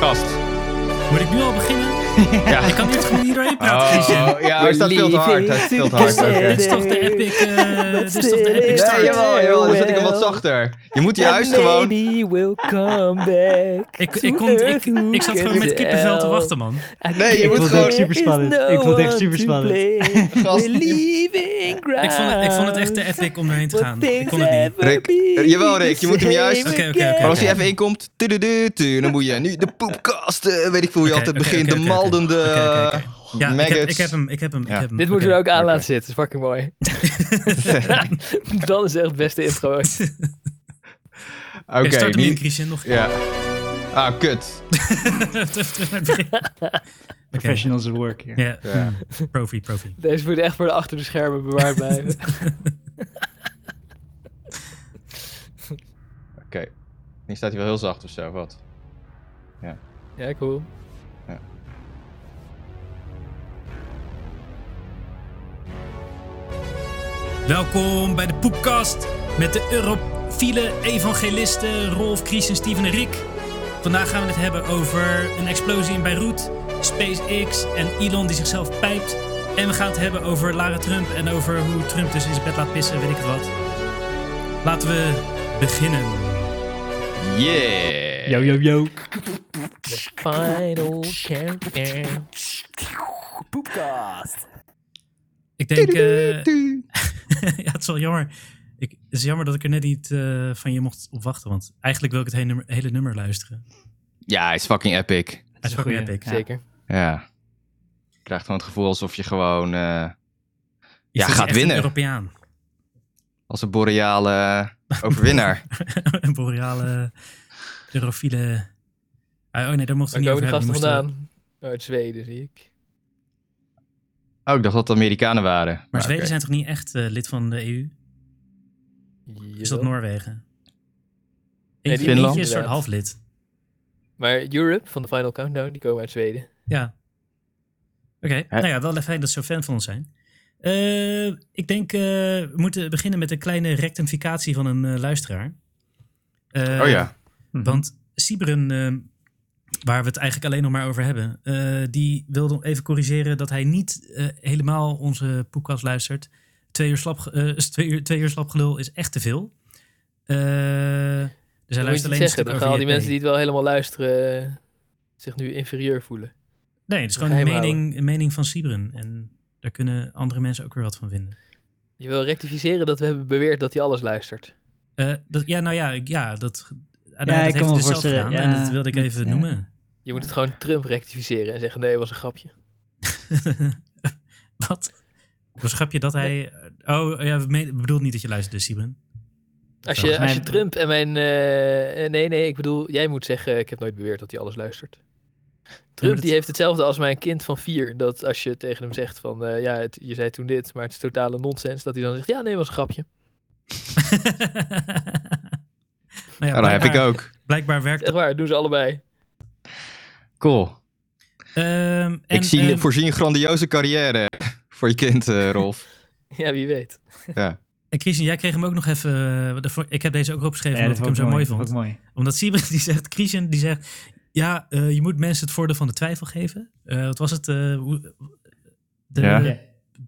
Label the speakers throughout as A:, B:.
A: podcast.
B: Moet ik nu al beginnen?
A: Ja.
B: Ik kan niet gewoon hier doorheen praten. Christian.
A: Oh, ja, is dat veel te hard? Dat is veel te hard.
C: Living.
A: oké.
B: Dit is toch de epic, eh, dit is toch de epic
C: Let's
A: Ja,
B: start.
A: jawel, jawel, dan zet ik hem wat zachter. Je moet juist gewoon...
C: Lady will come back.
B: Ik, ik, kon, ik, ik zat gewoon met kippenvel te wachten, man.
A: Nee, je
D: Ik
A: moet
D: vond het
A: gewoon-
D: echt super spannend. Ik vond het echt super spannend.
A: Gast.
C: We're leaving ground.
B: Ik vond het, ik vond het echt te epic om erheen te
C: Will
B: gaan. Ik
C: things
B: kon het niet.
C: ever
A: Rick,
C: be
A: eh, jawel, Rick, je moet hem
C: the
A: juist-
C: same
B: Oké, oké, oké.
C: again?
A: Maar als hij
B: Oké.
A: even inkomt, tudududu, dan moet je nu de poepkast, eh, weet ik veel hoe je
B: Oké,
A: altijd
B: oké,
A: begint,
B: oké,
A: de
B: oké, oké.
A: maldende
B: Oké, oké, oké. Ja, ik heb,
A: maggots.
B: ik heb hem, ik heb hem, ik
A: Ja.
B: heb hem.
C: Dit moeten
B: Oké.
C: we ook aan
A: oké.
C: laten zitten. Dat is fucking mooi. Dan is echt het beste intro. ooit.
A: Oké,
B: Ik start hem in,
A: niet-
B: Christian, nog
A: Ja. Ah, kut.
B: Terug- terug naar het begin. Oké.
D: Professionals at work. ja.
B: Ja,
A: Ja.
B: profi, profi.
C: Deze moet echt voor de achter de schermen bewaard blijven.
A: Oké. Nu staat hij wel heel zacht of zo, wat?
C: ja, cool.
B: Welkom bij de Poepkast met de Eurofiele evangelisten Rolf, Chris en Steven en Rick. Vandaag gaan we het hebben over een explosie in Beirut, SpaceX en Elon die zichzelf pijpt. En we gaan het hebben over Lara Trump en over hoe Trump dus in zijn bed laat pissen, weet ik het wat. Laten we beginnen.
A: Yeah!
D: Yo, yo, yo.
C: Final countdown. Poepcast.
B: Ik denk, eh,
A: Tudu.
B: ja, het is wel jammer. Ik, het is jammer dat ik er net niet eh, van je mocht op wachten, want eigenlijk wil ik het hele nummer, hele nummer luisteren.
A: Ja, hij is fucking epic.
B: Dat is
D: een
B: fucking
D: goeie,
B: epic.
D: ja.
C: Zeker.
A: Ja. Je krijgt gewoon het gevoel alsof je gewoon... eh,
B: Je
A: Ja,
B: voelt je
A: gaat
B: echt een
A: winnen.
B: Europeaan.
A: als een boreale eh, overwinnaar.
B: een boreale, eurofiele... Ah, oh nee, daar mochten
C: Waar
B: we niet
C: komen
B: over
C: die
B: hebben. Die
C: gasten
B: moesten-
C: vandaan?
D: eh?
C: Oh, uit Zweden, zie ik.
A: oh, ik dacht dat het Amerikanen waren.
B: Maar
C: Ah,
B: Zweden
A: oké.
B: zijn toch niet echt eh, lid van de EU? Is dat Noorwegen?
C: die-
B: Eentje, eentje is een soort
C: Inderdaad.
B: halflid.
C: Maar Europe van de Final Countdown, die komen uit Zweden.
B: Ja. Oké, nou ja, wel even fijn dat ze zo fan van ons zijn. Eh, ik denk, eh, we moeten beginnen met een kleine rectificatie van een eh, luisteraar. Eh,
A: Oh ja.
D: Mhm.
B: Want Sibren, eh, waar we het eigenlijk alleen nog maar over hebben, eh, die wilde even corrigeren dat hij niet eh, helemaal onze podcast luistert. Twee uur, slap, eh, is twee, uur, twee uur slapgelul is echt te veel. Eh, dus hij
C: Dan moet je
B: luistert
C: niet
B: alleen een
C: zeggen,
B: stuk
C: dan
B: over
C: gaan al die
B: JP.
C: mensen die het wel helemaal luisteren eh, zich nu inferieur voelen.
B: Nee, het is
C: het
B: gewoon een
C: geheim
B: mening, een mening van Sibren. En daar kunnen andere mensen ook weer wat van vinden.
C: Je wil rectificeren dat we hebben beweerd dat hij alles luistert.
B: Eh, dat, ja, nou ja, ik- ja dat, ah, nou, dat
D: Ja, ik kan
B: heeft
D: me
B: hij dus zelf
D: voorstellen,
B: gedaan.
D: ja.
B: en dat wilde ik even
D: Ja.
B: noemen.
C: Je moet het gewoon Trump rectificeren en zeggen, nee, was een grapje.
B: wat? Was een grapje dat hij... Oh, ja, we meen- we bedoelen niet dat je luistert, dus, Sibren.
C: Als
B: Volgens
C: je, als
D: mij-
C: je Trump en mijn... eh, eh, nee, nee, ik bedoel, jij moet zeggen, ik heb nooit beweerd dat hij alles luistert. Trump
B: dat-
C: die heeft hetzelfde als mijn kind van vier. Dat als je tegen hem zegt van, eh, ja, het- je zei toen dit, maar het is totale nonsens. Dat hij dan zegt, ja, nee, was een grapje.
B: nou
A: Oh, dat heb ik
B: blijkbaar-
A: ook.
B: Blijkbaar werkt
C: Echt
B: dat.
C: waar, doen ze allebei.
A: Cool.
B: Ehm, en,
A: ik zie,
B: ehm,
A: voorzien een grandioze carrière voor je kind, eh, Rolf.
C: Ja, wie weet.
B: en Christian, jij kreeg hem ook nog even... eh, daarvoor- Ik heb deze ook opgeschreven
D: Ja,
B: omdat
D: dat
B: ik hem zo mooi,
D: dat
B: vond.
D: vond ik mooi.
B: Omdat Sibren die zegt... Christian die zegt... Ja, eh, je moet mensen het voordeel van de twijfel geven. Eh, wat was het? eh, hoe- de
A: Ja.
D: Ja.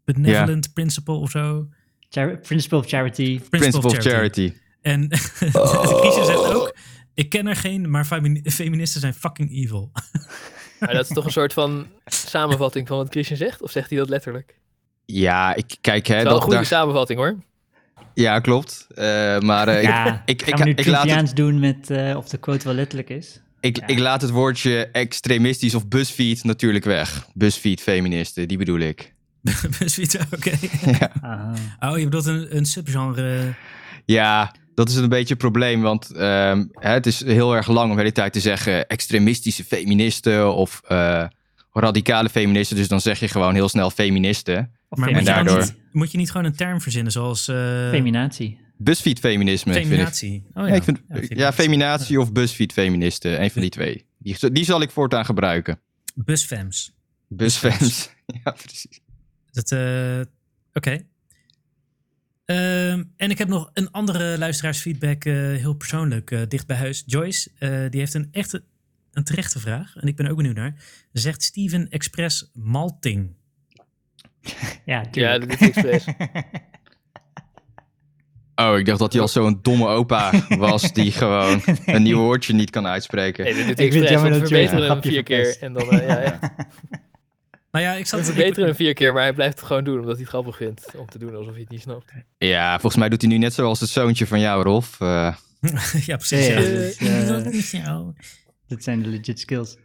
B: benevolent principle of zo.
D: Char- Principle of Charity.
A: Principle of Charity.
B: En
A: Oh.
B: Christian zegt ook... Ik ken er geen, maar femi- feministen zijn fucking evil.
C: Maar dat is toch een soort van samenvatting van wat Christian zegt? Of zegt hij dat letterlijk? Het
A: Ja, ik kijk, hè,
C: is wel een
A: dat
C: goede
A: daar-
C: samenvatting hoor.
A: Ja, klopt. Eh, maar eh,
D: Ja,
A: ik,
D: ik,
A: ik,
D: gaan we nu
A: ik, ik, laat het,
D: Trumpiaans doen met eh, of de quote wel letterlijk is?
A: ik,
D: Ja.
A: ik laat het woordje extremistisch of busfeed natuurlijk weg. Busfeed feministen, die bedoel ik.
B: Zoiets, Dus oké.
D: Aha.
B: Oh, je bedoelt een, een subgenre.
A: Ja, dat is een beetje het probleem, want ehm, hè, het is heel erg lang om de hele tijd te zeggen extremistische feministen of eh, radicale feministen. Dus dan zeg je gewoon heel snel feministen.
D: Of
B: Maar moet je,
A: feminatie.
B: dan
A: daardoor-
B: niet, moet je niet gewoon een term verzinnen zoals eh,
D: Feminatie.
A: Busfeed feminisme vind ik.
B: feminatie? Oh, ja.
A: Ja, ik vind,
B: Ja, feminatie.
A: ja, feminatie of busfeed feministen. Een van die twee. Die, die zal ik voortaan gebruiken.
B: Busfems.
A: Busfems. Ja, precies.
B: Dat, eh, Oké. Ehm, en ik heb nog een andere luisteraarsfeedback, eh, heel persoonlijk, eh, dicht bij huis. Joyce, eh, die heeft een echte een terechte vraag. En ik ben er ook benieuwd naar. Zegt Steven Express malting?
D: Ja,
C: Ja,
D: tuurlijk.
C: dat doet hij expres.
A: Oh, ik dacht dat hij al zo'n domme opa was die gewoon een nieuw woordje niet kan uitspreken.
C: Nee, dat doet hij
D: Ik vind het
C: expres.
D: jammer
C: Want we
D: dat Jordi
C: verbeteren
D: een
C: hem
D: grapje
C: vier keer.
D: verpest.
C: En dan, eh, ja, ja.
B: Nou ja, ik zat
C: We verbeteren hem vier keer, maar hij blijft het gewoon doen omdat hij het grappig vindt. Om te doen alsof hij het niet snapt.
A: Ja, volgens mij doet hij nu net zoals het zoontje van jou, Rolf. Eh,
B: ja, precies.
D: Ja,
B: Ja,
D: ja, dus,
B: Ik doe dat
D: eh,
B: niet zo.
D: Dat zijn de legit skills.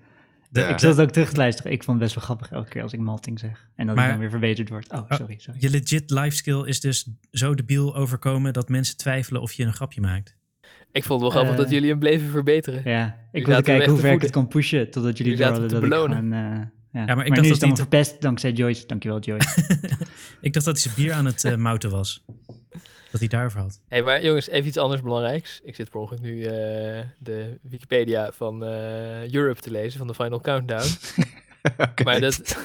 A: Ja.
D: Ik zat het ook terug te luisteren. Ik vond het best wel grappig elke keer als ik malting zeg. En dat
B: Maar-
D: ik dan weer verbeterd word. Oh,
B: Oh,
D: sorry, sorry.
B: Je legit life skill is dus zo debiel overkomen dat mensen twijfelen of je een grapje maakt.
C: Ik vond het wel grappig
D: Eh.
C: dat jullie hem bleven verbeteren.
D: Ja, ik
C: laten
D: wilde
C: hem echt
D: kijken hoe
C: te
D: ver ik het
C: voeden.
D: kon pushen totdat jullie
C: Jullie
D: door
C: laten hem
D: hadden dat
C: te
D: ik
C: belonen.
D: gewoon... eh, ja.
B: ik
D: maar
B: dacht
D: nu
B: dat
D: is het allemaal
B: niet-
D: verpest dankzij Joyce. Dankjewel, Joyce.
B: Ik dacht dat hij zijn bier aan het eh, mouten was. Dat hij daarover had.
C: Hé, maar jongens, even iets anders belangrijks. Ik zit per ongeluk nu eh, de Wikipedia van eh, Europe te lezen, van de Final Countdown.
A: oké.
C: Maar dat,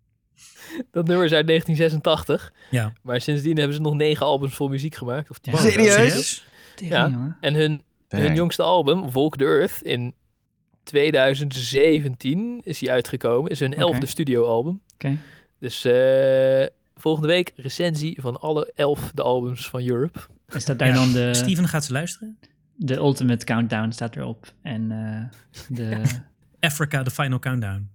C: dat nummer is uit 1986.
B: Ja.
C: Maar sindsdien hebben ze nog negen albums vol muziek gemaakt. Of tien.
A: Wow. Serieus?
D: Tering,
C: Ja.
D: jongen.
C: En hun, hun
A: Dang.
C: jongste album, Volk de Earth, in 2017 is die uitgekomen. Is hun
D: Oké.
C: elfde studioalbum.
D: Oké.
C: Dus eh, volgende week recensie van alle elf de albums van Europe.
D: Is dat daar
B: Ja.
D: dan de,
B: Eh, Steven gaat ze luisteren.
D: de ultimate countdown staat erop? En eh, de...
B: Africa, de final countdown.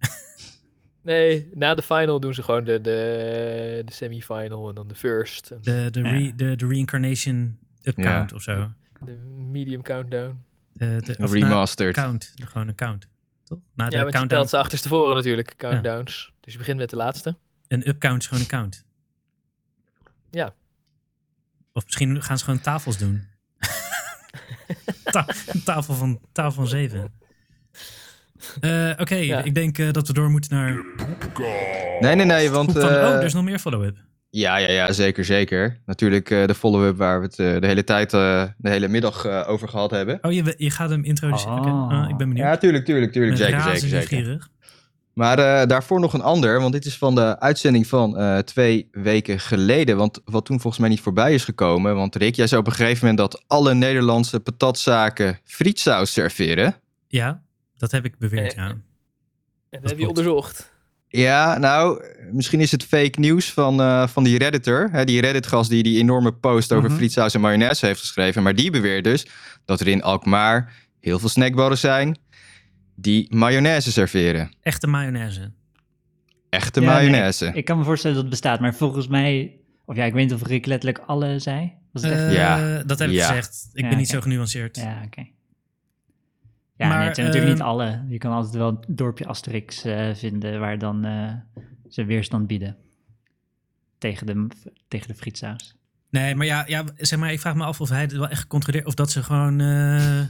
C: Nee, na de final doen ze gewoon de, de, de semifinal en dan de first. En
B: De, de, re, de, de reincarnation upcount of zo.
C: de medium countdown.
B: De, de, of na-
A: Remastered.
B: count. Gewoon een count. Toch? Na Ah, de
C: ja, want je
B: countdown.
C: telt ze achterstevoren natuurlijk, countdowns. Dus je begint met de laatste.
B: Een upcount is gewoon een count.
C: Ja.
B: Of misschien gaan ze gewoon tafels doen. Ta- een tafel, van, tafel van zeven. Eh, Oké,
C: Ja.
B: ik denk eh, dat we door moeten naar...
A: Nee, nee, nee, want...
B: Van, oh,
A: eh,
B: er is nog meer follow-up.
A: ja, ja, ja, zeker, zeker. Natuurlijk eh, de follow-up waar we het eh, de hele tijd, eh, de hele middag eh, over gehad hebben.
B: Oh, je, je gaat hem introduceren. Oké,
D: Ah.
B: ah, ik ben benieuwd.
A: Ja, tuurlijk, tuurlijk, tuurlijk,
B: Ik ben
A: zeker,
B: razend
A: zeker, zeker.
B: nieuwsgierig.
A: Maar eh, daarvoor nog een ander, want dit is van de uitzending van eh, twee weken geleden. Want wat toen volgens mij niet voorbij is gekomen. Want Rick, jij zei op een gegeven moment dat alle Nederlandse patatzaken frietsaus serveren.
B: Ja, dat heb ik beweerd,
C: Eh,
B: ja.
C: En
B: Dat
C: dat heb je
B: klopt.
C: onderzocht.
A: Ja, nou, misschien is het fake nieuws van, eh, van die redditor. Hè, die reddit die die enorme post over
B: Mhm.
A: frietsaus en mayonaise heeft geschreven. Maar die beweert dus dat er in Alkmaar heel veel snackbarren zijn die mayonaise serveren.
B: Echte mayonaise.
A: Echte
D: Ja, nee,
A: mayonaise.
D: Ik kan me voorstellen dat het bestaat, maar volgens mij, of ja, ik weet niet of Rick letterlijk alle zei. Was het echt?
B: Eh,
A: Ja.
B: Dat heb ik
A: Ja.
B: gezegd. Ik
D: Ja,
B: ben niet
D: oké.
B: zo genuanceerd.
D: ja, oké. Ja,
B: Maar,
D: nee, het zijn natuurlijk
B: ehm,
D: niet alle. Je kan altijd wel een dorpje Asterix eh, vinden waar dan eh, ze weerstand bieden tegen de, tegen de frietsaus.
B: Nee, maar ja, ja, zeg maar, ik vraag me af of hij het wel echt gecontroleerd... of dat ze gewoon eh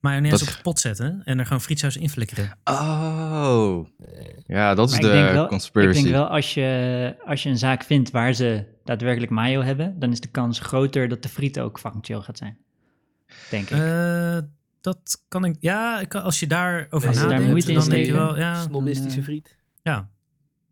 B: mayonaise
A: Dat-
B: op de pot zetten... en er gewoon frietsaus in flikkeren.
A: Oh. Ja, dat is
D: Maar ik denk
A: de
D: wel- Ik
A: conspiracy.
D: denk wel, als je, als je een zaak vindt waar ze daadwerkelijk mayo hebben, dan is de kans groter dat de friet ook fucking chill gaat zijn. Denk ik.
B: Eh, dat kan ik... Ja, ik kan- als je daarover
C: Als je daar
B: nadenkt,
C: moeite in
B: dan denk je
C: steekt,
B: wel... Ja,
C: Snobistische
D: eh,
C: vriend.
B: ja.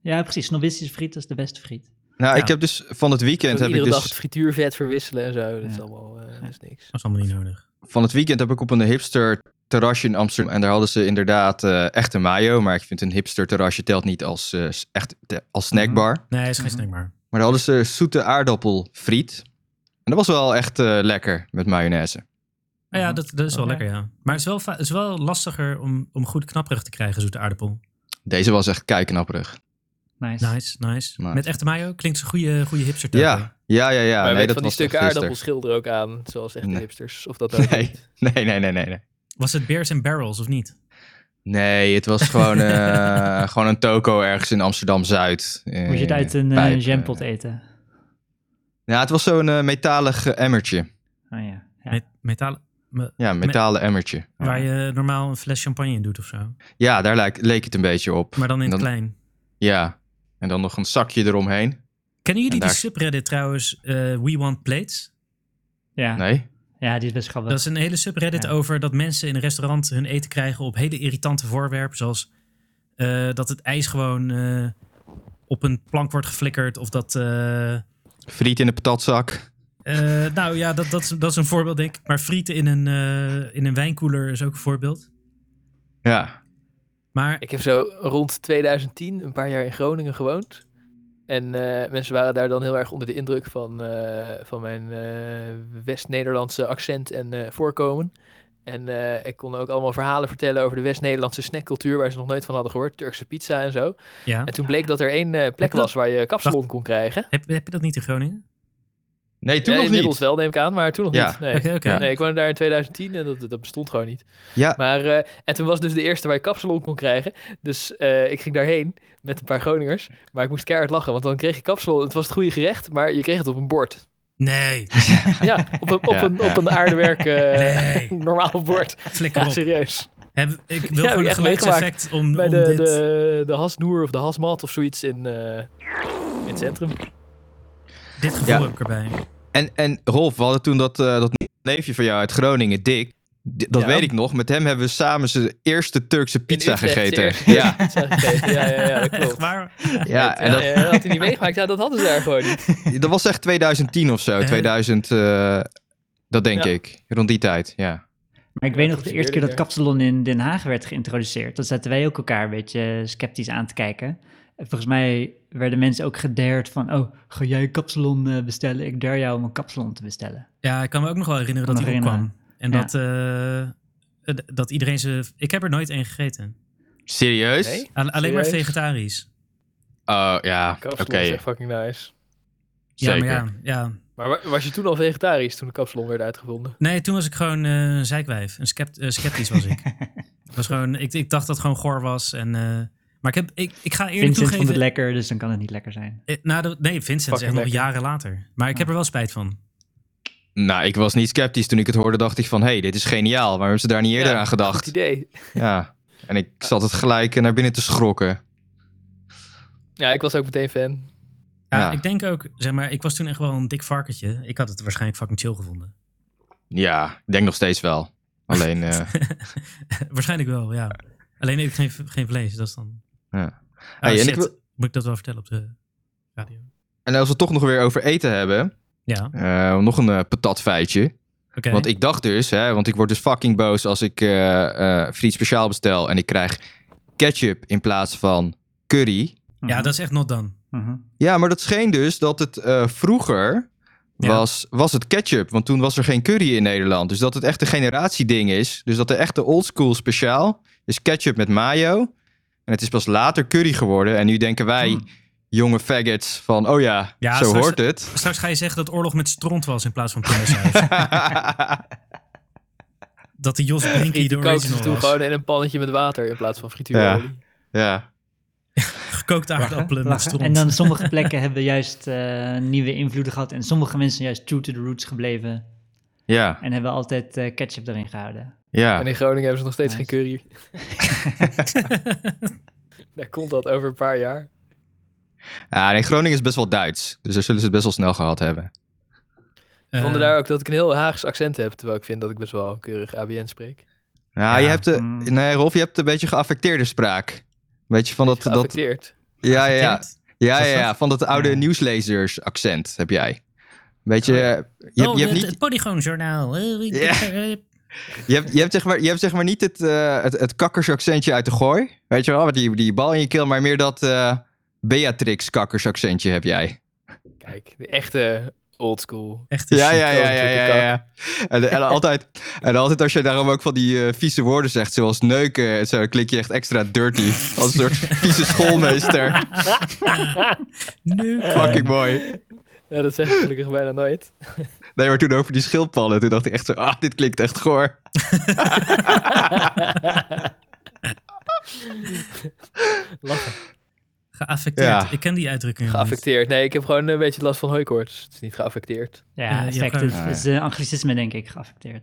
D: ja, precies. Snobistische friet dat is de beste friet.
A: Nou,
B: Ja.
A: ik heb dus van het weekend
C: Ook
A: heb ik
C: iedere
A: dus
C: dag het frituurvet verwisselen en zo. Dat is
D: Ja.
C: allemaal eh, dat is niks.
B: dat is allemaal niet nodig.
A: van het weekend heb ik op een hipster terrasje in Amsterdam. En daar hadden ze inderdaad eh, echte mayo. Maar ik vind een hipster terrasje telt niet als, eh, s- echt, te- als snackbar.
B: Nee, het is geen
D: Mhm.
B: snackbar.
A: Maar daar hadden ze zoete aardappelfriet. En dat was wel echt eh, lekker met mayonaise.
B: Maar ja,
D: Mhm.
B: dat, dat is wel
D: Oké.
B: lekker, ja. Maar het is wel, va- het is wel lastiger om, om goed knapperig te krijgen, zoete aardappel.
A: Deze was echt keiknapperig.
D: Nice.
B: Nice, nice.
A: Nice.
B: Met echte mayo klinkt een goede, goede hipster taco.
A: Ja, ja, ja, ja.
C: maar
A: nee, dat
C: weet van die
A: was
C: stukken
A: echt
C: aardappel
A: hipster.
C: schilderen ook aan, zoals echte
A: Nee.
C: hipsters. Of dat ook
A: Nee.
C: niet.
A: Nee, nee, nee, nee, nee.
B: Was het Beers and Barrels of niet?
A: Nee, het was gewoon, eh, gewoon een toko ergens in Amsterdam-Zuid. Eh,
D: Moet je het uit een eh,
A: pijp, eh.
D: jampot eten?
A: Ja, het was zo'n eh, metalig eh, emmertje.
D: Oh ja. ja.
B: Met, metalen, me-
A: Ja, een metalen emmertje.
B: waar je normaal een fles champagne in doet of zo.
A: Ja, daar leek, leek het een beetje op.
B: Maar dan in het
A: Dan-
B: klein.
A: Ja. En dan nog een zakje eromheen.
B: Kennen jullie
A: En
B: die
A: daar-
B: subreddit trouwens, eh, We Want Plates?
D: Ja.
A: Nee?
D: ja, die is best grappig.
B: Dat is een hele subreddit
D: Ja.
B: over dat mensen in een restaurant hun eten krijgen op hele irritante voorwerpen. Zoals eh, dat het ijs gewoon eh, op een plank wordt geflikkerd. Of dat... eh,
A: Friet in de patatzak.
B: Eh, nou ja, dat, dat, is, dat is een voorbeeld, denk ik. Maar frieten in een, eh, in een wijnkoeler is ook een voorbeeld.
A: Ja.
B: Maar
C: Ik heb zo rond 2010 een paar jaar in Groningen gewoond. En eh, mensen waren daar dan heel erg onder de indruk van, eh, van mijn eh, West-Nederlandse accent en eh, voorkomen. En eh, ik kon ook allemaal verhalen vertellen over de West-Nederlandse snackcultuur, waar ze nog nooit van hadden gehoord. Turkse pizza en zo.
B: ja,
C: En toen bleek dat er één eh, plek
B: dat-
C: was waar je kapsalon kon krijgen.
B: heb, heb je dat niet in Groningen?
A: Nee, toen
C: Ja,
A: nog
C: inmiddels
A: niet.
C: wel, neem ik aan, maar toen nog
A: Ja.
C: niet. Nee.
B: Oké, oké.
A: Ja.
C: nee, ik woonde daar in 2010 en dat, dat bestond gewoon niet.
A: Ja.
C: Maar, eh, en toen was dus de eerste waar je kapsalon kon krijgen. Dus eh, ik ging daarheen met een paar Groningers. Maar ik moest keihard lachen, want dan kreeg je kapsalon. Het was het goede gerecht, maar je kreeg het op een bord.
B: Nee,
C: Ja, op een, op
A: Ja,
C: een,
A: ja.
C: op een aardewerk eh,
B: nee.
C: normaal bord.
B: Flikker
C: Ja,
B: op.
C: serieus.
B: Heb, ik wil
C: Ja,
B: gewoon
C: heb ik
B: een
C: echt meegemaakt.
B: geluidseffect om,
C: Bij
B: om
C: de,
B: dit...
C: de, de Hasnoer of de Hasmat of zoiets in, eh, in het centrum.
B: Dit gevoel
A: Ja.
B: heb ik erbij.
A: En, en Rolf, we hadden toen dat, eh, dat neefje van jou uit Groningen, Dick. D- dat
C: Ja.
A: weet ik nog. Met hem hebben we samen zijn eerste Turkse pizza
C: Utrecht, de
A: gegeten.
C: eerste
A: Ja,
C: pizza gegeten. Ja, ja, ja, dat
B: Echt
C: klopt.
B: waar?
A: ja, en
C: Ja,
A: dat,
C: ja, dat had hij niet meegemaakt. Ja, dat hadden ze daar gewoon niet.
A: dat was echt 2010 of zo.
B: Eh.
A: 2000, eh, dat denk
C: Ja.
A: ik. Rond die tijd, ja.
D: Maar ik
C: Ja,
D: weet
C: dat
D: nog de
C: is
D: eerste keer dat
C: eerder.
D: kapsalon in Den Haag werd geïntroduceerd. Dat zaten wij ook elkaar een beetje sceptisch aan te kijken. En volgens mij werden mensen ook gedared van... oh, ga jij een kapsalon eh, bestellen? Ik dare jou om een kapsalon te bestellen.
B: Ja, ik kan me ook nog wel herinneren
D: Kan
B: dat
D: me
B: hij
D: herinneren.
B: opkwam. En
D: Ja.
B: dat, eh, eh, dat iedereen ze... Ik heb er nooit één gegeten.
A: Serieus?
C: Nee?
B: Al- alleen maar
C: Serieus?
B: vegetarisch.
A: Oh, ja, oké.
C: Kapsalon is echt fucking nice.
B: Ja,
A: Zeker.
B: maar ja, ja.
C: Maar wa- was je toen al vegetarisch toen de kapsalon werd uitgevonden?
B: Nee, toen was ik gewoon eh, een zeikwijf. Een scept- eh, sceptisch was ik. Het was gewoon, ik. Ik dacht dat het gewoon goor was. En, eh, maar ik, heb, ik, ik ga eerlijk
D: Vincent vond het
B: toegeven...
D: lekker, dus dan kan het niet lekker zijn.
B: eh, na de- nee, Vincent is echt
C: Fucking
B: nog
C: lekker.
B: jaren later. Maar ik heb er wel spijt van.
A: Nou, ik was niet sceptisch toen ik het hoorde. Dacht ik van, hé, hey, dit is geniaal. Waarom hebben ze daar niet eerder
C: Ja,
A: aan
C: Goed
A: gedacht?
C: idee.
A: Ja. En ik zat het gelijk eh, naar binnen te schrokken.
C: Ja, ik was ook meteen fan.
B: Ja,
A: Ja.
B: Ik denk ook, zeg maar, ik was toen echt wel een dik varkentje. Ik had het waarschijnlijk fucking chill gevonden.
A: Ja, ik denk nog steeds wel. Alleen, eh,
B: waarschijnlijk wel, ja. Alleen eet ik geen, geen vlees, dat is dan...
A: Ja.
B: Oh,
A: Hey, en
B: shit.
A: ik wil-
B: Moet ik dat wel vertellen op de radio?
A: en als we het toch nog weer over eten hebben,
B: Ja, oké.
A: eh, nog een eh, patatfeitje. Want ik dacht dus, hè, want ik word dus fucking boos als ik eh eh friet speciaal bestel en ik krijg ketchup in plaats van curry.
B: Ja, dat is echt not done.
D: Mhm.
A: Ja, maar dat scheen dus dat het eh, vroeger
B: Ja.
A: was, was het ketchup. Want toen was er geen curry in Nederland. Dus dat het echt een generatieding is. Dus dat de echte oldschool speciaal is ketchup met mayo. En het is pas later curry geworden. En nu denken wij,
D: Hmm.
A: jonge faggots, van oh ja,
B: Ja,
A: zo
B: straks-
A: hoort het.
B: Straks ga je zeggen dat oorlog met stront was in plaats van pindasaus. dat de Jos Brinkie de
C: Ik kookte ze
B: original
C: toen
B: was.
C: gewoon in een pannetje met water in plaats van frituurolie.
A: ja.
B: Gekookte aardappelen met
D: Lachen.
B: stront.
D: En dan sommige plekken hebben juist eh, nieuwe invloeden gehad. En sommige mensen zijn juist true to the roots gebleven.
A: ja,
D: En hebben altijd eh, ketchup erin gehouden.
A: ja.
C: En in Groningen hebben ze nog steeds
D: Nice.
C: geen curry. Daar komt dat over een paar jaar.
A: Ja, nee, Groningen is best wel Duits. Dus daar zullen ze het best wel snel gehad hebben.
B: Eh,
C: Vonden daar ook dat ik een heel Haags accent heb, terwijl ik vind dat ik best wel keurig ABN spreek.
A: Ja,
B: Ja,
A: je hebt de,
D: mm.
A: nee, Rolf, je hebt een beetje geaffecteerde spraak. Weet je, van dat... dat
C: Geaffecteerd.
A: ja, ja, ja.
B: Kent?
A: Ja,
B: Was
A: ja, ja,
B: dat?
A: van dat oude
D: Ja.
A: nieuwslezers accent heb jij. Weet je,
C: Oh,
A: je,
C: ja.
A: hebt- je,
B: oh,
A: hebt
B: het,
A: niet,
B: het Polygoon-journaal. Eh,
A: Ja. je, hebt, je, hebt zeg maar, je hebt zeg maar niet het, eh het, het kakkersaccentje uit de gooi. Weet je wel, met die, die bal in je keel, maar meer dat eh, Beatrix kakkersaccentje heb jij.
C: Kijk, de echte oldschool.
B: Echt een
A: Ja,
B: shit.
A: ja, ja, ja, ja.
C: koninklijke
A: ja, En, en, altijd, en altijd als je daarom ook van die eh, vieze woorden zegt, zoals neuken, en zo dan klink je echt extra dirty. Als een soort vieze schoolmeester.
B: Nu.
A: Fucking mooi.
C: Ja, dat zeg ik gelukkig bijna nooit.
A: Nee, maar toen over die schildpadden, toen dacht ik echt zo, ah, dit klinkt echt goor.
C: Lachen.
B: Geaffecteerd.
A: Ja.
B: Ik ken die uitdrukking. jongens.
C: Geaffecteerd. Nee, ik heb gewoon een beetje last van hooikoorts. Het is niet geaffecteerd.
D: Ja,
B: Eh, je hebt
D: effectief.
B: gewoon-
A: Ah,
D: Het is eh, anglicisme, denk ik,
C: Nee,
D: geaffecteerd.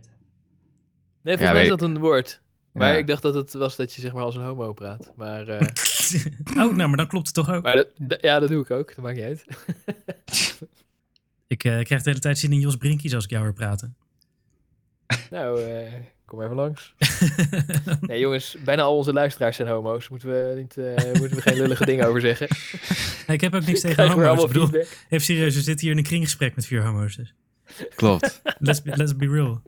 A: Ja,
C: volgens mij is
A: weet-
C: dat een woord. Maar
A: Ja.
C: ik dacht dat het was dat je zeg maar als een homo praat. Maar, eh,
B: Oh, nou, maar dan klopt het toch ook.
C: maar dat, d- ja, dat doe ik ook. Dat maakt niet uit.
B: Ik eh, krijg de hele tijd zin in Jos Brinkies als ik jou hoor praten.
C: Nou, eh, kom even langs. Nee, jongens, bijna al onze luisteraars zijn homo's. Moeten we, niet, eh, moeten we geen lullige dingen over zeggen.
B: Nee, ik heb ook niks tegen
C: Krijgen we
B: homo's. Ik
C: allemaal
B: bedoel,
C: feedback.
B: even serieus, we zitten hier in een kringgesprek met vier homo's. dus.
A: Klopt.
B: Let's be, let's be real.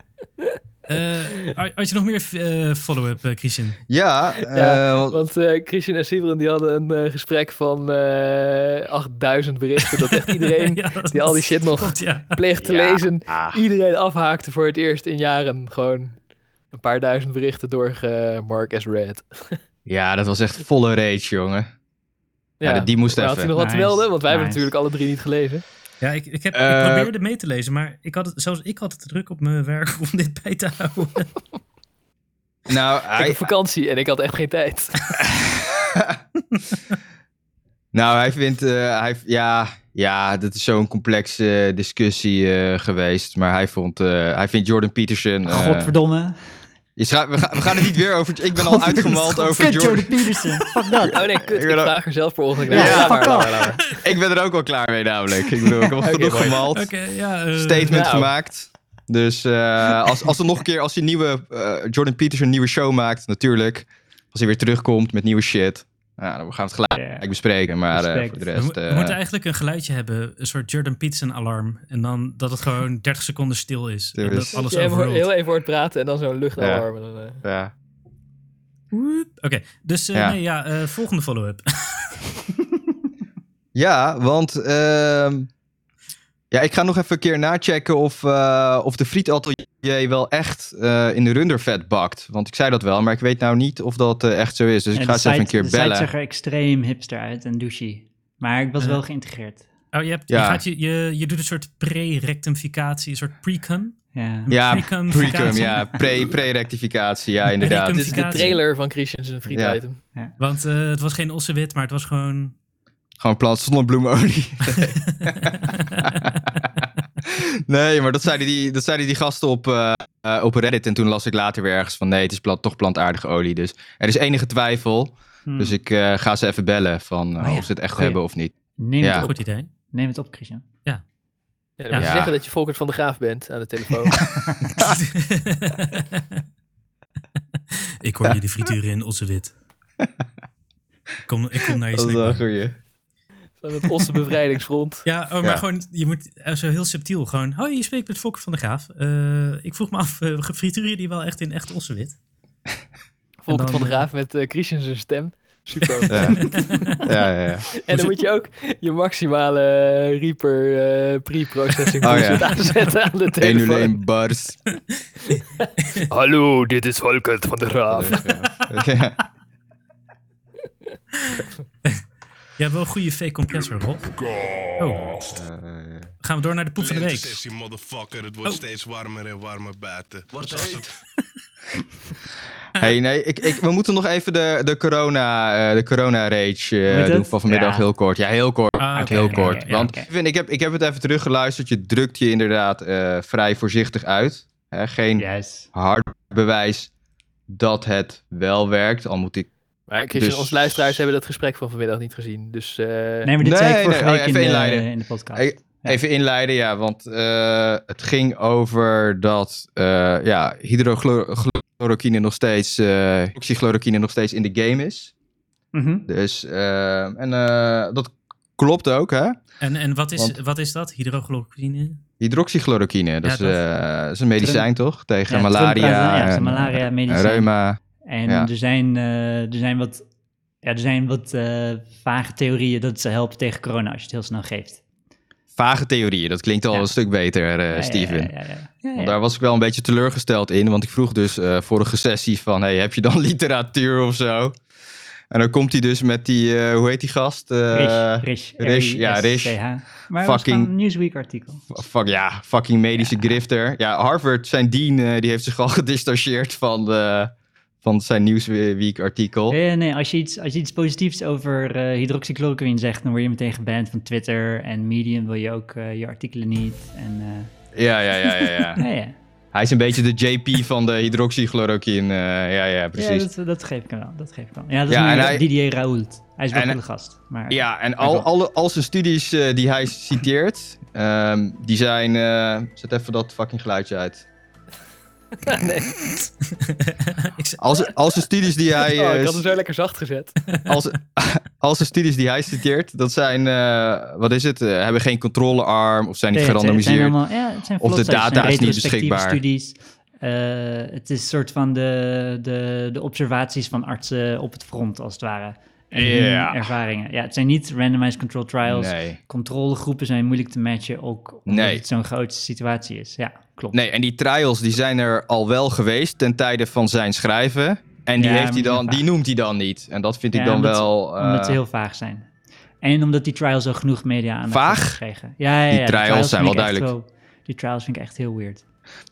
B: Eh, had- had je nog meer eh, follow-up, eh, Christian?
A: Ja,
C: Ja,
A: eh, want-
C: Want eh, Christian en Siveren die hadden een eh, gesprek van eh 8000 berichten. Dat echt iedereen
B: Ja, dat-
C: die al die shit nog
B: God, ja.
C: pleegt te
A: Ja.
C: lezen,
A: Ah.
C: iedereen afhaakte voor het eerst in jaren. Gewoon een paar duizend berichten doorgemark as red.
A: ja, dat was echt volle rage, jongen. Ja, die moest
C: maar had
A: even.
C: hij nog wat te
D: Nice,
C: melden? Want wij hebben
D: nice.
C: natuurlijk alle drie niet gelezen.
B: Ja, ik, ik, heb, ik
A: Eh,
B: probeerde mee te lezen, maar ik had het, zelfs ik had het druk op mijn werk om dit bij te houden.
A: Nou,
C: Ik heb
A: hij,
C: vakantie en ik had echt geen tijd.
A: nou, hij vindt, eh, hij, ja, ja, dat is zo'n complexe eh, discussie eh, geweest. Maar hij, vond, eh, hij vindt Jordan Peterson... eh,
D: Godverdomme.
A: je scha- we, gaan, we gaan het niet weer over... Ik ben al uitgemald over
D: Kut,
A: Jordan.
D: Jordan Peterson. Fuck dat.
C: Oh nee, kut.
A: Ik
C: Ik
A: wil ook-
C: vraag er zelf per ongeluk naar.
D: Ja,
C: Ja,
D: fuck
C: maar-
D: off.
A: Ik ben er ook al klaar mee namelijk. Ik bedoel, ik heb al genoeg
C: mooi.
A: gemald.
B: Oké, ja. eh,
A: Statement
C: nou.
A: gemaakt. Dus eh, als, als er nog een keer, als hij nieuwe, eh, Jordan Peterson een nieuwe show maakt, natuurlijk. Als hij weer terugkomt met nieuwe shit. Nou, dan gaan we het gelijk
D: Ja.
A: bespreken. Maar eh,
D: Respect.
A: voor de
B: We, mo-
A: rest...
B: we
A: eh,
B: moeten eigenlijk een geluidje hebben, een soort Jordan Peterson alarm. En dan dat het gewoon 30 seconden stil is.
A: Stil
B: en dat
A: is.
B: alles
C: Ja, even,
B: overrolt.
C: heel even hoort praten en dan zo'n luchtalarm. en dan, eh.
A: ja.
B: Oké, dus eh,
A: Ja.
B: nee, ja, eh, volgende follow-up.
A: Ja, want ehm, ja, ik ga nog even een keer nachecken of, eh, of de frietatelier wel echt eh, in de rundervet bakt. Want ik zei dat wel, maar ik weet nou niet of dat eh, echt zo is. Dus ik
D: Ja,
A: ga
D: de
A: eens even een
D: site-
A: keer
D: de site
A: bellen.
D: zag er extreem hipster uit en douchey. Maar ik was
B: Ja.
D: wel geïntegreerd.
B: Oh, je, hebt, je,
A: Ja.
B: gaat je, je, je doet een soort pre-rectificatie, een soort pre-cum.
D: Ja.
A: Ja,
B: Precum,
A: precum, ja.
B: rectificatie.
A: Pre- Pre-rectificatie, ja, inderdaad. Dus
B: Precum.
C: Dit is de
B: Notificatie.
C: trailer van Christian's een
A: Ja.
C: item.
B: Want eh, het was geen ossewit, maar het was gewoon...
A: Gewoon plant zonnebloemolie. nee, maar dat zeiden die, dat zeiden die gasten op, eh, eh, op Reddit. En toen las ik later weer ergens van nee, het is plant, toch plantaardige olie. Dus er is enige twijfel.
D: Hmm.
A: Dus ik eh, ga ze even bellen van eh,
D: Oh ja,
A: of ze het echt
D: goeie.
A: hebben of niet.
D: Neem,
A: Ja.
D: het op.
B: Goed idee.
D: Neem het op, Christian.
C: Ja, dan
B: Ja.
C: moet je
A: Ja.
C: zeggen dat je Volkert van de Graaf bent aan de telefoon.
B: ik hoor jullie frituren in ossewit. Ik kom, ik kom naar je
A: Dat is wel een
B: snackbar.
A: goeie.
C: Van het Osse Bevrijdingsfront.
B: Ja, oh, maar
A: Ja.
B: gewoon, je moet eh, zo heel subtiel gewoon... Hoi, je spreekt met Fokker van de Graaf. Eh, ik vroeg me af, eh, frituren jullie wel echt in echt ossewit?
C: Volkert
B: En
C: van
B: dan-
C: de Graaf met eh Christian zijn stem. Super.
A: Ja. ja, ja, ja.
C: En dan moet je ook je maximale eh, Reaper eh, pre-processing
A: Oh ja.
C: bullshit aanzetten aan
A: 101
C: de telefoon.
A: bars.
C: Hallo, dit is Volkert van de Graaf.
A: Ja.
B: Je hebt wel een goede fake compressor, Rob. Oh,
A: Eh,
B: gaan we door naar de poep van de
E: Lente
B: week.
E: sessie, motherfucker. Het wordt
B: Oh.
E: steeds warmer en warmer buiten. Wordt
A: Hey, nee, ik, ik, we moeten nog even de, de corona, eh, de corona rage eh,
D: Moet het?
A: doen van vanmiddag
D: Ja.
A: heel kort. Ja, heel kort.
B: Ah, oké,
A: heel
B: oké,
A: kort.
B: oké, ja,
A: Want
D: oké.
A: ik vind- ik, heb, ik heb het even teruggeluisterd. Je drukt je inderdaad eh, vrij voorzichtig uit. Hè, geen
D: Yes.
A: hard bewijs dat het wel werkt. Al moet ik.
C: Maar Christian,
A: Dus-
C: onze luisteraars hebben dat gesprek van vanmiddag niet gezien. Dus eh,
D: Nee, maar dit
A: Nee,
D: zei ik
A: nee,
D: vorige
A: oh,
D: week
A: even
D: in, de,
A: inleiden.
D: in de podcast.
A: Hey,
D: Ja.
A: Even inleiden, ja, want eh, het ging over dat eh ja, hydrochloroquine nog steeds, eh oxychloroquine nog steeds in de game is.
D: Mhm.
A: Dus, eh, en eh, dat klopt ook, hè?
B: En, en wat, is,
A: Want-
B: wat is dat? Hydrochloroquine?
A: Hydroxychloroquine, dat,
B: Ja,
A: is,
B: dat.
A: eh, dat is een medicijn toch? Tegen
D: Ja,
A: malaria,
D: Trump praat- ja,
A: en,
D: malaria,
A: en
D: medicijn.
A: reuma.
D: En
A: Ja.
D: er, zijn, eh, er zijn wat, ja, er zijn wat eh, vage theorieën dat ze helpen tegen corona als je het heel snel geeft.
A: Eh, Vage theorieën, dat klinkt al
D: Ja.
A: een stuk beter, eh,
D: Ja, ja,
A: Steven.
D: Ja, ja, ja. Ja,
A: Want
D: ja.
A: daar was ik wel een beetje teleurgesteld in, want ik vroeg dus eh, vorige sessie van, hey, heb je dan literatuur of zo? En dan komt hij dus met die, eh, hoe heet die gast? Eh,
D: Rish, Rish,
A: Rish, ja,
D: R-I-S-C-H.
A: Rish.
D: Maar het was
A: Fucking-
D: gewoon een Newsweek artikel.
A: Fuck ja, fucking medische grifter. Ja, Harvard, zijn dean, eh, die heeft zich al gedistanceerd van, eh, van zijn Newsweek artikel.
D: Nee, Eh, nee, als je iets, als je iets positiefs over eh hydroxychloroquine zegt, dan word je meteen geband van Twitter en Medium wil je ook eh, je artikelen niet. En, eh,
A: Ja, ja, ja, ja, ja.
D: ja, ja.
A: Hij is een beetje de JP van de hydroxychloroquine. eh, ja, ja,
D: ja
A: precies. Ja,
D: dat, dat geef ik hem wel. Dat geef ik hem wel. Ja, dat is
A: Ja,
D: meer
A: en hij-
D: Didier Raoult. Hij is wel
A: en-
D: een goede gast. Maar,
A: en al, alle, al zijn studies eh, die hij citeert, ehm, die zijn... eh, zet even dat fucking geluidje uit.
B: Ik zei-
A: Al zijn- al zijn studies die hij...
C: oh,
A: eh,
C: ik had hem zo lekker zacht gezet.
A: al zijn- al zijn studies die hij citeert, dat zijn... eh, wat is het? eh, hebben geen controlearm of zijn niet
D: Nee, het zijn- het zijn
A: gerandomiseerd.
D: allemaal- ja, het zijn
A: Of de
D: flotstudies, het
A: data
D: zijn
A: is niet
D: retrospectieve
A: beschikbaar.
D: studies. Eh, het is soort van de, de, de observaties van artsen op het front, als het ware. En hun
A: Ja.
D: ervaringen. Ja, het zijn niet randomized control trials.
A: Nee.
D: Controlegroepen zijn moeilijk te matchen, ook omdat
A: Nee.
D: het zo'n grote situatie is. Ja, klopt.
A: Nee, en die trials die zijn er al wel geweest ten tijde van zijn schrijven. En die,
D: Ja,
A: heeft hij
D: maar-
A: dan, die noemt hij dan niet. En dat vind ik
D: Ja,
A: dan
D: omdat-
A: wel... eh,
D: Omdat ze heel vaag zijn. En omdat die trials al genoeg media aandacht
A: Vaag?
D: hebben gekregen. Ja, ja, ja,
A: Die trials
D: vind
A: zijn
D: ik
A: wel
D: echt
A: duidelijk.
D: die trials vind ik echt heel weird.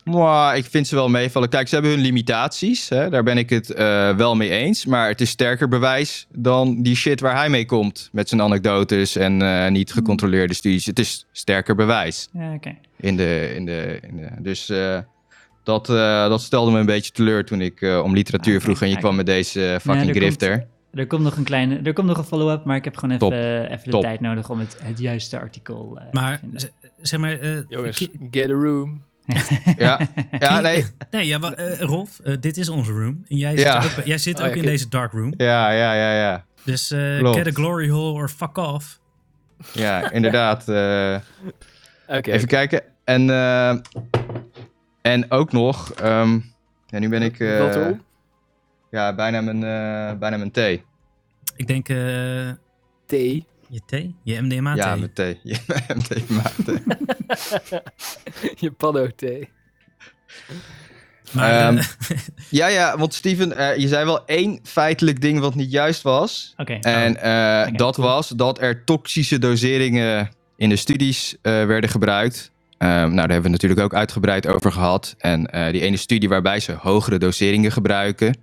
A: Mwah, ik vind ze wel meevallen. Kijk, ze hebben hun limitaties. Hè? Daar ben ik het eh, wel mee eens. Maar het is sterker bewijs dan die shit waar hij mee komt. Met zijn anekdotes en eh, niet
D: Hmm.
A: gecontroleerde studies. Het is sterker bewijs.
D: Ja, oké.
A: In de, in de, in de- dus eh, dat, eh, dat stelde me een beetje teleur toen ik eh, om literatuur
D: Ah, oké,
A: vroeg. En je
D: kijk.
A: kwam met deze eh, fucking
D: er
A: grifter.
D: Er komt nog een kleine, er komt nog een follow-up, maar ik heb gewoon even, eh,
A: Top,
D: even de
A: top.
D: tijd nodig om het, het juiste artikel eh,
B: Maar
D: te vinden.
B: z- zeg maar... eh,
C: Jongens,
B: ki-
C: get a room.
A: Ja, ja nee.
B: nee, ja, wa- eh, Rolf, eh, dit is onze room. En jij
A: Ja.
B: zit ook, jij zit
C: Oh ja,
B: ook in
C: kut.
B: deze dark room.
A: Ja, ja, ja, ja.
B: Dus eh,
A: Klopt.
B: get a glory hole or fuck off.
A: Ja, inderdaad. eh,
C: Oké,
A: Even kijken. En, eh, en ook nog. ehm, ja, nu ben ik. eh,
C: Wat erop?
A: ja, bijna mijn, eh, bijna mijn thee.
B: Ik denk eh,
C: T.
B: je thee? Je MDMA
A: ja,
B: thee?
A: mijn thee. Ja, mijn thee, maar thee.
C: Je paddo thee.
B: Maar,
A: Ehm,
B: eh,
A: ja, ja, want Steven, eh, je zei wel één feitelijk ding wat niet juist was.
D: Oké.
A: En eh,
D: Oké,
A: dat
D: Oh, cool.
A: was dat er toxische doseringen in de studies eh, werden gebruikt. Ehm, nou, daar hebben we natuurlijk ook uitgebreid over gehad. En eh, die ene studie waarbij ze hogere doseringen gebruiken,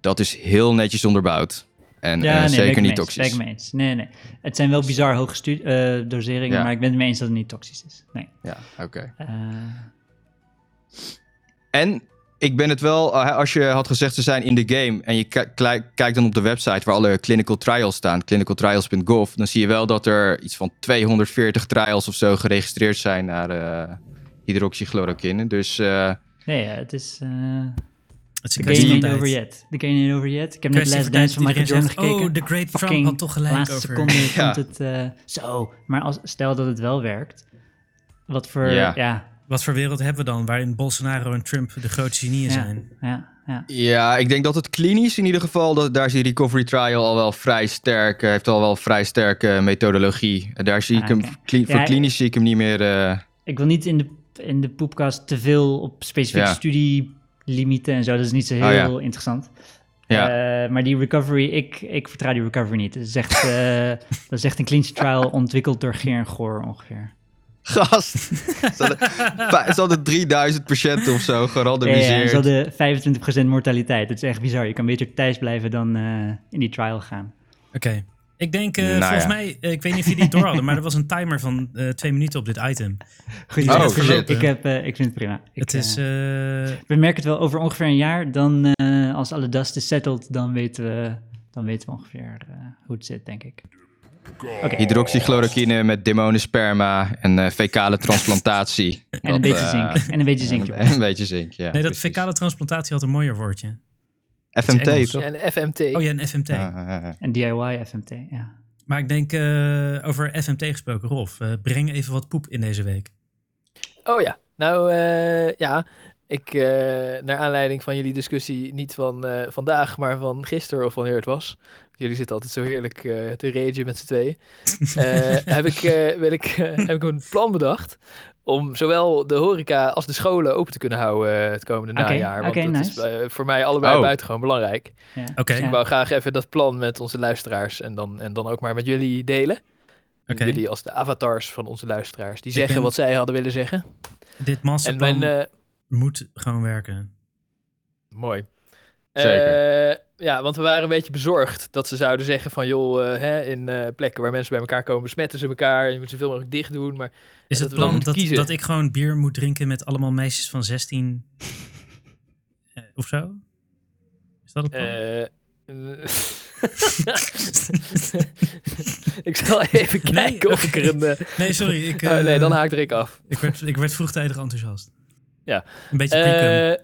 A: dat is heel netjes onderbouwd. En eh,
D: Ja, nee, ben ik
A: zeker niet
D: mee eens, ben
A: toxisch. Dus-
D: ik mee eens. Nee, nee. Het zijn wel bizar hoge stu- eh, doseringen,
A: Ja.
D: maar ik ben het mee eens dat het niet toxisch is. Nee.
A: Ja, oké.
D: Eh,
A: En ik ben het wel, eh, als je had gezegd ze zijn in de game en je ki- klei- kijkt dan op de website waar alle clinical trials staan, clinicaltrials.gov, dan zie je wel dat er iets van 240 trials of zo geregistreerd zijn naar eh hydroxychloroquine. Dus eh,
D: nee, ja, het is... eh
B: het is
D: The
B: een
D: game
B: kwestie van
D: ain't
B: tijd.
D: over yet. The game ain't over yet. Ik heb net
B: Kwestie van tijd
D: Last
B: dat
D: Dance van Michael
B: iedereen
D: Jordan
B: zegt,
D: gekeken.
B: oh, de Great Trump
D: Fucking
B: had toch gelijk
D: laatste
B: over.
D: seconde
A: Ja.
D: komt het eh, zo. Maar als, stel dat het wel werkt. Wat voor...
A: Ja.
D: Ja. Ja,
B: Wat voor wereld hebben we dan waarin Bolsonaro en Trump de grootste genieën
D: ja,
B: zijn?
D: ja,
A: ja, ik denk dat het klinisch in ieder geval, dat, daar is die recovery trial al wel vrij sterk, eh, heeft al wel vrij sterke methodologie. En daar zie ik
D: Ah,
A: hem,
D: oké.
A: kli- voor
D: Ja,
A: klinisch zie ik hem niet meer... eh,
D: Ik wil niet in de, in de poepkast te veel op specifieke
A: Ja.
D: studielimieten en zo. Dat is niet zo
A: Oh, ja.
D: heel interessant.
A: ja.
D: Eh, maar die recovery, ik, ik vertrouw die recovery niet. Dat is echt, eh, dat is echt een clinical trial ontwikkeld door Geer en Goor ongeveer.
A: Gast, ze hadden, vij- ze hadden 3000 patiënten of zo
D: Ja,
A: gerandomiseerd.
D: ja, en ze hadden 25% mortaliteit. Dat is echt bizar. Je kan beter thuis blijven dan eh, in die trial gaan.
B: Oké. Ik denk, eh,
A: Nou
B: volgens
A: ja.
B: mij, eh, ik weet niet of jullie het door hadden, maar er was een timer van eh, twee minuten op dit item.
D: Goed,
A: Oh,
D: idee.
A: shit.
D: ik, heb, eh, ik vind het prima. Ik,
B: het is,
D: eh,
B: eh,
D: we merken het wel over ongeveer een jaar. Dan, eh, als alle dust is settled, dan weten we, dan weten we ongeveer eh, hoe het zit, denk ik. Oké,
A: Hydroxychloroquine met demonensperma en eh, fecale transplantatie.
D: en een beetje
A: eh,
D: zink. En een beetje zink,
A: en-
D: jongens.
A: en een beetje zink, ja.
B: nee, dat
A: precies.
B: fecale transplantatie had een mooier woordje. is
A: FMT,
B: Engels.
A: toch?
C: En FMT.
B: Oh ja, een FMT.
A: Ah, ah, ah.
D: En DIY FMT, ja.
B: Maar ik denk, eh, over FMT gesproken, Rolf, eh, breng even wat poep in deze week.
C: Oh ja, nou eh, ja, ik eh, naar aanleiding van jullie discussie niet van eh, vandaag, maar van gisteren of wanneer het was. Jullie zitten altijd zo heerlijk eh, te ragen met z'n tweeën. Eh, heb, ik, eh, wil ik, eh, heb ik een plan bedacht om zowel de horeca als de scholen open te kunnen houden eh, het komende
D: Oké,
C: najaar. Want
D: oké,
C: dat is
D: nice.
C: eh, voor mij allebei
A: Oh.
C: buitengewoon belangrijk.
D: ja.
B: Oké.
D: Ja.
C: Ik wou graag even dat plan met onze luisteraars en dan, en dan ook maar met jullie delen. En
B: Oké.
C: Jullie als de avatars van onze luisteraars. Die
B: Ik
C: zeggen
B: ben-
C: wat zij hadden willen zeggen.
B: Dit
C: En
B: masterplan
C: mijn, eh,
B: moet gewoon werken.
C: Mooi.
A: Zeker.
C: Eh, ja, want we waren een beetje bezorgd dat ze zouden zeggen van... joh, eh, hè, in eh, plekken waar mensen bij elkaar komen besmetten ze elkaar... en je moet zoveel mogelijk dicht doen, maar...
B: Is het
C: dat we dan
B: plan
C: moeten
B: dat,
C: kiezen.
B: dat ik gewoon bier moet drinken met allemaal meisjes van 16 eh, of zo? Is dat het plan?
C: eh, eh, ik zal even kijken
B: Nee,
C: of ik er een... eh,
B: nee, sorry. Ik,
C: oh, nee,
B: eh,
C: dan haak ik af.
B: Ik werd, ik werd vroegtijdig enthousiast.
C: Ja.
B: Een beetje uh,
C: Eh,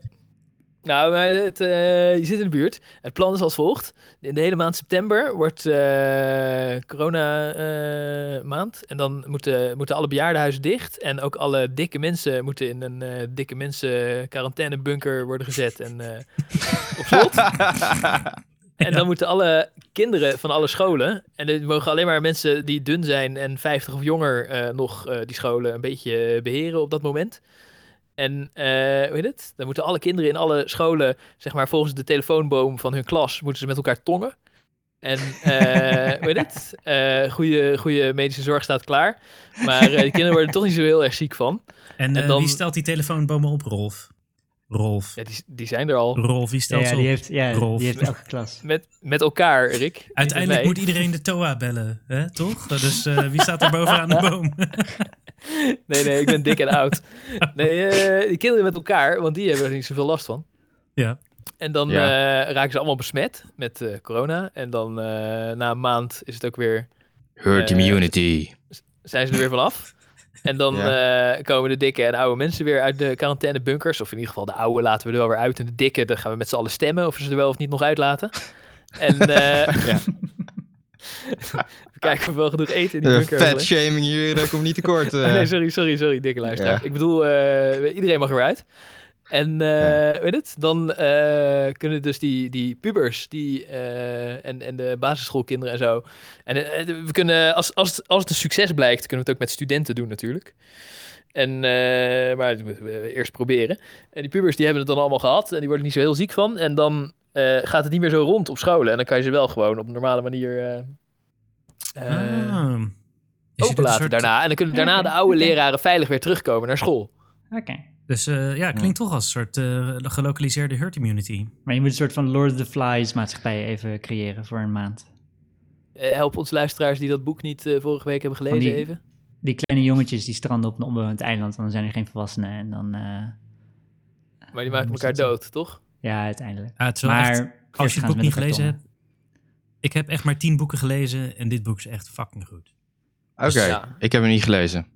C: Nou, maar het, eh, je zit in de buurt. Het plan is als volgt. In de hele maand september wordt eh, corona eh, maand. En dan moeten, moeten alle bejaardenhuizen dicht. En ook alle dikke mensen moeten in een eh, dikke mensen quarantainebunker worden gezet. En eh, op slot. En dan moeten alle kinderen van alle scholen. En er mogen alleen maar mensen die dun zijn en 50 of jonger eh, nog eh, die scholen een beetje eh, beheren op dat moment. En eh, hoe heet het? Dan moeten alle kinderen in alle scholen, zeg maar volgens de telefoonboom van hun klas, moeten ze met elkaar tongen. En eh hoe heet het? Eh, goede, goede medische zorg staat klaar. Maar eh, de kinderen worden er toch niet zo heel erg ziek van.
B: En, eh,
C: dan-
B: wie stelt die telefoonbomen op? Rolf. Rolf.
C: Ja, die, die zijn er al.
B: Rolf, wie
D: Ja,
B: stelt ze
D: die,
B: op?
D: heeft, ja,
B: Rolf.
D: die heeft elke klas.
C: Met, met elkaar, Rick. Niet met
B: Uiteindelijk
C: mij.
B: moet iedereen de TOA bellen, hè? toch? Dus eh, wie staat er bovenaan de boom?
C: Nee, nee, ik ben dik en oud. Nee, eh, die kinderen met elkaar, want die hebben er niet zoveel last van.
B: Ja.
C: En dan
A: Ja.
C: eh, raken ze allemaal besmet met eh, corona. En dan eh, na een maand is het ook weer,
A: Herd
C: Eh,
A: immunity.
C: zijn ze er weer vanaf. En dan eh, komen de dikke en oude mensen weer uit de quarantainebunkers. Of in ieder geval de oude laten we er wel weer uit. En de dikke, dan gaan we met z'n allen stemmen of we ze er wel of niet nog uitlaten. En eh,
A: Ja.
C: we kijken of we wel genoeg eten in die
A: Eh,
C: bunker. hebben.
A: Fat shaming hier, daar komt niet tekort. eh.
C: Ah, nee, sorry, sorry, sorry, dikke luisteraar.
A: Ja.
C: Ik bedoel, eh, iedereen mag eruit. En eh, weet het, dan eh, kunnen dus die, die pubers die, eh, en, en de basisschoolkinderen en zo. En eh, we kunnen, als, als, het, als het een succes blijkt, kunnen we het ook met studenten doen natuurlijk. En, eh, maar dat moeten we eerst proberen. En die pubers die hebben het dan allemaal gehad en die worden er niet zo heel ziek van. En dan eh, gaat het niet meer zo rond op scholen. En dan kan je ze wel gewoon op een normale manier eh, eh,
B: Ah. Is het een
C: openlaten
B: soort-
C: daarna. En dan kunnen
D: Ja,
C: daarna
D: oké,
C: de oude
D: oké.
C: leraren veilig weer terugkomen naar school.
D: Oké.
B: Dus eh, ja, klinkt toch als een soort eh, gelokaliseerde herd immunity.
D: Maar je moet een soort van Lord of the Flies maatschappij even creëren voor een maand.
C: Eh, help ons luisteraars die dat boek niet eh, vorige week hebben gelezen
D: Van die-
C: even.
D: Die kleine jongetjes die stranden op een onbewoond eiland, want dan zijn er geen volwassenen. En dan, eh,
C: Maar die maken
D: moest
C: elkaar
D: dat zijn.
C: dood, toch?
D: ja, uiteindelijk.
B: Ah, het is wel
D: Maar
B: echt- als je het
D: voortgaand
B: boek
D: met
B: niet
D: de
B: gelezen
D: kartonnen.
B: hebt. Ik heb echt maar tien boeken gelezen en dit boek is echt fucking goed.
A: Oké,
C: Ja.
A: ik heb hem niet gelezen.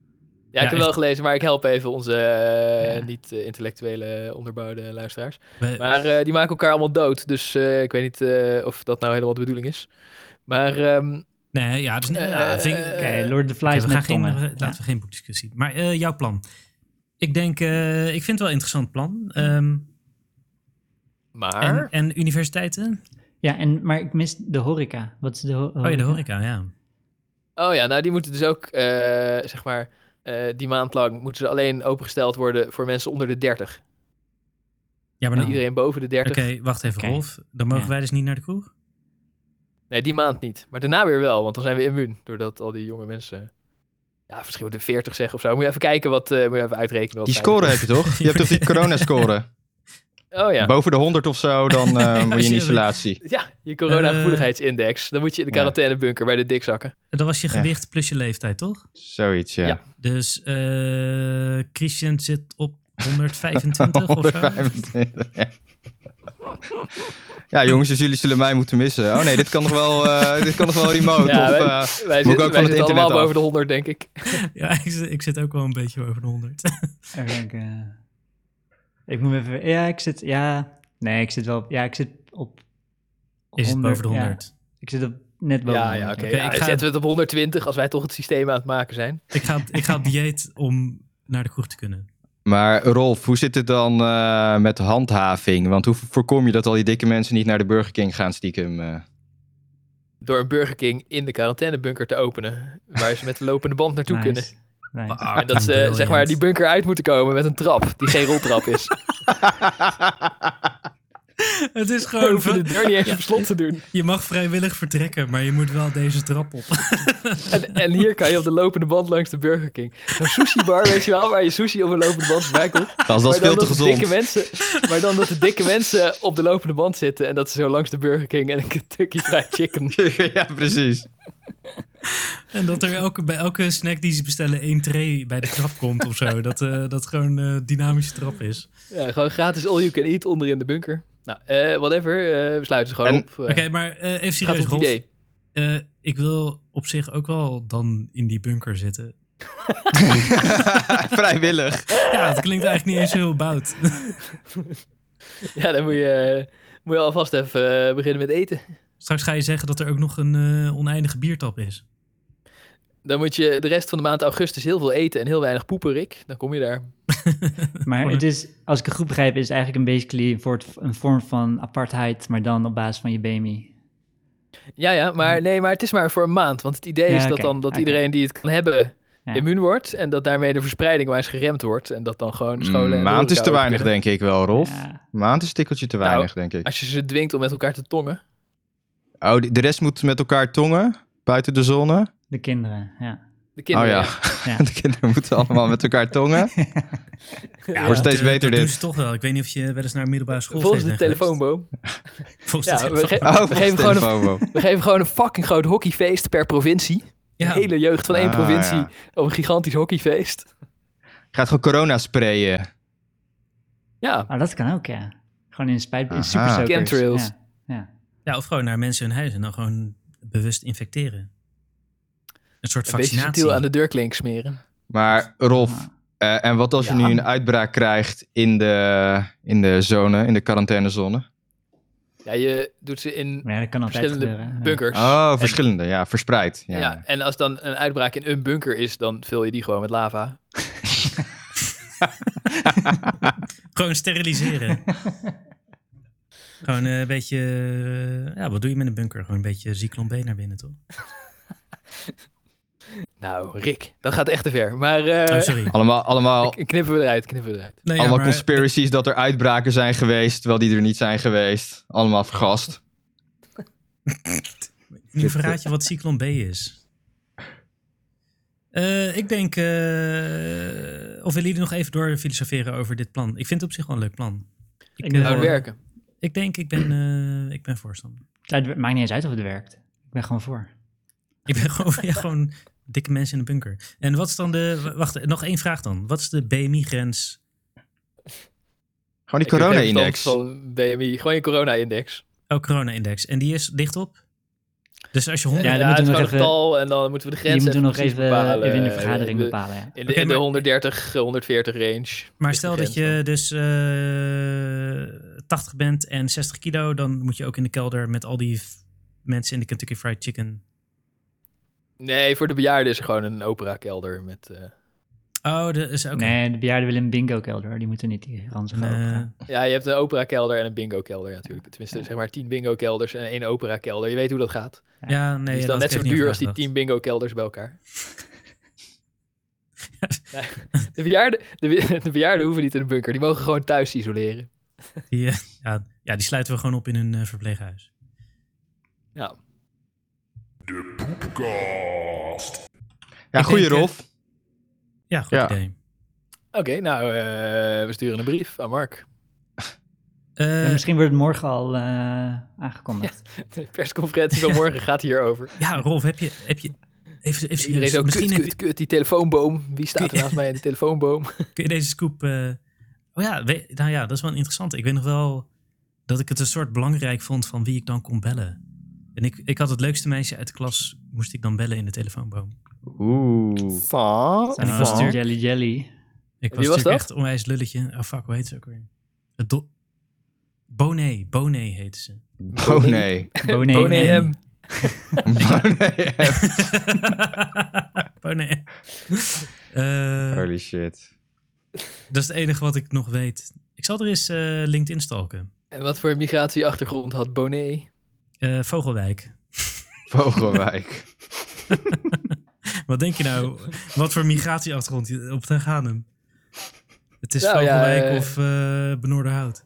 C: Ja, ik heb
B: echt.
C: wel gelezen, maar ik help even onze eh,
D: Ja.
C: niet-intellectuele onderbouwde luisteraars.
B: We-
C: Maar eh, die maken elkaar allemaal dood, dus eh, ik weet niet eh, of dat nou helemaal de bedoeling is. Maar ehm,
B: nee, ja, dus,
C: eh,
B: ja, vind ik-
C: eh,
D: Oké,
C: eh,
D: Lord of the Flies
B: Oké, we gaan
D: met
B: geen,
D: tongen.
B: we-
D: Ja.
B: Laten we geen boekdiscussie. Maar eh, jouw plan. Ik denk, eh, ik vind het wel een interessant plan. Ehm,
C: maar
B: en, en universiteiten?
D: Ja, en, maar ik mis de horeca. Wat is de ho- horeca?
B: Oh ja, de horeca, ja.
C: Oh ja, nou die moeten dus ook, eh, zeg maar, eh, die maand lang moeten ze alleen opengesteld worden voor mensen onder de 30.
B: Ja, maar
C: En
B: dan,
C: iedereen boven de E
B: Oké,
C: 30,
B: wacht even,
D: Oh, nou. Oké.
B: Rolf. Dan mogen
D: Ja.
B: wij dus niet naar de kroeg?
C: nee die maand niet. Maar daarna weer wel, want dan zijn we immuun. Doordat al die jonge mensen, ja verschillende 40 zeggen of zo. Moet je even kijken wat, eh, moet je even uitrekenen. Wat
A: Die
C: zij-
A: score heb je toch? Je hebt toch die corona-score?
C: Oh ja.
A: Boven de 100 of zo, dan eh, moet je in
B: serieus.
A: isolatie.
C: Ja, je corona-gevoeligheidsindex. Dan moet je in de
A: Ja.
C: quarantainebunker bij de dikzakken.
B: Dat was je
A: Ja.
B: gewicht plus je leeftijd, toch?
A: Zoiets, ja.
C: Ja.
B: Dus eh, Christian zit op 125 of zo.
A: 125, ja. Ja, jongens, dus jullie zullen mij moeten missen. Oh nee, dit kan nog wel, eh, dit kan nog wel remote.
C: Ja,
A: of,
C: wij-
A: eh,
C: Wij
A: Moet ik
C: zitten,
A: ook
C: wij
A: van het
C: zitten
A: internet
C: allemaal
A: af?
C: boven de 100, denk ik.
B: Ja, ik zit, ik zit ook wel een beetje over de 100.
D: Horeca. Ik moet even... Ja, ik zit... Ja, nee, ik zit wel... Ja, ik zit op...
B: Is het boven de
D: ja.
B: 100?
D: Ik zit op net boven
C: Ja,
D: de
C: ja,
D: 100,
C: oké.
B: Oké,
C: ja,
B: ik
C: dan
B: ga-
C: zetten we het op 120 als wij toch het systeem aan het maken zijn.
B: Ik, ga, op- ik ga op dieet om naar de kroeg te kunnen.
A: Maar Rolf, hoe zit het dan eh, met handhaving? Want hoe voorkom je dat al die dikke mensen niet naar de Burger King gaan stiekem?
C: Ah,
A: eh?
C: Door een Burger King in de quarantainebunker te openen. Waar ze met de lopende band naartoe
D: Nice.
C: kunnen.
D: Nice.
C: En ah,
A: Ah,
C: dat ze zeg maar die bunker uit moeten komen met een trap. Die geen roltrap is.
B: Het is
C: We
B: gewoon...
C: hoeven
B: van-
C: de deur niet eens op slot te doen.
B: Je mag vrijwillig vertrekken, maar je moet wel deze trap op.
C: En, en hier kan je op de lopende band langs de Burger King. Zo'n sushi bar, weet je wel, waar je sushi op een lopende band bij komt.
A: Gast, dat is
C: maar
A: veel
C: dan
A: te
C: dat de
A: gezond.
C: Dikke mensen, maar dan dat de dikke mensen op de lopende band zitten en dat ze zo langs de Burger King en een Kentucky Fried Chicken.
A: ja, precies.
B: En dat er elke, bij elke snack die ze bestellen één tray bij de trap komt of zo. Dat, eh, dat gewoon eh, dynamische trap is.
C: Ja, gewoon gratis all you can eat onder in de bunker. Nou, eh, whatever, eh, we sluiten ze gewoon
A: En-
C: op. Eh,
B: Oké, maar eh, even
C: gaat
B: serieus,
C: op het
B: Rolf.
C: idee.
B: Eh, ik wil op zich ook wel dan in die bunker zitten.
A: Vrijwillig.
B: Ja, dat klinkt eigenlijk niet eens heel bout.
C: Ja, dan moet je, eh, moet je alvast even eh, beginnen met eten.
B: Straks ga je zeggen dat er ook nog een eh, oneindige biertap is.
C: Dan moet je de rest van de maand augustus heel veel eten en heel weinig poepen, Rick. Dan kom je daar.
D: Maar
B: Gewoon
D: het is, als ik het goed begrijp, is het eigenlijk een basically een soort- een vorm van apartheid, maar dan op basis van je BMI.
C: Ja, ja, maar nee, maar het is maar voor een maand. Want het idee
D: Ja,
C: is dat
D: oké,
C: dan dat
D: oké.
C: iedereen die het kan hebben
D: Ja.
C: immuun wordt. En dat daarmee de verspreiding maar eens geremd wordt. En dat dan gewoon scholen. en
A: Een Mm, maand is
C: horeca
A: te
C: ook
A: weinig,
C: kunnen.
A: denk ik wel, Rolf.
D: Ja.
A: Een maand is een tikkeltje te
C: Nou,
A: weinig, denk ik.
C: Als je ze dwingt om met elkaar te tongen.
A: Oh, de- de rest moet met elkaar tongen, buiten de zonne.
D: De kinderen, ja.
C: De kinderen.
A: oh ja, de kinderen moeten allemaal met elkaar tongen.
C: ja.
A: Wordt
C: Ja.
A: steeds
B: dat, eh,
A: beter
B: dat
A: dit.
B: doen ze toch wel. Ik weet niet of je wel eens naar een middelbare school
C: Volgens de
B: bent geweest.
C: telefoonboom.
B: Volgens
C: Ja,
B: de
C: we
B: telefoon.
C: ge-
A: Oh,
C: geven
A: gewoon
C: gewoon een- We geven gewoon een fucking groot hockeyfeest per provincie.
B: Ja.
C: De hele jeugd van één
A: Ah,
C: provincie
A: ja.
C: op een gigantisch hockeyfeest.
A: Gaat gewoon corona sprayen.
C: Ja,
D: Oh, dat kan ook, ja. Gewoon in spuit,
A: Aha.
D: in supersoakers.
C: Chemtrails.
D: Ja, ja.
B: ja, of gewoon naar mensen hun huis en dan gewoon bewust infecteren. Een soort
C: een beetje
B: vaccinatie.
C: subtiel aan de deurklink smeren.
A: Maar Rolf,
D: Ah.
A: eh, en wat als je
C: Ja.
A: nu een uitbraak krijgt in de, in de zone, in de quarantainezone?
C: Ja, je doet ze in
D: Maar ja, dat kan altijd gebeuren.
C: verschillende
D: ja.
C: bunkers.
A: Oh, verschillende, ja, verspreid. Ja.
C: Ja. en als dan een uitbraak in een bunker is, dan vul je die gewoon met lava.
B: Gewoon steriliseren. gewoon eh, een beetje... eh, ja, wat doe je met een bunker? Gewoon een beetje Zyklon B naar binnen, toch? Oh,
C: Nou, Rick, dat gaat echt te ver. Maar eh,
B: oh, sorry.
A: Allemaal, allemaal,
C: k- knippen we eruit, knippen we eruit.
B: Nee, ja,
A: allemaal
B: maar-
A: conspiracies dat er uitbraken zijn geweest, terwijl die er niet zijn geweest. Allemaal vergast.
B: Nu verraad je wat Cyclon B is. Eh, ik denk... eh, of willen jullie nog even door filosoferen over dit plan? Ik vind het op zich wel een leuk plan.
D: Ik
B: eh,
C: Hard
D: denk wel-
C: Nou, werken.
B: ik denk, ik ben, eh, ik ben voorstander.
D: Het maakt niet eens uit of het werkt. Ik ben gewoon voor.
B: Ik ben gewoon, ja, gewoon dikke mensen in de bunker. En wat is dan de... w- Wacht, nog één vraag dan. Wat is de BMI-grens?
A: Gewoon die
C: Ik heb geen
A: corona-index.
C: verstand van BMI, gewoon je corona-index.
B: Oh, corona-index. En die is dicht op? Dus als je
C: Ja,
D: Ja,
B: 100...
D: dan
C: ja,
D: moeten
C: het is
D: we nog
C: gewoon een
D: even-
C: getal en dan moeten we de
D: Die
C: grens
D: moeten we nog
C: precies
D: even,
C: bepalen. Eh,
D: even in de vergadering
C: De-
D: bepalen. ja.
C: In de,
B: Oké,
C: in de
B: maar-
C: 130, 140 range.
B: Maar
C: is de
B: stel dat
C: grens
B: je dus eh 80 bent en 60 kilo, dan moet je ook in de kelder met al die f- mensen in de Kentucky Fried Chicken.
C: dan. Nee, voor de bejaarden is er gewoon een opera-kelder met... eh,
B: Oh, dat is ook.
D: Nee, de bejaarden willen een bingo-kelder. hoor. Die moeten niet die ranzige
B: Nee.
D: ogen.
C: Ja, je hebt een opera-kelder en een bingo-kelder ja, natuurlijk. Tenminste, zeg maar 10 bingo-kelders en één opera-kelder. Je weet hoe dat gaat.
B: ja, nee.
C: die is
B: ja,
C: Dus dan
B: dat
C: net zo
B: heeft niet
C: duur als die
B: nagedacht.
C: 10 bingo-kelders bij elkaar. Ja, de, bejaarden, de, be- de bejaarden hoeven niet in een bunker. Die mogen gewoon thuis isoleren.
B: Die, eh, ja, ja, die sluiten we gewoon op in een eh, verpleeghuis.
C: Ja.
A: Ja,
B: Ik
A: goeie
B: denk, eh,
A: Rolf.
B: Ja, goed
A: Ja.
B: idee.
C: Oké, nou, eh, we sturen een brief aan Mark.
B: Eh,
D: Ja, misschien wordt het morgen al eh, aangekondigd.
C: De persconferentie van morgen gaat hierover.
B: ja, Rolf, heb je. Heb je even, even
C: Iedereen
B: serieus,
C: zo, kut,
B: misschien heb
C: kut, kut, die telefoonboom. Wie staat er naast mij in de telefoonboom?
B: je- kun je deze scoop. eh, oh ja, we- nou ja, dat is wel interessant. Ik weet nog wel dat ik het een soort belangrijk vond van wie ik dan kon bellen. En ik, ik had het leukste meisje uit de klas, moest ik dan bellen in de telefoonboom.
A: Oeh.
C: Van.
B: En
D: En
B: ik was natuurlijk,
D: Jelly Jelly.
B: ik was
C: Wie was
B: natuurlijk
C: dat?
B: echt een onwijs lulletje. Oh fuck, hoe heet ze ook weer? Het do- Bonet, Bonet heette ze.
A: Oh nee.
D: Bonet.
C: Bonet
D: en-
C: M.
A: Oh nee.
B: Bonet. Oh, Eh,
A: Holy shit.
B: dat is het enige wat ik nog weet. Ik zal er eens eh, LinkedIn stalken.
C: En wat voor migratieachtergrond had Bonet?
B: Eh, Vogelwijk.
A: Vogelwijk.
B: Wat denk je nou? wat voor migratieachtergrond je- op Den Ganem? Het is
C: Nou ja,
B: Vogelwijk
C: eh,
B: of eh Benoorderhout.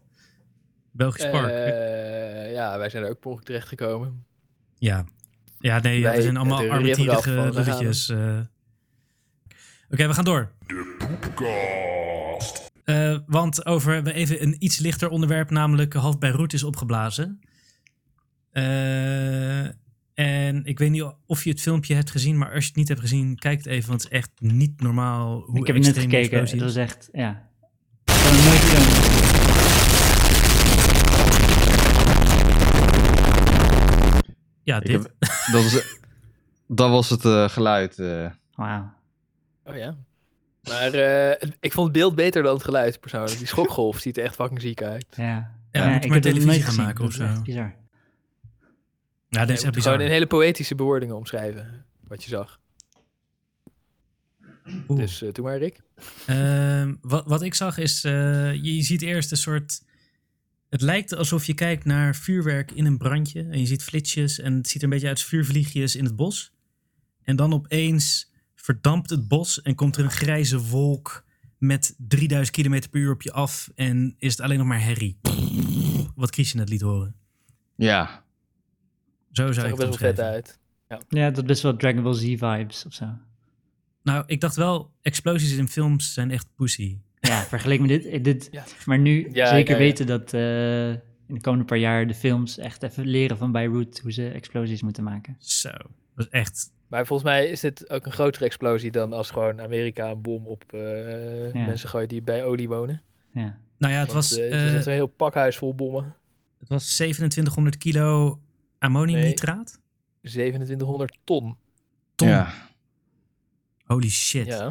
B: Belgisch Park.
C: Eh, ja, wij zijn er ook per ongeluk terechtgekomen.
B: Ja. Ja, nee, ja,
C: Wij-
B: we zijn
C: de
B: allemaal
C: riffraff
B: armetierige
C: van Ganem.
B: lulletjes. eh. Oké, we gaan door. De poepkast. want over we even een iets lichter onderwerp, namelijk half Beirut is opgeblazen. Eh, en ik weet niet of je het filmpje hebt gezien, maar als je het niet hebt gezien, kijk het even, want het is echt niet normaal hoe
D: Ik heb het net
B: extreem die
D: gekeken.
B: explosie
D: Het
B: is.
D: was echt, ja. Ik had het nooit gezien.
B: Ja,
A: Ik
B: dit.
A: heb- dat, was, dat was het eh, geluid. eh.
D: Wauw.
C: Oh ja. Maar eh, ik vond het beeld beter dan het geluid persoonlijk. Die schokgolf ziet er echt fucking ziek uit.
D: Ja,
B: Ja, moet je maar
D: heb dat
B: televisie
D: nooit
B: gaan
D: gezien.
B: maken
D: Dat
B: of
D: is echt
B: zo.
D: Bizar.
B: Ja, dit
C: Je
B: is echt
C: moet gewoon
B: bizar.
C: in hele poëtische bewoordingen omschrijven wat je zag.
B: Oeh.
C: Dus eh doe maar, Rick.
B: Ehm, wat, wat ik zag is, eh, je, je ziet eerst een soort... Het lijkt alsof je kijkt naar vuurwerk in een brandje. En je ziet flitsjes en het ziet er een beetje uit als vuurvliegjes in het bos. En dan opeens verdampt het bos en komt er een grijze wolk met 3000 km per uur op je af. En is het alleen nog maar herrie. Wat Christian net liet horen.
A: Ja,
B: Zo
C: Zag
B: zou
C: er
B: ik
C: best
B: het
C: wel vet
B: omschrijven.
C: uit.
D: Ja, dat had best wel Dragon Ball Z vibes of zo.
B: Nou, ik dacht wel, explosies in films zijn echt pussy.
D: Ja, vergelijk met dit. eh, dit
C: Ja.
D: Maar nu
C: Ja,
D: zeker
C: ja, ja.
D: weten dat eh, in de komende paar jaar de films echt even leren van Beirut hoe ze explosies moeten maken.
B: Zo, dat was echt...
C: Maar volgens mij is dit ook een grotere explosie dan als gewoon Amerika een bom op eh,
D: Ja.
C: mensen gooit die bij olie wonen.
D: Ja,
B: Nou ja, het
C: Want,
B: was...
C: eh,
B: eh,
C: er zit een heel pakhuis vol bommen.
B: Het was 2700 kilo ammoniumnitraat.
C: 2700 ton.
B: Ton.
A: ja.
B: Holy shit.
C: Ja.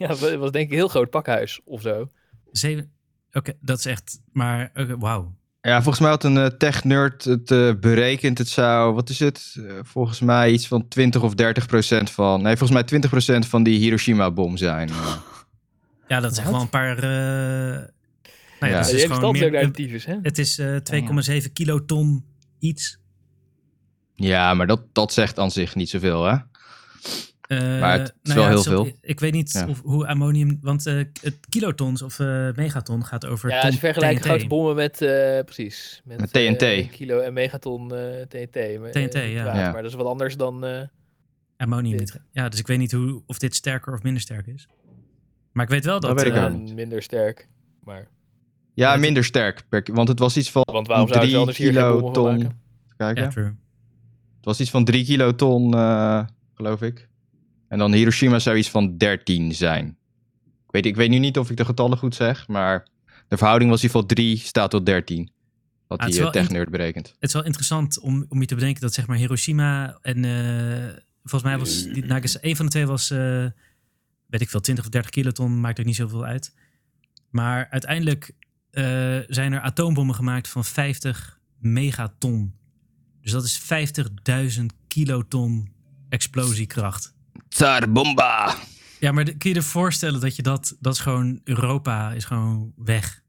C: Ja, dat was denk ik een heel groot pakhuis of zo.
B: Zeven... Oké, dat is echt... Maar oké, wauw.
A: Ja, volgens mij had een eh, tech-nerd het eh, berekend. Het zou, wat is het? Eh, volgens mij iets van 20 of 30 procent van... Nee, volgens mij 20 procent van die Hiroshima-bom zijn.
B: Ja, dat is echt
D: Wat?
B: wel een paar... eh, Nou
A: Ja,
B: ja,
C: Ja,
B: dat
C: de
B: is
C: hele
B: gewoon
C: stad is ook
B: meer...
C: naar de
B: Het,
C: tyfus, hè?
B: het is eh, 2,7 kiloton iets.
A: ja, maar dat, dat zegt aan zich niet zoveel, hè?
B: Eh,
A: Maar het is wel
B: ja,
A: heel
B: het op-
A: veel.
B: Ik weet niet
A: Ja.
B: of, hoe ammonium... Want eh, het kilotons of eh, megaton gaat over
C: Ja,
B: ton
C: ze vergelijken
B: TNT.
C: grote bommen met, eh, precies. Met,
A: Met TNT.
C: eh, een kilo en megaton eh, TNT. maar, eh,
B: TNT, ja.
C: praat.
A: Ja.
C: Maar dat is wat anders dan... eh,
B: Ammoniumnitraat. Ja, dus ik weet niet hoe, of dit sterker of minder sterk is. Maar ik weet wel dat...
A: weet ik
B: eh,
A: ook
C: eh,
A: niet.
C: minder sterk. Maar,
A: Ja,
B: Maar het-
A: minder sterk. per- want het was iets van
C: want waarom zou je
A: 3
C: anders hier geen bommen van
A: kiloton.
C: maken?
A: Kijk,
B: ja,
A: hè?
B: true.
A: Het was iets van 3 kiloton, eh, geloof ik. En dan Hiroshima zou iets van 13 zijn. Ik weet, ik weet nu niet of ik de getallen goed zeg, maar de verhouding was in ieder geval 3 staat tot 13. Wat
B: Ah, het
A: die eh,
B: is wel
A: tech-nerd berekent.
B: het is wel interessant om, om je te bedenken dat zeg maar Hiroshima en eh, volgens mij was die Nagas, een van de twee was, eh, weet ik veel, 20 of 30 kiloton, maakt ook niet zoveel uit. Maar uiteindelijk eh, zijn er atoombommen gemaakt van 50 megaton. Dus dat is 50.000 kiloton explosiekracht.
A: Tsar bomba!
B: Ja, maar de- kun je je voorstellen dat je dat, dat is gewoon, Europa is gewoon weg.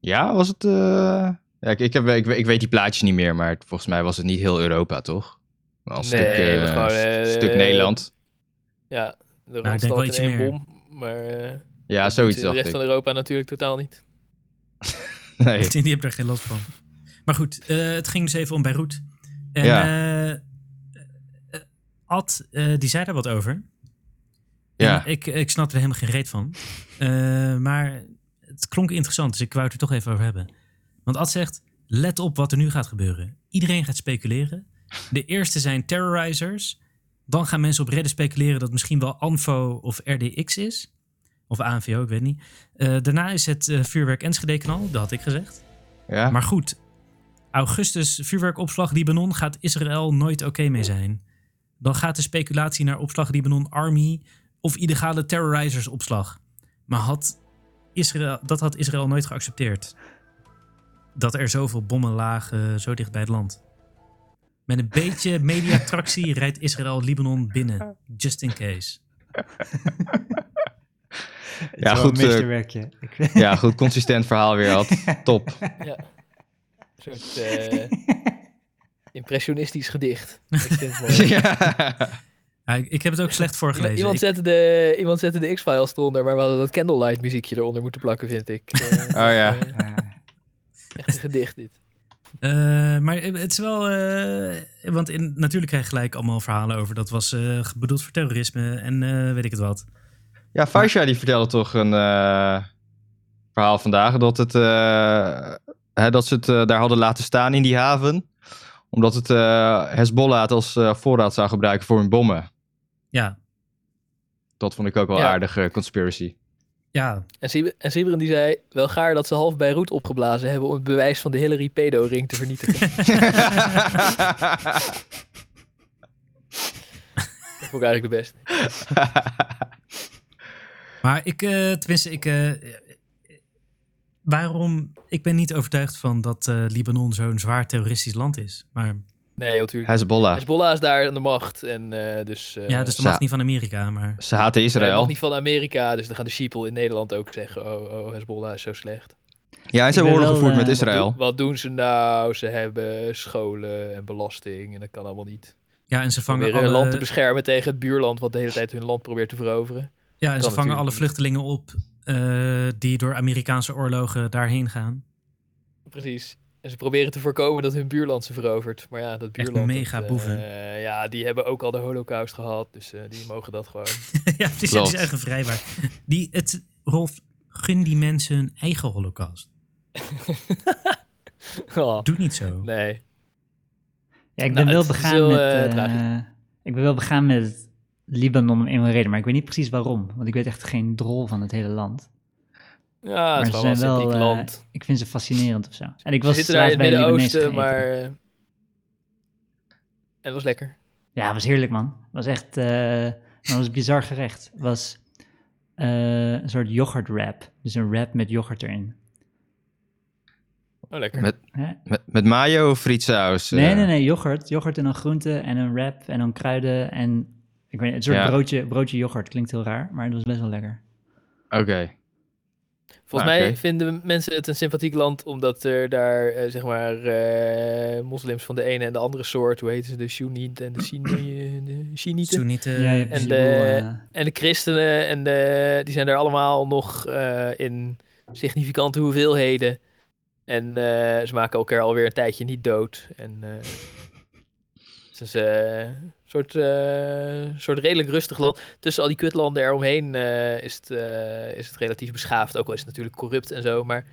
A: Ja, was het. eh, Ja, ik, ik, heb, ik, ik weet die plaatjes niet meer, maar het- volgens mij was het niet heel Europa, toch? Wel Een
C: Nee,
A: stuk, eh,
C: het was gewoon,
A: een
C: eh,
A: stuk Nederland.
C: Ja, de
B: Nou, denk
C: Randstad
B: wel
C: in
B: ietsje
C: één
B: meer.
C: bom. Maar eh,
A: Ja,
C: dat
A: zoiets
C: doet de
A: dacht
C: rest
A: ik.
C: van Europa natuurlijk totaal niet.
A: Nee.
B: Die hebben daar geen last van. Maar goed, eh, het ging dus even om Beirut. En
A: Ja.
B: eh, eh, Ad, eh, die zei daar wat over.
A: Ja.
B: En Ik, ik snap er helemaal geen reet van. Eh, maar het klonk interessant, dus ik wou het er toch even over hebben. Want Ad zegt, let op wat er nu gaat gebeuren. Iedereen gaat speculeren. De eerste zijn terrorizers. Dan gaan mensen op Reddit speculeren dat het misschien wel ANFO of RDX is. Of ANVO, ik weet niet. Eh, daarna is het eh, vuurwerk Enschede-knal, dat had ik gezegd.
A: Ja.
B: Maar goed, augustus vuurwerkopslag Libanon gaat Israël nooit oké mee zijn. Dan gaat de speculatie naar opslag Libanon Army of illegale terrorizers opslag. Maar had Israël, dat had Israël nooit geaccepteerd. Dat er zoveel bommen lagen zo dicht bij het land. Met een beetje mediatractie rijdt Israël Libanon binnen. Just in case.
D: Het
A: Ja,
D: is wel
A: goed,
D: Een
A: eh,
D: meesterwerkje. Ik-
A: ja, goed, consistent verhaal weer had. Top.
C: Ja. Een soort eh, impressionistisch gedicht. Ik vind het mooi.
A: ja.
B: Ja, ik ik heb het ook slecht
C: Iemand-
B: voorgelezen.
C: Iemand
B: Ik-
C: zette, de, iemand zette de X-Files eronder, maar we hadden dat Candlelight muziekje eronder moeten plakken, vind ik. Eh,
A: Oh ja.
C: eh,
D: Ah,
C: echt een gedicht dit.
B: Eh, maar het is wel. eh, want in, natuurlijk krijg je gelijk allemaal verhalen over. Dat was eh, bedoeld voor terrorisme en eh, weet ik het wat.
A: ja, Faisha die vertelde toch een eh, verhaal vandaag dat, het, eh, hè, dat ze het eh, daar hadden laten staan in die haven. Omdat het eh, Hezbollah het als eh, voorraad zou gebruiken voor hun bommen.
B: Ja,
A: Dat vond ik ook wel
C: Ja.
A: aardig, eh, conspiracy.
B: ja.
C: En Sib- En Sibren die zei, wel gaar dat ze half Beirut opgeblazen hebben om het bewijs van de Hillary pedo-ring te vernietigen. dat vond ik eigenlijk de beste.
B: Maar ik, eh, tenminste, ik. eh, waarom. Ik ben niet overtuigd van dat eh, Libanon zo'n zwaar terroristisch land is. Maar
C: Nee, joh, tuurlijk.
A: Hezbollah.
C: Hezbollah is daar aan de macht. En eh, dus... eh,
B: ja, dus de
A: ja.
B: macht niet van Amerika. Maar
A: Ze haten
C: Hij mag
A: Israël.
C: niet van Amerika, dus dan gaan de sheeple in Nederland ook zeggen: Oh, oh Hezbollah is zo slecht.
A: Ja, en ze
D: Ik
A: hebben
D: ben
A: oorlog
D: wel,
A: gevoerd met
D: eh,
A: Israël.
C: Doe- Wat doen ze nou? Ze hebben scholen en belasting en dat kan allemaal niet.
B: ja, en ze vangen
C: Proberen hun land te
B: alle,
C: beschermen tegen het buurland wat de hele tijd hun land probeert te veroveren.
B: ja, en ze vangen
C: kan natuurlijk
B: alle
C: niet.
B: vluchtelingen op eh, die door Amerikaanse oorlogen daarheen gaan.
C: Precies. En ze proberen te voorkomen dat hun buurland ze verovert. Maar ja, dat buurland... dat,
B: mega
C: eh,
B: boeven.
C: ja, die hebben ook al de holocaust gehad, dus eh, die mogen dat gewoon.
B: ja, precies.
A: Klopt.
B: Die zijn gevrijwaard. Die, het, Rolf, gun die mensen hun eigen holocaust.
C: Oh,
B: Doe niet zo.
C: nee.
D: Ja, ik ben
C: Nou,
D: wel
C: het is
D: begaan
C: heel,
D: met.
C: eh,
D: eh,
C: tragisch.
D: ik ben wel begaan met Libanon om een of andere reden, maar ik weet niet precies waarom. Want ik weet echt geen drol van het hele land.
C: Ja, het
D: maar
C: Ah, is gewoon wel een sympathiek
D: eh,
C: land.
D: ik vind ze fascinerend of zo. En ik
C: Ze
D: was
C: zitten daar in
D: laatst
C: het
D: bij een Libanees
C: Midden-Oosten, maar...
D: gegeten.
C: eh, en het was lekker.
D: Ja, het was heerlijk man. Het was echt. eh, maar het was een bizar gerecht. Het was eh, een soort yoghurt wrap. Dus een wrap met yoghurt erin.
C: Oh, lekker.
A: Met-
D: Hè?
A: Met, met mayo of frietsaus? eh?
D: Nee, nee, nee, yoghurt. Yoghurt en dan groenten en een wrap en dan kruiden en... Ik weet niet, een soort
A: Ja.
D: broodje, broodje yoghurt. Klinkt heel raar, maar het was best wel lekker.
A: Oké.
C: Volgens
A: Ah,
C: mij
A: oké.
C: vinden mensen het een sympathiek land omdat er daar, eh, zeg maar, eh, moslims van de ene en de andere soort, hoe heten ze, de Sjoeniet en de Sini- de Sjiïnieten.
B: Soenieten.
D: Ja, je
B: Ja,
D: hebt
C: Eh, en
D: die
C: de-
D: boel, eh,
C: En de christenen, en de, die zijn daar allemaal nog eh, in significante hoeveelheden. En eh, ze maken elkaar alweer een tijdje niet dood. En eh, het is eh, een soort, eh, soort redelijk rustig land. Tussen al die kutlanden eromheen eh, is, het, eh, is het relatief beschaafd. Ook al is het natuurlijk corrupt en zo. Maar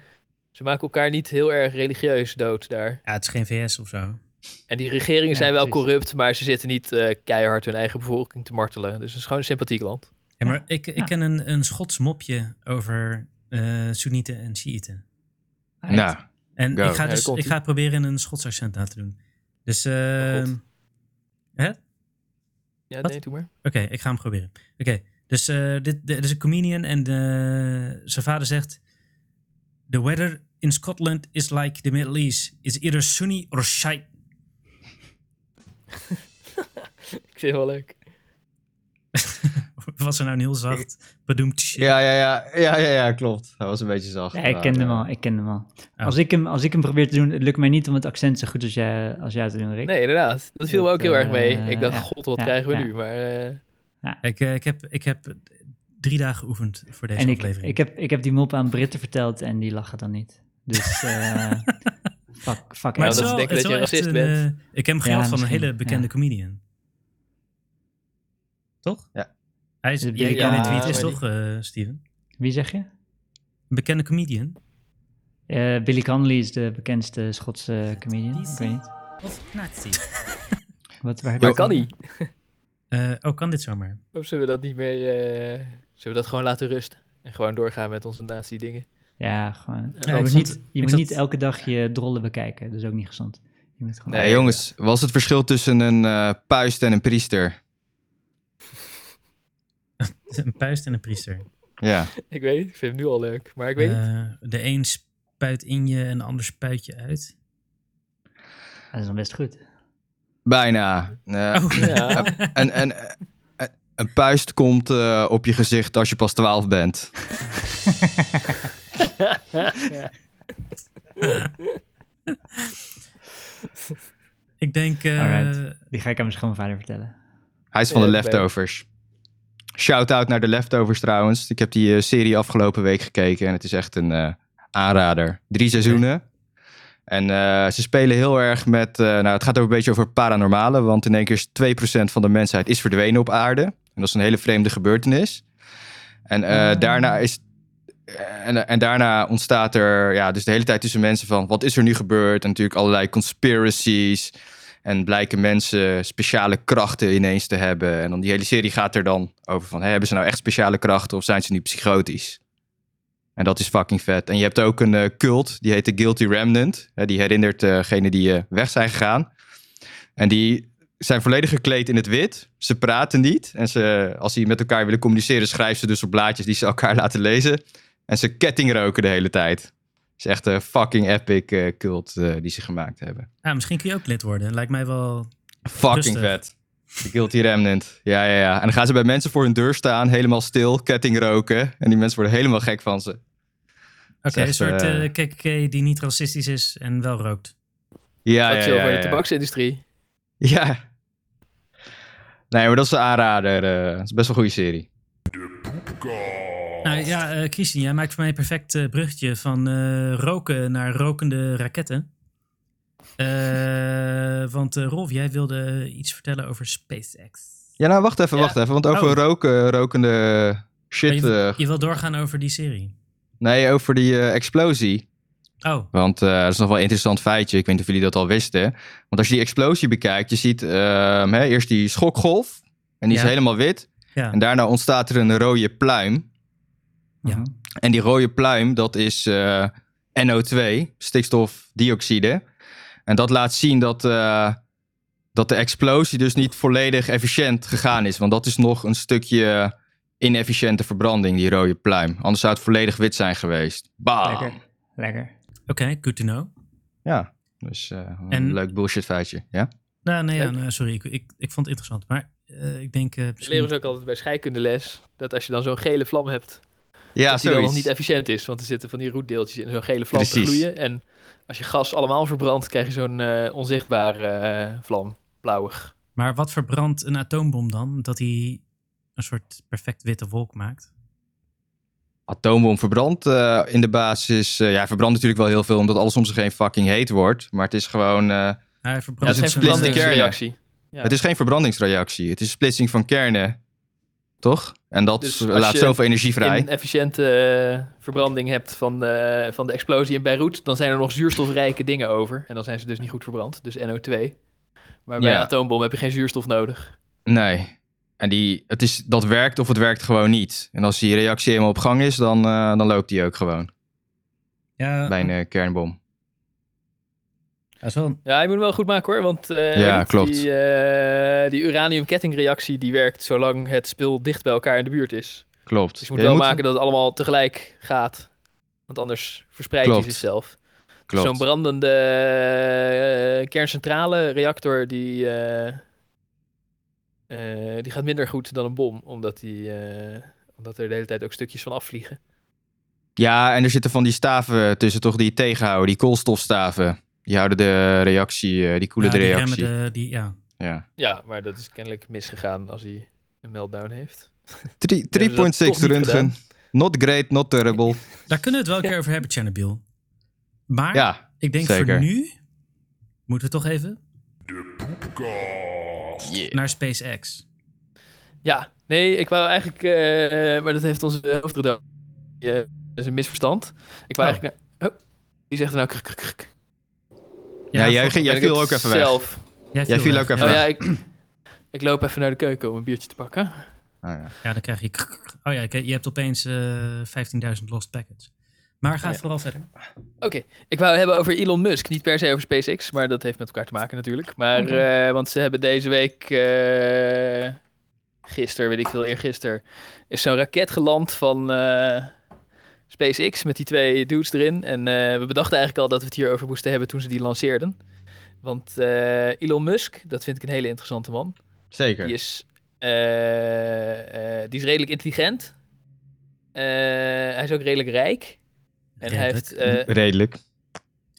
C: ze maken elkaar niet heel erg religieus dood daar.
B: het is geen VS of zo.
C: En die regeringen
D: Ja,
C: zijn wel
D: precies.
C: corrupt, maar ze zitten niet eh, keihard hun eigen bevolking te martelen. Dus het is gewoon een sympathiek land.
B: Ja, maar ik, ik
D: Ja.
B: ken een, een Schots mopje over eh Soenieten en Shiiten.
D: echt.
A: Nou,
B: En
A: Go.
B: ik ga,
C: Ja,
B: dus,
C: daar komt
B: ik
C: ie.
B: ga het proberen in een Schots accent na te doen. Dus, eh,
C: Oh,
B: oké,
C: God. Ja,
B: Wat?
C: nee, doe maar.
B: ik ga hem proberen. Oké, dus eh, dit, dit is een comedian en de, zijn vader zegt... The weather in Scotland is like the Middle East. It's either Sunni or Shite.
C: Ik vind het wel leuk.
B: Was er nou een heel zacht bedoemd
A: ja, ja, ja, ja, ja, ja, klopt. Hij was een beetje zacht.
D: Ja, ik ken hem al, ik ken hem al.
B: Oh.
D: Als, ik hem, als ik hem probeer te doen, het lukt mij niet om het accent zo goed als jij, als jij te doen, Rick.
C: Nee, inderdaad. Dat viel me
D: Dat,
C: ook heel erg mee.
D: eh,
C: Ik dacht,
D: ja,
C: god, wat
D: ja,
C: krijgen we
D: ja.
C: nu? Maar eh,
B: Ik, eh, ik, heb, ik heb drie dagen geoefend voor deze
D: en ik,
B: aflevering.
D: ik, heb, ik heb die mop aan Britten verteld en die lachen dan niet. Dus eh fuck, fuck
C: Maar dat
D: Engeland.
C: ze
B: wel-
C: denken
B: het is
C: dat je
B: wel
C: racist
B: echt een, eh, ik heb hem
D: Ja,
B: gehaald van een
D: misschien,
B: hele bekende
D: ja.
B: comedian. Toch?
A: Ja.
B: Hij is,
D: Ja, Dus
B: je kan weten wie het is,
C: maar die-
B: toch, eh, Steven?
D: Wie zeg je?
B: Een bekende comedian?
D: Eh, Billy Connolly is de bekendste Schotse comedian. Ik weet niet.
B: Of nazi?
D: Wat, waar heb
C: maar
D: ik-
C: kan niet.
B: oh, kan dit zomaar?
C: Of zullen we dat niet meer... eh, zullen we dat gewoon laten rusten? En gewoon doorgaan met onze nazi dingen?
D: Ja, gewoon.
B: Ja,
D: je
B: ik
D: moet,
B: zat-
D: niet,
B: ik
D: je moet
B: zat-
D: niet elke dag je drollen bekijken. Dat is ook niet gezond. Je moet gewoon...
A: Nee, jongens, was het verschil tussen een eh, puist en een priester?
B: Een puist en een priester.
A: Ja.
C: Ik weet niet, ik vind hem nu al leuk. Maar ik weet niet.
B: Eh, de een spuit in je en de ander spuit je uit.
D: Dat is dan best goed.
A: Bijna. Eh,
B: Oh,
C: Ja.
A: een, een, een, eh, een puist komt eh, op je gezicht als je pas 12 bent.
B: ik denk... eh,
D: Alright. Die ga ik aan mijn schoonvader vertellen.
A: Hij is van de
C: Ja, ik
A: leftovers. Shout-out naar de leftovers trouwens. Ik heb die eh, serie afgelopen week gekeken en het is echt een eh, aanrader. Drie seizoenen. En eh, ze spelen heel erg met... eh, nou, het gaat ook een beetje over paranormale, want in één keer is 2% van de mensheid is verdwenen op aarde. En dat is een hele vreemde gebeurtenis. En eh,
D: Ah.
A: daarna is... eh, En, en daarna ontstaat er ja, dus de hele tijd tussen mensen van wat is er nu gebeurd? En natuurlijk allerlei conspiracies. En blijken mensen speciale krachten ineens te hebben. En dan die hele serie gaat er dan over van... Hè, hebben ze nou echt speciale krachten of zijn ze nu psychotisch? En dat is fucking vet. En je hebt ook een eh, cult, die heet de Guilty Remnant. Hè, die herinnert eh, degenen die eh, weg zijn gegaan. En die zijn volledig gekleed in het wit. Ze praten niet. En ze, als ze met elkaar willen communiceren, schrijven ze dus op blaadjes die ze elkaar laten lezen. En ze kettingroken de hele tijd. Het is echt een fucking epic eh, cult eh, die ze gemaakt hebben.
B: Ah, misschien kun je ook lid worden. Lijkt mij wel...
A: Fucking
B: Rustig.
A: vet. De Guilty Remnant. Ja, ja, ja. En dan gaan ze bij mensen voor hun deur staan, helemaal stil, ketting roken. En die mensen worden helemaal gek van ze.
B: Oké,
A: Zegt,
B: een soort
A: eh,
B: eh, KKK die niet racistisch is en wel rookt.
A: Ja,
C: dat
A: ja,
C: is
A: ja.
C: over
A: ja,
C: de
A: ja.
C: tabaksindustrie.
A: Ja. Nee, maar dat is een aanrader. eh. Het is best wel een goede serie.
B: Nou ja, eh, Christian, jij maakt voor mij een perfect eh, bruggetje van eh, roken naar rokende raketten. Eh, want eh, Rolf, jij wilde iets vertellen over SpaceX.
A: Ja, nou, wacht even, wacht even. Want over
B: Oh.
A: roken, rokende
B: Maar
A: shit.
B: je,
A: eh,
B: je wil doorgaan over die serie.
A: nee, over die eh, explosie.
B: Oh,
A: Want eh, dat is nog wel een interessant feitje. Ik weet niet of jullie dat al wisten. Want als je die explosie bekijkt, je ziet ehm, hè, eerst die schokgolf. En die
B: Ja.
A: is helemaal wit.
B: ja.
A: En daarna ontstaat er een rode pluim.
B: Ja.
D: Mhm.
A: En die rode pluim, dat is eh, NO2, stikstofdioxide. En dat laat zien dat, eh, dat de explosie dus niet volledig efficiënt gegaan is. Want dat is nog een stukje inefficiënte verbranding, die rode pluim. Anders zou het volledig wit zijn geweest. Bam!
D: Lekker. Lekker.
B: Oké, good to know.
A: Ja, dus eh, een
B: En-
A: leuk bullshit feitje. Ja?
B: Nou, nee, ja,
C: Leuk.
B: nou, sorry, ik, ik, ik vond het interessant. Maar eh, ik denk eh,
C: Dat
B: misschien-
C: leren ze dus ook altijd bij scheikundeles. Dat als je dan zo'n gele vlam hebt,
A: Ja,
C: dat die dan nog
A: zoiets.
C: niet efficiënt is. Want er zitten van die roetdeeltjes in zo'n gele vlam te
A: Precies.
C: gloeien. En als je gas allemaal verbrandt, krijg je zo'n eh, onzichtbare eh, vlam. Blauwig.
B: Maar wat verbrandt een atoombom dan? Dat hij een soort perfect witte wolk maakt?
A: Atoombom verbrandt eh, in de basis. eh, ja, hij verbrandt natuurlijk wel heel veel, omdat alles om zich heen fucking heet wordt. Maar het is gewoon... eh,
B: Hij
C: Dat
B: verbrandt
C: is
A: het
C: een
A: splitst de
B: eh,
C: verbrandingsreactie. Ja.
A: Het is geen verbrandingsreactie. Het is splitsing van kernen. Toch? En dat
C: Dus als
A: laat
C: je
A: zoveel energie vrij.
C: een efficiënte eh, verbranding hebt van de, van de explosie in Beirut, dan zijn er nog zuurstofrijke dingen over. En dan zijn ze dus niet goed verbrand, dus NO2. Maar bij
A: Ja.
C: een atoombom heb je geen zuurstof nodig.
A: Nee. En die, het is, dat werkt of het werkt gewoon niet. En als die reactie helemaal op gang is, dan, eh, dan loopt die ook gewoon.
B: Ja,
A: Bij een eh, kernbom.
B: dat is wel een-
C: Ja, je moet hem wel goed maken hoor, want eh,
A: Ja,
C: die,
A: klopt.
C: eh, die uraniumkettingreactie die werkt zolang het spul dicht bij elkaar in de buurt is.
A: Klopt.
C: Dus je moet
A: Ja,
C: wel maken dat het allemaal tegelijk gaat, want anders verspreidt hij
A: Klopt.
C: zichzelf.
A: klopt.
C: Zo'n brandende eh, kerncentrale reactor die, eh, eh, die gaat minder goed dan een bom, omdat, die, eh, omdat er de hele tijd ook stukjes van afvliegen.
A: Ja, en er zitten van die staven tussen, toch? Die het tegenhouden, die koolstofstaven. Die houden de reactie, eh, die koelen
B: ja,
A: de
B: die
A: reactie.
B: remmen de- die, ja.
A: Ja.
C: Ja, maar dat is kennelijk misgegaan als hij een meltdown heeft.
A: Drie- 3.6
C: Hebben ze dat toch niet
A: röntgen.
C: gedaan?
A: Not great, not terrible.
B: Daar kunnen we het wel een keer over hebben, Chernobyl. Maar
A: Ja,
B: ik denk voor
A: zeker.
B: nu moeten we toch even naar SpaceX.
C: Ja, nee, ik wou eigenlijk, eh, eh, maar dat heeft onze hoofdredacteur. eh, dat is een misverstand. Ik wou
B: Oh.
C: eigenlijk. naar- Oh, die zegt er nou. kruk, kruk, kruk.
A: Ja, jij,
B: voor-
A: ging- jij
C: Ben ik
A: viel ook
C: het
A: even weg.
C: Zelf.
A: Jij viel ook
B: weg.
A: even
C: Oh
A: weg.
C: ja, ik, ik loop even naar de keuken om een biertje te pakken.
A: Oh, ja.
B: Ja, dan krijg je... krrr. Oh ja, ik- je hebt opeens eh 15.000 lost packets. Maar ga
C: Ja. Eh,
B: vooral verder.
C: Oké, ik wou hebben over Elon Musk. Niet per se over SpaceX, maar dat heeft met elkaar te maken natuurlijk. Maar, eh, want ze hebben deze week, eh gisteren, weet ik veel, eergisteren, is zo'n raket geland van eh, SpaceX met die twee dudes erin. En eh, we bedachten eigenlijk al dat we het hierover moesten hebben toen ze die lanceerden. Want eh, Elon Musk, dat vind ik een hele interessante man.
A: Zeker.
C: Die is, eh, eh, die is redelijk intelligent. Eh, hij is ook redelijk rijk. En hij
B: Redelijk.
C: heeft... eh,
A: Redelijk.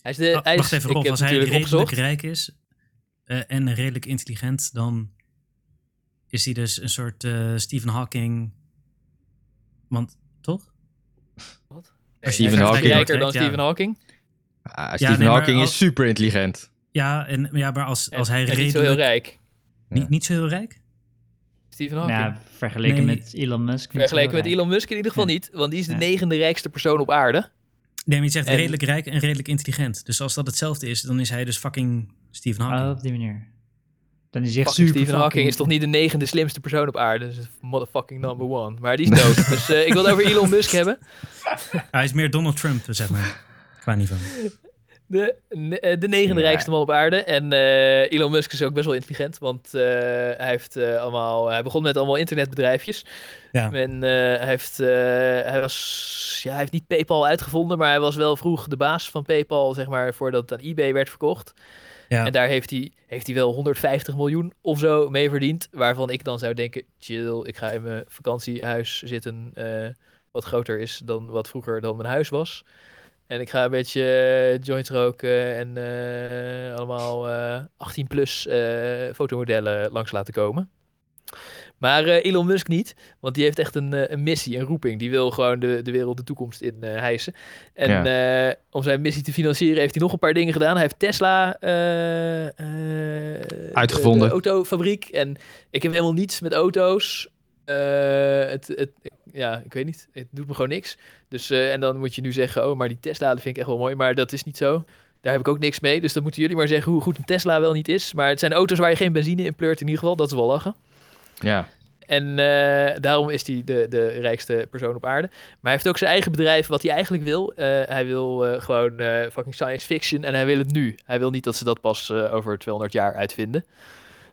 C: hij is de,
B: Oh,
C: hij is,
B: wacht even,
C: ik
B: Rolf.
C: heb
B: Als hij
C: natuurlijk
B: redelijk
C: opgezocht.
B: rijk is eh, en redelijk intelligent, dan is hij dus een soort eh, Stephen Hawking. Want toch?
C: Nee,
A: Stephen
C: hij is
A: Hawking.
C: rijker dan
B: Ja.
C: Stephen Hawking.
A: Ah, Stephen
B: nee, maar
A: Hawking
B: al-
A: is super intelligent.
B: Ja, en, ja maar als, als hij
C: En
B: redelijk...
C: niet zo heel rijk.
B: Niet, niet zo heel rijk?
C: Stephen
D: Nou,
C: Hawking.
D: vergeleken
B: Ah, Nee.
D: met Elon Musk. niet zo
C: Vergeleken met
D: heel
C: Elon Musk in ieder geval
D: Ja.
C: niet, want die is de
D: Ja.
C: negende rijkste persoon op aarde.
B: Nee, maar je zegt
C: En-
B: redelijk rijk en redelijk intelligent. Dus als dat hetzelfde is, dan is hij dus fucking Stephen
D: rijk.
B: Hawking.
D: Oh, op die manier. Dan is hij echt
C: Fucking
D: super
C: Stephen Hawking
D: fucking-
C: is toch niet de negende slimste persoon op aarde? Dus motherfucking number one. Maar die is dood. dus eh, ik wil het over Elon Musk hebben.
B: dus Hij is meer Donald Trump, zeg maar. Qua niveau.
C: De, ne- eh, de negende
A: Ja.
C: rijkste man op aarde. En eh, Elon Musk is ook best wel intelligent, want eh, hij, heeft, eh, allemaal, hij begon met allemaal internetbedrijfjes.
B: Ja.
C: En eh, hij, heeft, eh, hij, was, ja, hij heeft niet PayPal uitgevonden, maar hij was wel vroeg de baas van PayPal, zeg maar, voordat het aan eBay werd verkocht.
B: Ja.
C: En daar heeft hij, heeft hij wel 150 miljoen of zo mee verdiend. Waarvan ik dan zou denken, chill, ik ga in mijn vakantiehuis zitten. eh, wat groter is dan wat vroeger dan mijn huis was. En ik ga een beetje eh, joints roken en eh, allemaal 18-plus fotomodellen langs laten komen. Maar eh, Elon Musk niet, want die heeft echt een, eh, een missie, een roeping. Die wil gewoon de, de wereld de toekomst in eh, hijsen. En eh, om zijn missie te financieren heeft hij nog een paar dingen gedaan. Hij heeft Tesla eh, eh, de-
A: Uitgevonden.
C: eh, De, autofabriek. En ik heb helemaal niets met auto's. Eh, het, het, ja, ik weet niet. Het doet me gewoon niks. Dus, eh, en dan moet je nu zeggen, oh, maar die Tesla dat vind ik echt wel mooi. Maar dat is niet zo. Daar heb ik ook niks mee. Dus dan moeten jullie maar zeggen hoe goed een Tesla wel niet is. Maar het zijn auto's waar je geen benzine in pleurt in ieder geval. Dat is wel lachen.
A: Ja.
C: En eh, daarom is hij de, de rijkste persoon op aarde. Maar hij heeft ook zijn eigen bedrijf, wat hij eigenlijk wil. Eh, hij wil eh, gewoon eh, fucking science fiction en hij wil het nu. Hij wil niet dat ze dat pas eh, over 200 jaar uitvinden.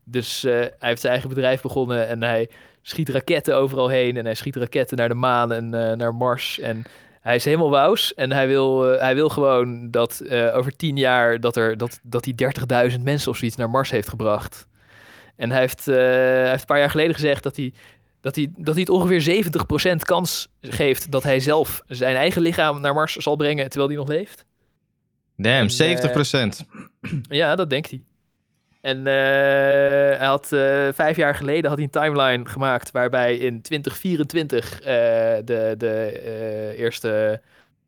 C: Dus eh, hij heeft zijn eigen bedrijf begonnen en hij schiet raketten overal heen. En hij schiet raketten naar de maan en eh, naar Mars. En hij is helemaal wauws. En hij wil, eh, hij wil gewoon dat eh, over 10 jaar dat, er, dat, dat hij 30.000 mensen of zoiets naar Mars heeft gebracht. En hij heeft, eh, hij heeft een paar jaar geleden gezegd dat hij, dat, hij, dat hij het ongeveer 70% kans geeft dat hij zelf zijn eigen lichaam naar Mars zal brengen terwijl hij nog leeft.
A: Damn,
C: eh,
A: 70
C: Ja, dat denkt hij. En eh, hij had eh, vijf jaar geleden had hij een timeline gemaakt waarbij in 2024 eh, de, de eh, eerste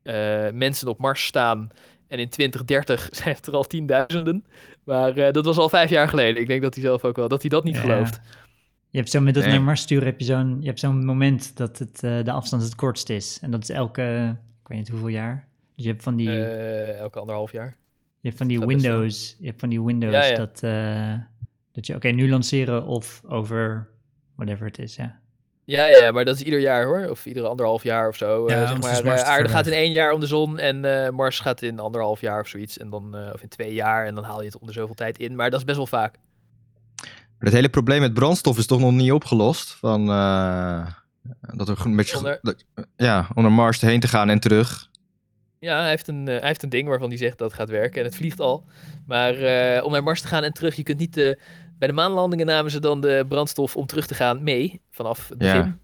C: eh, mensen op Mars staan. En in 2030 zijn het er al tienduizenden. Maar eh, dat was al vijf jaar geleden. Ik denk dat hij zelf ook wel, dat hij dat niet
D: Ja.
C: gelooft.
D: Je hebt zo met dat
A: Nee.
D: naar Mars sturen, heb je zo'n, je hebt zo'n moment dat het, eh, de afstand het kortst is. En dat is elke, ik weet niet hoeveel jaar. Dus je hebt van die,
C: Eh, elke anderhalf jaar.
D: je hebt van die
C: gaat best wel.
D: Windows, je hebt van die Windows
C: Ja, ja.
D: dat, eh, dat je, oké, nu lanceren of over whatever het is, ja.
C: Ja, ja, maar dat is ieder jaar hoor. Of iedere anderhalf jaar of zo.
B: Ja,
C: Eh, zeg
B: want het
C: maar,
B: is dus Mars
C: eh,
B: te
C: aarde
B: ver
C: gaat in
B: weg.
C: één jaar om de zon en eh, Mars gaat in anderhalf jaar of zoiets. En dan, eh, of in twee jaar en dan haal je het onder zoveel tijd in. Maar dat is best wel vaak.
A: Maar Het hele probleem met brandstof is toch nog niet opgelost? Van, eh, dat er een beetje...
C: Onder-
A: dat- ja, om naar Mars heen te gaan en terug.
C: Ja, hij heeft, een, eh, hij heeft een ding waarvan hij zegt dat het gaat werken. En het vliegt al. Maar eh, om naar Mars te gaan en terug, je kunt niet... eh, bij de maanlandingen namen ze dan de brandstof om terug te gaan mee. Vanaf het
A: Ja.
C: begin.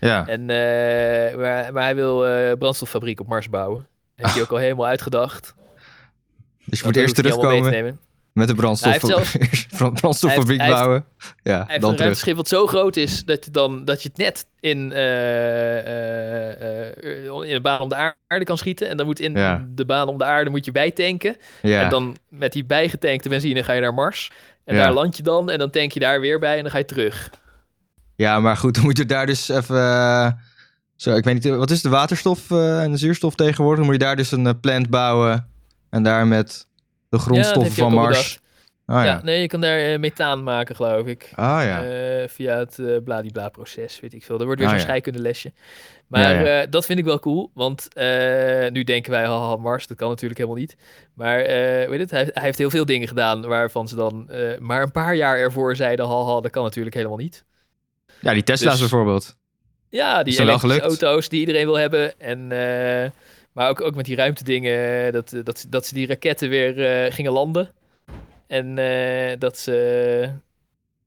A: Ja. dus
C: En, eh, maar, maar hij wil eh brandstoffabriek op Mars bouwen. Heeft hij ook al helemaal uitgedacht.
A: Dus je
C: Dat
A: moet eerst
C: hoeft hij allemaal mee te
A: terugkomen
C: nemen.
A: met de brandstof,
C: Hij heeft
A: brand- brandstoffabriek
C: hij heeft-
A: bouwen. Ja,
C: Hij heeft
A: dan
C: een
A: terug.
C: ruimteschip wat zo groot is dat je, dan, dat je het net in, eh, eh, eh, in de baan om de aarde kan schieten. En dan moet in
A: Ja.
C: de baan om de aarde moet je bijtanken.
A: Ja.
C: En dan met die bijgetankte benzine ga je naar Mars. En
A: Ja.
C: daar land je dan en dan tank je daar weer bij en dan ga je terug.
A: ja, maar goed, dan moet je daar dus even... eh, zo, ik weet niet, eh, wat is de waterstof eh, en de zuurstof tegenwoordig? Dan moet je daar dus een eh, plant bouwen en daar met de
C: Ja, dat
A: grondstoffen
C: heb je
A: van
C: ook al
A: Mars...
C: bedacht.
A: Ah
C: ja.
A: ja.
C: nee, je kan daar eh, methaan maken, geloof ik.
A: Ah ja.
C: Eh, via het eh bladibla proces, weet ik veel. Er wordt weer
A: Ah,
C: zo'n
A: ja.
C: scheikundelesje. Maar
A: Ja,
C: eh, dat vind ik wel cool, want eh, nu denken wij, haha, Mars, dat kan natuurlijk helemaal niet. Maar eh, weet het, hij, hij heeft heel veel dingen gedaan waarvan ze dan eh, maar een paar jaar ervoor zeiden, haha, dat kan natuurlijk helemaal niet.
A: ja, die Tesla's
C: dus-
A: bijvoorbeeld.
C: Ja,
A: Is dat wel
C: die elektrische
A: gelukt?
C: auto's die iedereen wil hebben. En, eh, maar ook, ook met die ruimtedingen, eh, dat, eh, dat, ze- dat ze die raketten weer eh, gingen landen. En eh, dat ze...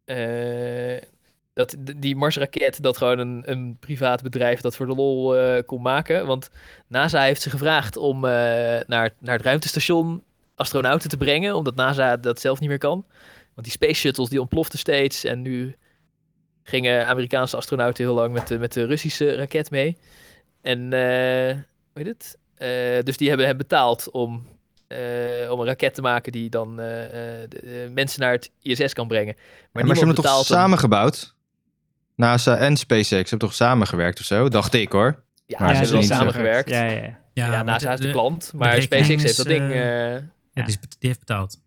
C: eh, dat d- die Marsraket, dat gewoon een, een privaat bedrijf dat voor de lol eh, kon maken. Want NASA heeft ze gevraagd om eh, naar, naar het ruimtestation astronauten te brengen. Omdat NASA dat zelf niet meer kan. Want die space shuttles die ontploften steeds. En nu gingen Amerikaanse astronauten heel lang met de, met de Russische raket mee. En eh hoe heet het? Eh, dus die hebben hem betaald om, eh, om een raket te maken die dan eh, eh, de- de mensen naar het ISS kan brengen.
A: Maar, maar ze hebben
C: niemand
A: toch
C: betaalt hem.
A: samengebouwd? NASA en SpaceX hebben toch samengewerkt of zo? Dacht ik hoor.
C: Ja,
A: Maar dat
C: ze hebben wel
A: is niet zo.
C: samengewerkt.
D: Ja, ja, ja.
B: Ja,
C: Ja,
B: maar
C: NASA nou, is de, klant, maar
B: rekening
C: SpaceX
B: is,
C: heeft dat ding.
B: eh,
C: eh,
B: Ja, die, is, die heeft betaald.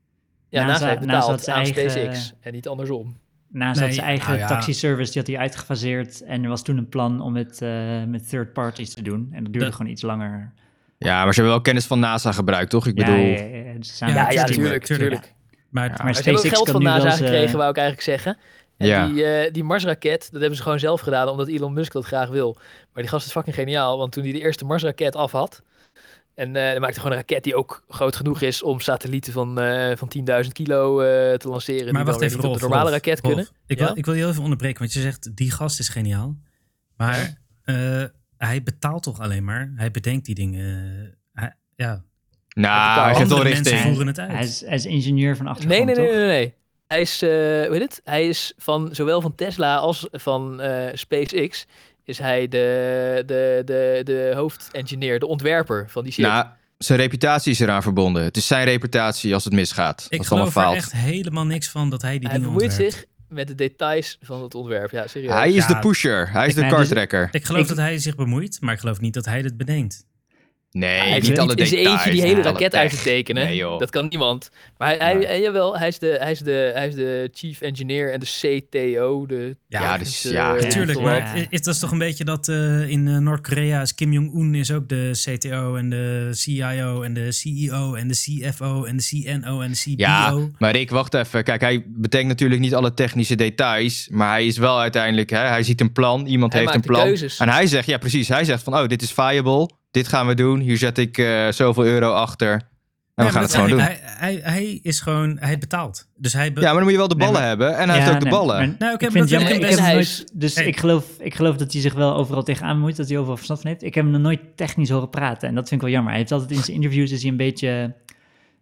C: ja,
D: NASA
C: NASA, heeft
D: NASA had
C: betaald
D: zijn
C: aan
D: eigen-
C: SpaceX en niet andersom.
D: NASA
B: Nee,
D: had zijn eigen
B: nou ja.
D: taxiservice, die had hij uitgefaseerd. En er was toen een plan om het eh, met third parties te doen. En dat duurde
B: Dat-
D: gewoon iets langer.
A: Ja, maar ze hebben wel kennis van NASA gebruikt, toch? Ik
D: Ja,
A: bedoel,
D: ja, ja, ja, dus samen
B: Ja,
C: Ja,
D: met
C: ja,
D: het team.
B: tuurlijk,
C: natuurlijk,
B: tuurlijk.
C: natuurlijk.
B: Maar,
A: Ja.
D: Maar
C: Ze hebben ook
D: SpaceX
C: geld
D: kan
C: van
D: nu wel
C: NASA
D: eens, eh,
C: gekregen, wou ik eigenlijk zeggen. En
A: Ja.
C: die, eh, die Marsraket, dat hebben ze gewoon zelf gedaan, omdat Elon Musk dat graag wil. Maar die gast is fucking geniaal, want toen hij de eerste Marsraket af had... En eh hij maakte gewoon een raket die ook groot genoeg is om satellieten van, eh, van 10.000 kilo eh, te lanceren.
B: maar
C: die
B: wacht
C: dan weer
B: even,
C: niet op
B: Rolf,
C: de normale
B: Rolf,
C: raket
B: Rolf,
C: kunnen.
B: Ik,
C: Ja?
B: wil, ik wil je heel even onderbreken, want je zegt die gast is geniaal. Maar eh, hij betaalt toch alleen maar? Hij bedenkt die dingen. Hij, ja,
A: nou, hij geeft
B: andere
A: wel
B: mensen
A: richting.
B: voeren het uit.
D: Hij is, hij is ingenieur van
C: Nee,
D: achtergrond,
C: nee, nee,
D: toch?
C: nee, nee. Hij is, eh, hoe heet het? Hij is van zowel van Tesla als van eh, SpaceX is hij de, de, de, de hoofdengineer, de ontwerper van die shit.
A: Nou, zijn reputatie is eraan verbonden. Het is zijn reputatie als het misgaat.
B: ik
A: als het allemaal
B: geloof er
A: faalt.
B: echt helemaal niks van dat hij die
C: hij
B: dingen
C: bemoeit
B: ontwerpt.
C: zich met de details van het ontwerp. Ja, serieus.
A: Hij is
B: Ja.
A: de pusher. Hij is
D: Ik-
A: de
D: maar dit-
A: kartrekker.
B: Ik geloof
D: Ik-
B: dat hij zich bemoeit, maar ik geloof niet dat hij dit bedenkt.
A: Nee,
C: hij
A: niet
C: heeft
A: alle
C: niet in
A: details.
C: zijn eentje die
A: niet
C: hele
A: alle
C: raket
A: tech.
C: uit te tekenen.
A: Nee, joh.
C: dat kan niemand. Maar hij, hij,
A: Nee.
C: eh, jawel, hij is, de, hij, is de, hij is de chief engineer en de CTO. De
B: Ja,
A: Ja, dus- ja,
C: eh,
B: Natuurlijk,
D: Ja.
B: maar
D: Ja.
B: het, het is toch een beetje dat eh, in eh, Noord-Korea is Kim Jong-un is ook de CTO en de CIO en de CEO en de CFO en de CNO en de CBO.
A: Ja, maar Rick, wacht even. Kijk, hij bedenkt natuurlijk niet alle technische details. Maar hij is wel uiteindelijk... Hè, hij ziet een plan. Iemand
C: Hij
A: heeft een
C: maakt de
A: plan.
C: keuzes.
A: En hij zegt, ja precies. Hij zegt van, oh, dit is viable. Dit gaan we doen. Hier zet ik eh, zoveel euro achter. En we gaan
B: Nee, maar
A: het gewoon
B: dat
A: doen.
B: zeg ik, Hij, hij, hij is gewoon, hij betaalt. Dus hij be-
A: Ja, maar dan moet je wel de
D: Nee,
A: ballen
D: maar-
A: hebben. En hij heeft ook de
D: nee,
A: ballen.
D: maar
B: Nou, oké, maar
D: ik vind
B: dat
D: het jammer,
B: is
D: ik
C: ook
D: heb
C: best-
D: hem
C: Hij
D: nooit, dus
B: Hey.
D: ik, geloof, ik geloof dat hij zich wel overal tegenaan moet, dat hij overal verstand van heeft. Ik heb hem nog nooit technisch horen praten en dat vind ik wel jammer. Hij heeft altijd in zijn interviews is hij een beetje,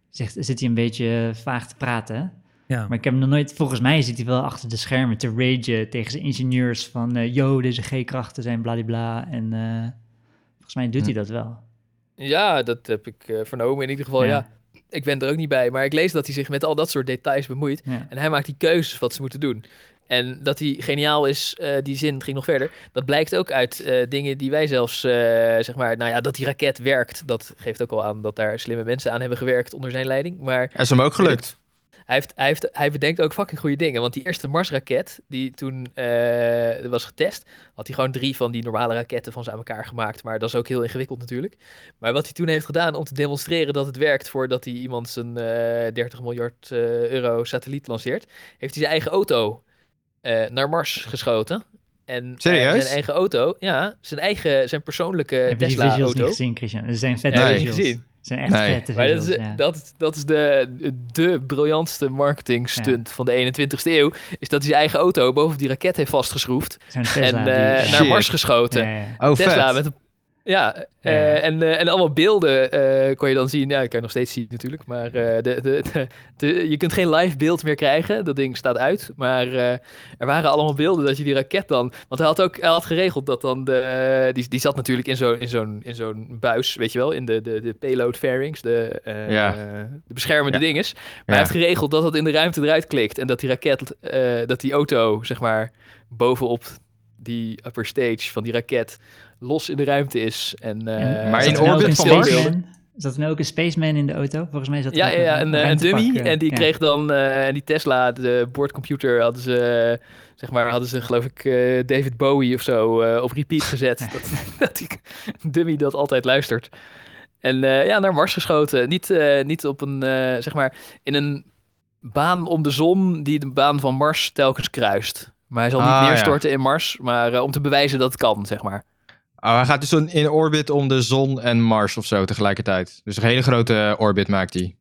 D: zegt, zit hij een beetje vaag te praten.
B: ja.
D: Maar ik heb hem nog nooit, volgens mij zit hij wel achter de schermen te ragen tegen zijn ingenieurs van, eh, yo, deze G-krachten zijn bladibla. En eh, volgens mij doet hij dat wel.
C: Ja, dat heb ik eh, vernomen in ieder geval.
D: Ja.
C: Ja. ik ben er ook niet bij, maar ik lees dat hij zich met al dat soort details bemoeit.
D: Ja.
C: En hij maakt die keuzes wat ze moeten doen. En dat hij geniaal is, eh, die zin ging nog verder. Dat blijkt ook uit eh, dingen die wij zelfs, eh, zeg maar, nou ja, dat die raket werkt. Dat geeft ook al aan dat daar slimme mensen aan hebben gewerkt onder zijn leiding. Maar
A: Is hem ook gelukt.
C: hij, heeft, hij, heeft, hij bedenkt ook fucking goede dingen. Want die eerste Marsraket, die toen eh, was getest, had hij gewoon drie van die normale raketten van ze aan elkaar gemaakt. Maar dat is ook heel ingewikkeld natuurlijk. Maar wat hij toen heeft gedaan om te demonstreren dat het werkt voordat hij iemand zijn eh 30 miljard eh, euro satelliet lanceert, heeft hij zijn eigen auto eh, naar Mars geschoten. En eh,
A: Serieus?
C: zijn eigen auto, ja, zijn eigen, zijn
A: Eh,
C: persoonlijke
D: Heb je die visuals niet
C: Tesla-auto.
D: gezien, Christian? Ze zijn vette
C: Ja, heb je
D: visuals.
C: gezien.
D: Ze zijn echt
A: Nee.
D: vette
C: Maar dat
D: visuals,
C: is,
D: ja.
C: dat, is- dat is de, de briljantste marketing stunt van de 21ste eeuw. Is dat hij zijn eigen auto boven die raket heeft vastgeschroefd.
D: Zo'n
C: en
D: Tesla. die-
C: eh,
D: ja.
C: naar
A: Shit.
C: Mars geschoten.
D: Ja, ja.
A: Oh,
C: Tesla
A: vet.
C: met een... Ja, eh,
D: Ja.
C: En, eh, en allemaal beelden eh, kon je dan zien. Ja, ik kan je nog steeds zien natuurlijk. Maar eh, de, de, de- de- je kunt geen live beeld meer krijgen. Dat ding staat uit. Maar eh, er waren allemaal beelden dat je die raket dan... Want hij had ook hij had geregeld dat dan de... eh, die, die zat natuurlijk in zo'n in zo'n in zo'n buis, weet je wel. In de, de, de payload fairings, de, eh,
A: Ja.
C: eh, de beschermende
A: Ja.
C: dinges. Maar
A: Ja.
C: hij heeft geregeld dat dat in de ruimte eruit klikt. En dat die raket, eh, dat die auto, zeg maar, bovenop die upper stage van die raket los in de ruimte is. En,
D: En
C: eh,
A: maar
D: zat
A: in
D: er nou ook
A: orbit
D: een
A: van Mars?
D: spaceman? Zat er nou ook een spaceman in de auto? Volgens mij zat
C: Ja, ja, ja, een, eh, een dummy. en die
D: kreeg
C: kreeg dan, eh, en die Tesla, de boordcomputer, hadden ze, eh, zeg maar, hadden ze geloof ik eh, David Bowie of zo eh, op repeat gezet. dat, dat die dummy dat altijd luistert. En eh, ja, naar Mars geschoten. Niet, eh, niet op een, eh, zeg maar, in een baan om de zon die de baan van Mars telkens kruist. Maar hij zal niet
A: Ah, ja.
C: neerstorten in Mars, maar eh, om te bewijzen dat het kan, zeg maar.
A: Oh, hij gaat dus een- in orbit om de zon en Mars of zo tegelijkertijd. Dus een hele grote orbit maakt hij.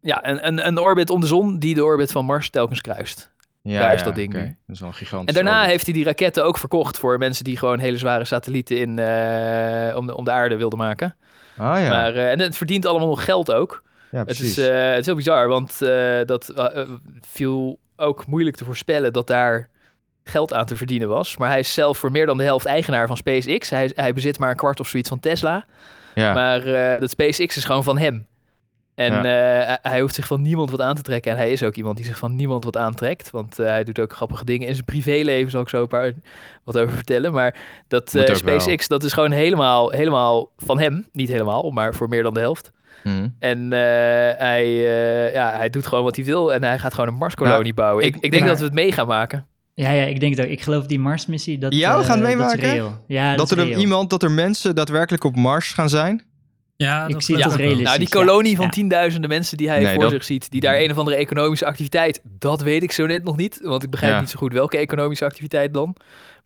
C: Ja, een, een, een orbit om de zon die de orbit van Mars telkens kruist.
A: Ja,
C: Daar is dat ding
A: oké.
C: nu.
A: Dat is wel een gigantisch.
C: En daarna
A: orbit.
C: heeft hij die raketten ook verkocht voor mensen die gewoon hele zware satellieten in, eh, om, de, om de aarde wilden maken.
A: Ah ja,
C: Maar, eh, en het verdient allemaal nog geld ook.
A: ja
C: Het
A: precies.
C: is, eh, het is heel bizar, want eh, dat eh, eh, viel ook moeilijk te voorspellen dat daar geld aan te verdienen was. Maar hij is zelf voor meer dan de helft eigenaar van SpaceX. Hij, hij bezit maar een kwart of zoiets van Tesla.
A: ja.
C: Maar eh, dat SpaceX is gewoon van hem. En
A: Ja.
C: eh, hij- hij hoeft zich van niemand wat aan te trekken. En hij is ook iemand die zich van niemand wat aantrekt. Want eh, hij doet ook grappige dingen. In zijn privéleven zal ik zo een paar wat over vertellen. Maar dat
A: Moet
C: eh,
A: ook wel.
C: SpaceX, dat is gewoon helemaal, helemaal van hem. Niet helemaal, maar voor meer dan de helft.
A: Hm.
C: En eh, hij, eh, ja, hij doet gewoon wat hij wil. En hij gaat gewoon een Marskolonie bouwen. Ik,
A: Nou, ik-
C: ik denk
D: maar-
C: dat we het mee gaan maken.
D: Ja, ja, ik denk dat. Ik geloof die Mars-missie. Dat,
A: Ja, we
D: eh,
A: gaan het
D: dat is
A: meemaken.
D: reëel. Ja, dat,
A: Dat
D: is
A: er
D: reëel.
A: iemand, dat er mensen daadwerkelijk op Mars gaan zijn.
B: Ja,
D: Ik
B: dat
D: zie
B: is
D: het
B: ook
D: als
B: wel.
D: realistisch.
C: Nou, die
D: ja.
C: kolonie van
D: Ja.
C: tienduizenden mensen die hij
A: Nee,
C: voor
A: dat- Mm.
C: zich ziet, die daar een of andere economische activiteit, dat weet ik zo net nog niet, want ik begrijp
A: Ja.
C: niet zo goed welke economische activiteit dan.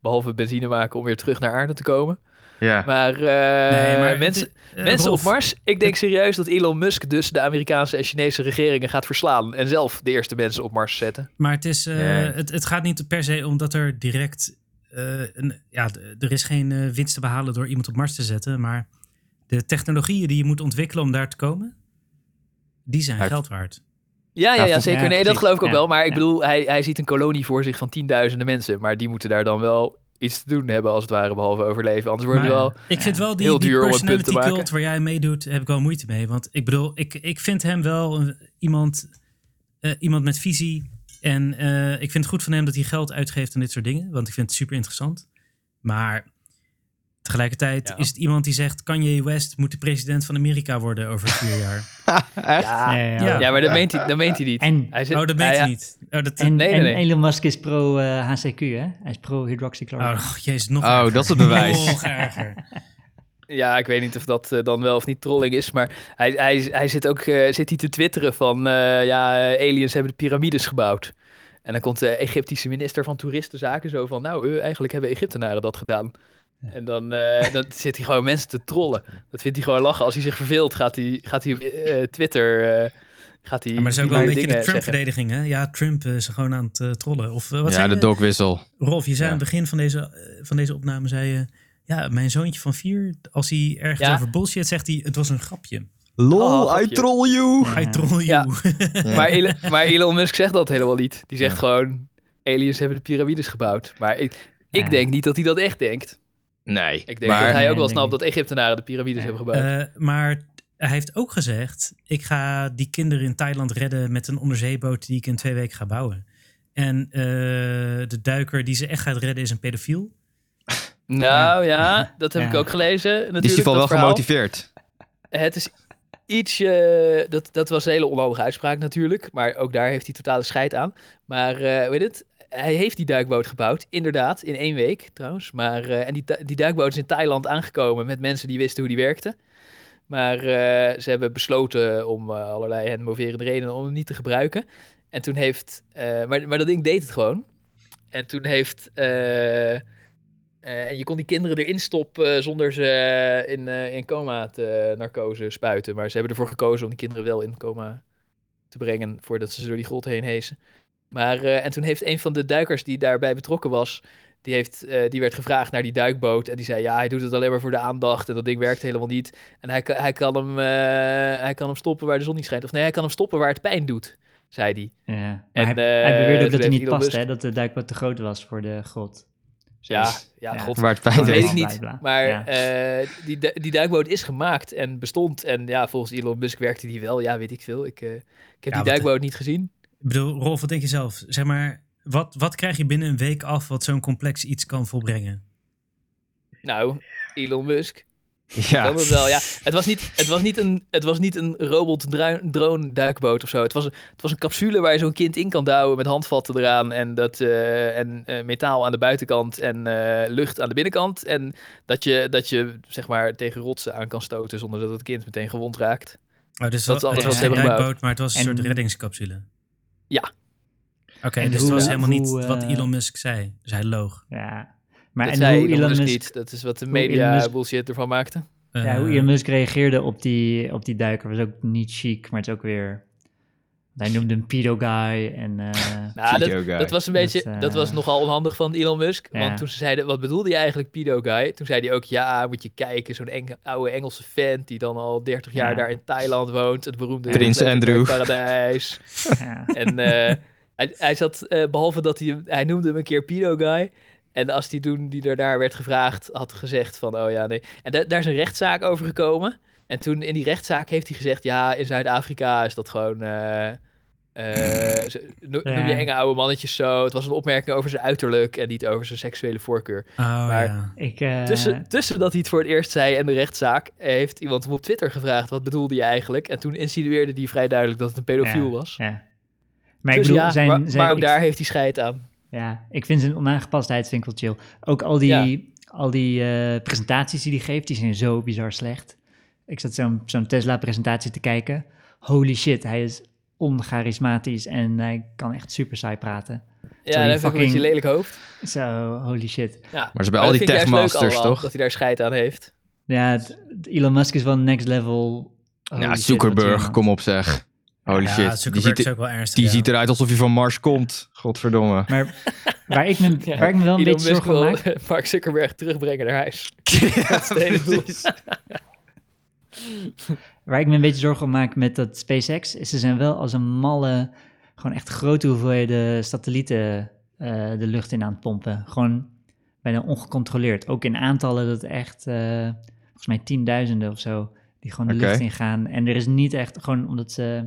C: Behalve benzine maken om weer terug naar aarde te komen.
A: Ja.
C: Maar, eh,
B: Nee, maar
C: mensen,
B: het- eh,
C: mensen
B: Rolf,
C: op Mars, ik denk serieus dat Elon Musk dus de Amerikaanse en Chinese regeringen gaat verslaan en zelf de eerste mensen op Mars zetten.
B: Maar het, is, eh,
A: Nee.
B: het, het gaat niet per se om dat er direct. eh, een, ja, d- er is geen eh, winst te behalen door iemand op Mars te zetten. Maar de technologieën die je moet ontwikkelen om daar te komen, die zijn
A: Uit-
B: geld waard.
C: Ja, ja,
A: Ja,
C: ja
A: goed.
C: zeker.
D: Ja,
C: Nee, dat
D: precies.
C: geloof ik ook
D: Ja,
C: wel. Maar ik
D: ja.
C: bedoel, hij, hij ziet een kolonie voor zich van tienduizenden mensen, maar die moeten daar dan wel iets te doen hebben als het ware, behalve overleven. Anders worden
B: Maar
C: we wel...
B: ik vind wel die,
C: heel
B: die
C: duur om het punt te
B: personality
C: maken.
B: cult waar jij meedoet, heb ik wel moeite mee. Want ik bedoel, ik, ik vind hem wel een- iemand, eh, iemand met visie. En eh, ik vind het goed van hem dat hij geld uitgeeft aan dit soort dingen. Want ik vind het super interessant. Maar tegelijkertijd
C: Ja.
B: is het iemand die zegt... Kanye West moet de president van Amerika worden over vier jaar.
A: Echt?
C: Ja,
D: Ja, ja.
B: Ja.
C: Ja, maar dat meent hij, dat meent hij niet.
D: En,
C: Hij zit- Ah,
B: Oh, dat weet
C: hij-
B: je niet. Oh, dat,
D: en,
C: nee,
D: en
C: nee.
D: Elon Musk is eh, pro-HCQ, hè? Hij is pro-hydroxychloroquine.
B: oh, jezus, nog
A: Oh,
B: erger.
A: dat is het bewijs.
B: Nog erger.
C: Ja, ik weet niet of dat eh, dan wel of niet trolling is, maar hij, hij, hij zit ook eh, zit hij te twitteren van eh, ja, eh, aliens hebben de piramides gebouwd. En dan komt de Egyptische minister van Toeristenzaken zo van, nou, eh, eigenlijk hebben Egyptenaren dat gedaan. En dan, eh, dan zit hij gewoon mensen te trollen. Dat vindt hij gewoon lachen. Als hij zich verveelt, gaat hij, gaat hij op eh, Twitter... eh, gaat hij
B: Maar dat is ook wel
C: die
B: een beetje de
C: dingen zeggen.
B: Trump-verdediging, hè? Ja, Trump eh, is gewoon aan het eh, trollen. Of eh, wat
A: ja,
B: zei
A: de
B: je?
A: dokwissel.
B: Rolf, je zei
A: Ja.
B: aan het begin van deze, eh, van deze opname, zei je... Ja, mijn zoontje van vier, als hij ergens
C: Ja.
B: over bullshit zegt, hij, het was een grapje.
A: LOL,
C: Oh,
A: I
C: grapje.
A: troll you!
B: I troll you.
C: Ja.
A: Ja.
C: Maar, Elon, maar Elon Musk zegt dat helemaal niet. Die zegt
A: Ja.
C: gewoon, aliens hebben de piramides gebouwd. Maar ik, ik
D: Ja.
C: denk niet dat hij dat echt denkt.
A: Nee,
C: Ik denk
A: maar
C: dat hij ook
D: Nee,
C: wel
D: denk
C: snapt
D: ik.
C: dat Egyptenaren de piramides
D: Ja.
C: hebben gebouwd.
B: Eh, maar hij heeft ook gezegd, ik ga die kinderen in Thailand redden met een onderzeeboot die ik in twee weken ga bouwen. En eh, de duiker die ze echt gaat redden is een pedofiel.
C: nou ja, dat heb
D: Ja.
C: ik ook gelezen. Natuurlijk,
A: is hij
C: dat
A: wel
C: verhaal.
A: gemotiveerd?
C: Het is ietsje... Dat, dat was een hele onhandige uitspraak natuurlijk. Maar ook daar heeft hij totale scheid aan. Maar eh weet het? Hij heeft die duikboot gebouwd, inderdaad, in één week trouwens. Maar, eh, en die, du- die duikboot is in Thailand aangekomen met mensen die wisten hoe die werkte. Maar eh, ze hebben besloten om eh, allerlei hen moverende redenen om hem niet te gebruiken. En toen heeft... eh, maar, maar dat ding deed het gewoon. En toen heeft... eh, eh, en je kon die kinderen erin stoppen zonder ze eh, in, eh, in coma te eh, narcose spuiten. Maar ze hebben ervoor gekozen om die kinderen wel in coma te brengen voordat ze ze door die grot heen hezen. Maar, eh, en toen heeft een van de duikers die daarbij betrokken was, die, heeft, eh, die werd gevraagd naar die duikboot. En die zei, ja, hij doet het alleen maar voor de aandacht en dat ding werkt helemaal niet. En hij, kan- hij, kan, hem, eh, hij kan hem stoppen waar de zon niet schijnt. Of nee, hij kan hem stoppen waar het pijn doet, zei hij.
D: Ja.
C: En,
D: En, hij, hij
C: eh,
D: beweerde
C: toen
D: ook dat hij
C: heeft
D: niet
C: Elon
D: past,
C: Musk-
D: hè? Dat de duikboot te groot was voor de grot.
C: Ja,
D: Dus-
C: ja,
D: ja.
C: god.
A: Waar het pijn
C: Dat weet
A: deed.
C: ik
D: Bla,
C: niet.
D: bla, bla.
C: Maar
D: Ja.
C: eh, die, du- die duikboot is gemaakt en bestond. En ja, volgens Elon Musk werkte die wel. Ja, weet ik veel. Ik, eh, ik heb
B: wat,
C: die duikboot niet gezien.
B: Ik bedoel, Rolf, wat denk je zelf? Zeg maar, wat, wat krijg je binnen een week af wat zo'n complex iets kan volbrengen?
C: Nou, Elon Musk.
A: Ja.
C: Kan dat wel, ja. Het was niet, het was niet een, het was niet een robot dru- drone duikboot of zo. Het was, een- het was een capsule waar je zo'n kind in kan douwen met handvatten eraan. En, dat, eh, en eh, metaal aan de buitenkant en eh, lucht aan de binnenkant. En dat je, dat je zeg maar tegen rotsen aan kan stoten zonder dat het kind meteen gewond raakt.
B: Oh, dus
C: Dat
B: het
C: is alles
B: was
D: wat ze
B: geen
C: hebben gebouwd.
B: duikboot, maar het was een
D: En-
B: soort reddingscapsule.
C: Ja.
B: Oké,
D: En
B: dus
D: hoe-
B: het was helemaal niet
D: hoe, eh,
B: wat Elon Musk zei. Dus hij loog.
D: Ja. Maar
C: dat
D: en
C: zei
D: hoe Elon Musk,
C: niet. Dat is wat de
D: hoe Elon
C: media
D: Musk-
C: bullshit ervan maakte.
B: Eh,
D: Ja, hoe Elon Musk reageerde op die, op die duiker was ook niet chic, maar het is ook weer... Hij noemde hem pedo guy en... eh,
C: Nou, dat,
A: Pedo guy.
C: dat was een
D: Dat,
C: beetje, dat was
D: eh,
C: nogal onhandig van Elon Musk.
D: ja.
C: Want toen ze zeiden, wat bedoelde je eigenlijk pedo guy? Toen zei hij ook, ja, moet je kijken, zo'n eng- oude Engelse vent die dan al 30 jaar
D: Ja.
C: daar in Thailand woont. Het beroemde
A: Prins
C: Pletterplek
A: Andrew.
C: Paradijs.
D: ja.
C: en eh, hij, hij zat, eh, behalve dat hij, hem- hij noemde hem een keer pedo guy. En als die toen die er daar werd gevraagd, had gezegd van, oh ja, nee. En da- daar is een rechtszaak over gekomen. En toen in die rechtszaak heeft hij gezegd, ja, in Zuid-Afrika is dat gewoon... eh, eh, ze- no- noem je
D: Ja.
C: enge oude mannetjes zo. Het was een opmerking over zijn uiterlijk en niet over zijn seksuele voorkeur.
B: Oh,
C: Maar-
B: ja.
D: Ik, eh,
C: Tussen, tussen dat hij het voor het eerst zei en de rechtszaak, eh, heeft iemand hem op Twitter gevraagd: wat bedoelde je eigenlijk? En toen insinueerde hij vrij duidelijk dat het een pedofiel
D: ja,
C: was.
D: Ja. Maar ik
C: Dus
D: bedoel,
C: ja,
D: zijn,
C: maar,
D: zijn,
C: maar ook
D: ik-
C: daar heeft hij scheid aan.
D: Ja, ik vind zijn onaangepastheid vind ik wel chill. Ook al die, al die eh, presentaties die hij geeft, die zijn zo bizar slecht. Ik zat zo'n zo'n Tesla-presentatie te kijken. Holy shit, hij is oncharismatisch en hij kan echt super saai praten.
C: Ja, dan heeft hij ook een beetje
D: fucking-
C: een lelijk hoofd.
D: Zo, holy shit.
C: Ja.
A: Maar ze bij al
C: dat
A: die
C: vind ik juist leuk
A: techmasters,
C: allemaal,
A: toch?
C: Dat hij daar scheid aan heeft.
D: Ja, het- het- Elon Musk is wel next level.
A: ja,
D: Holy shit, wat is
A: Zuckerberg,
D: er,
A: kom op zeg. Holy
B: ja,
A: Oh, shit. Die
B: Zuckerberg
A: ziet,
B: is
A: er-
B: ook wel ernstig.
A: die
B: ja.
A: ziet eruit alsof hij van Mars komt. Godverdomme.
D: man. Maar waar ik me,
C: Ja,
D: waar ik me wel een
C: Elon
D: beetje
C: Musk
D: zorgen om maak...
C: wil Mark Zuckerberg terugbrengen naar huis.
A: Ja,
C: het hele doel.
A: precies.
D: Waar ik me een beetje zorgen om maak met dat SpaceX, is ze zijn wel als een malle, gewoon echt grote hoeveelheden satellieten eh, de lucht in aan het pompen. Gewoon bijna ongecontroleerd. Ook in aantallen dat echt, eh, volgens mij tienduizenden of zo, die gewoon de
A: Oké.
D: lucht in gaan. En er is niet echt, gewoon omdat ze,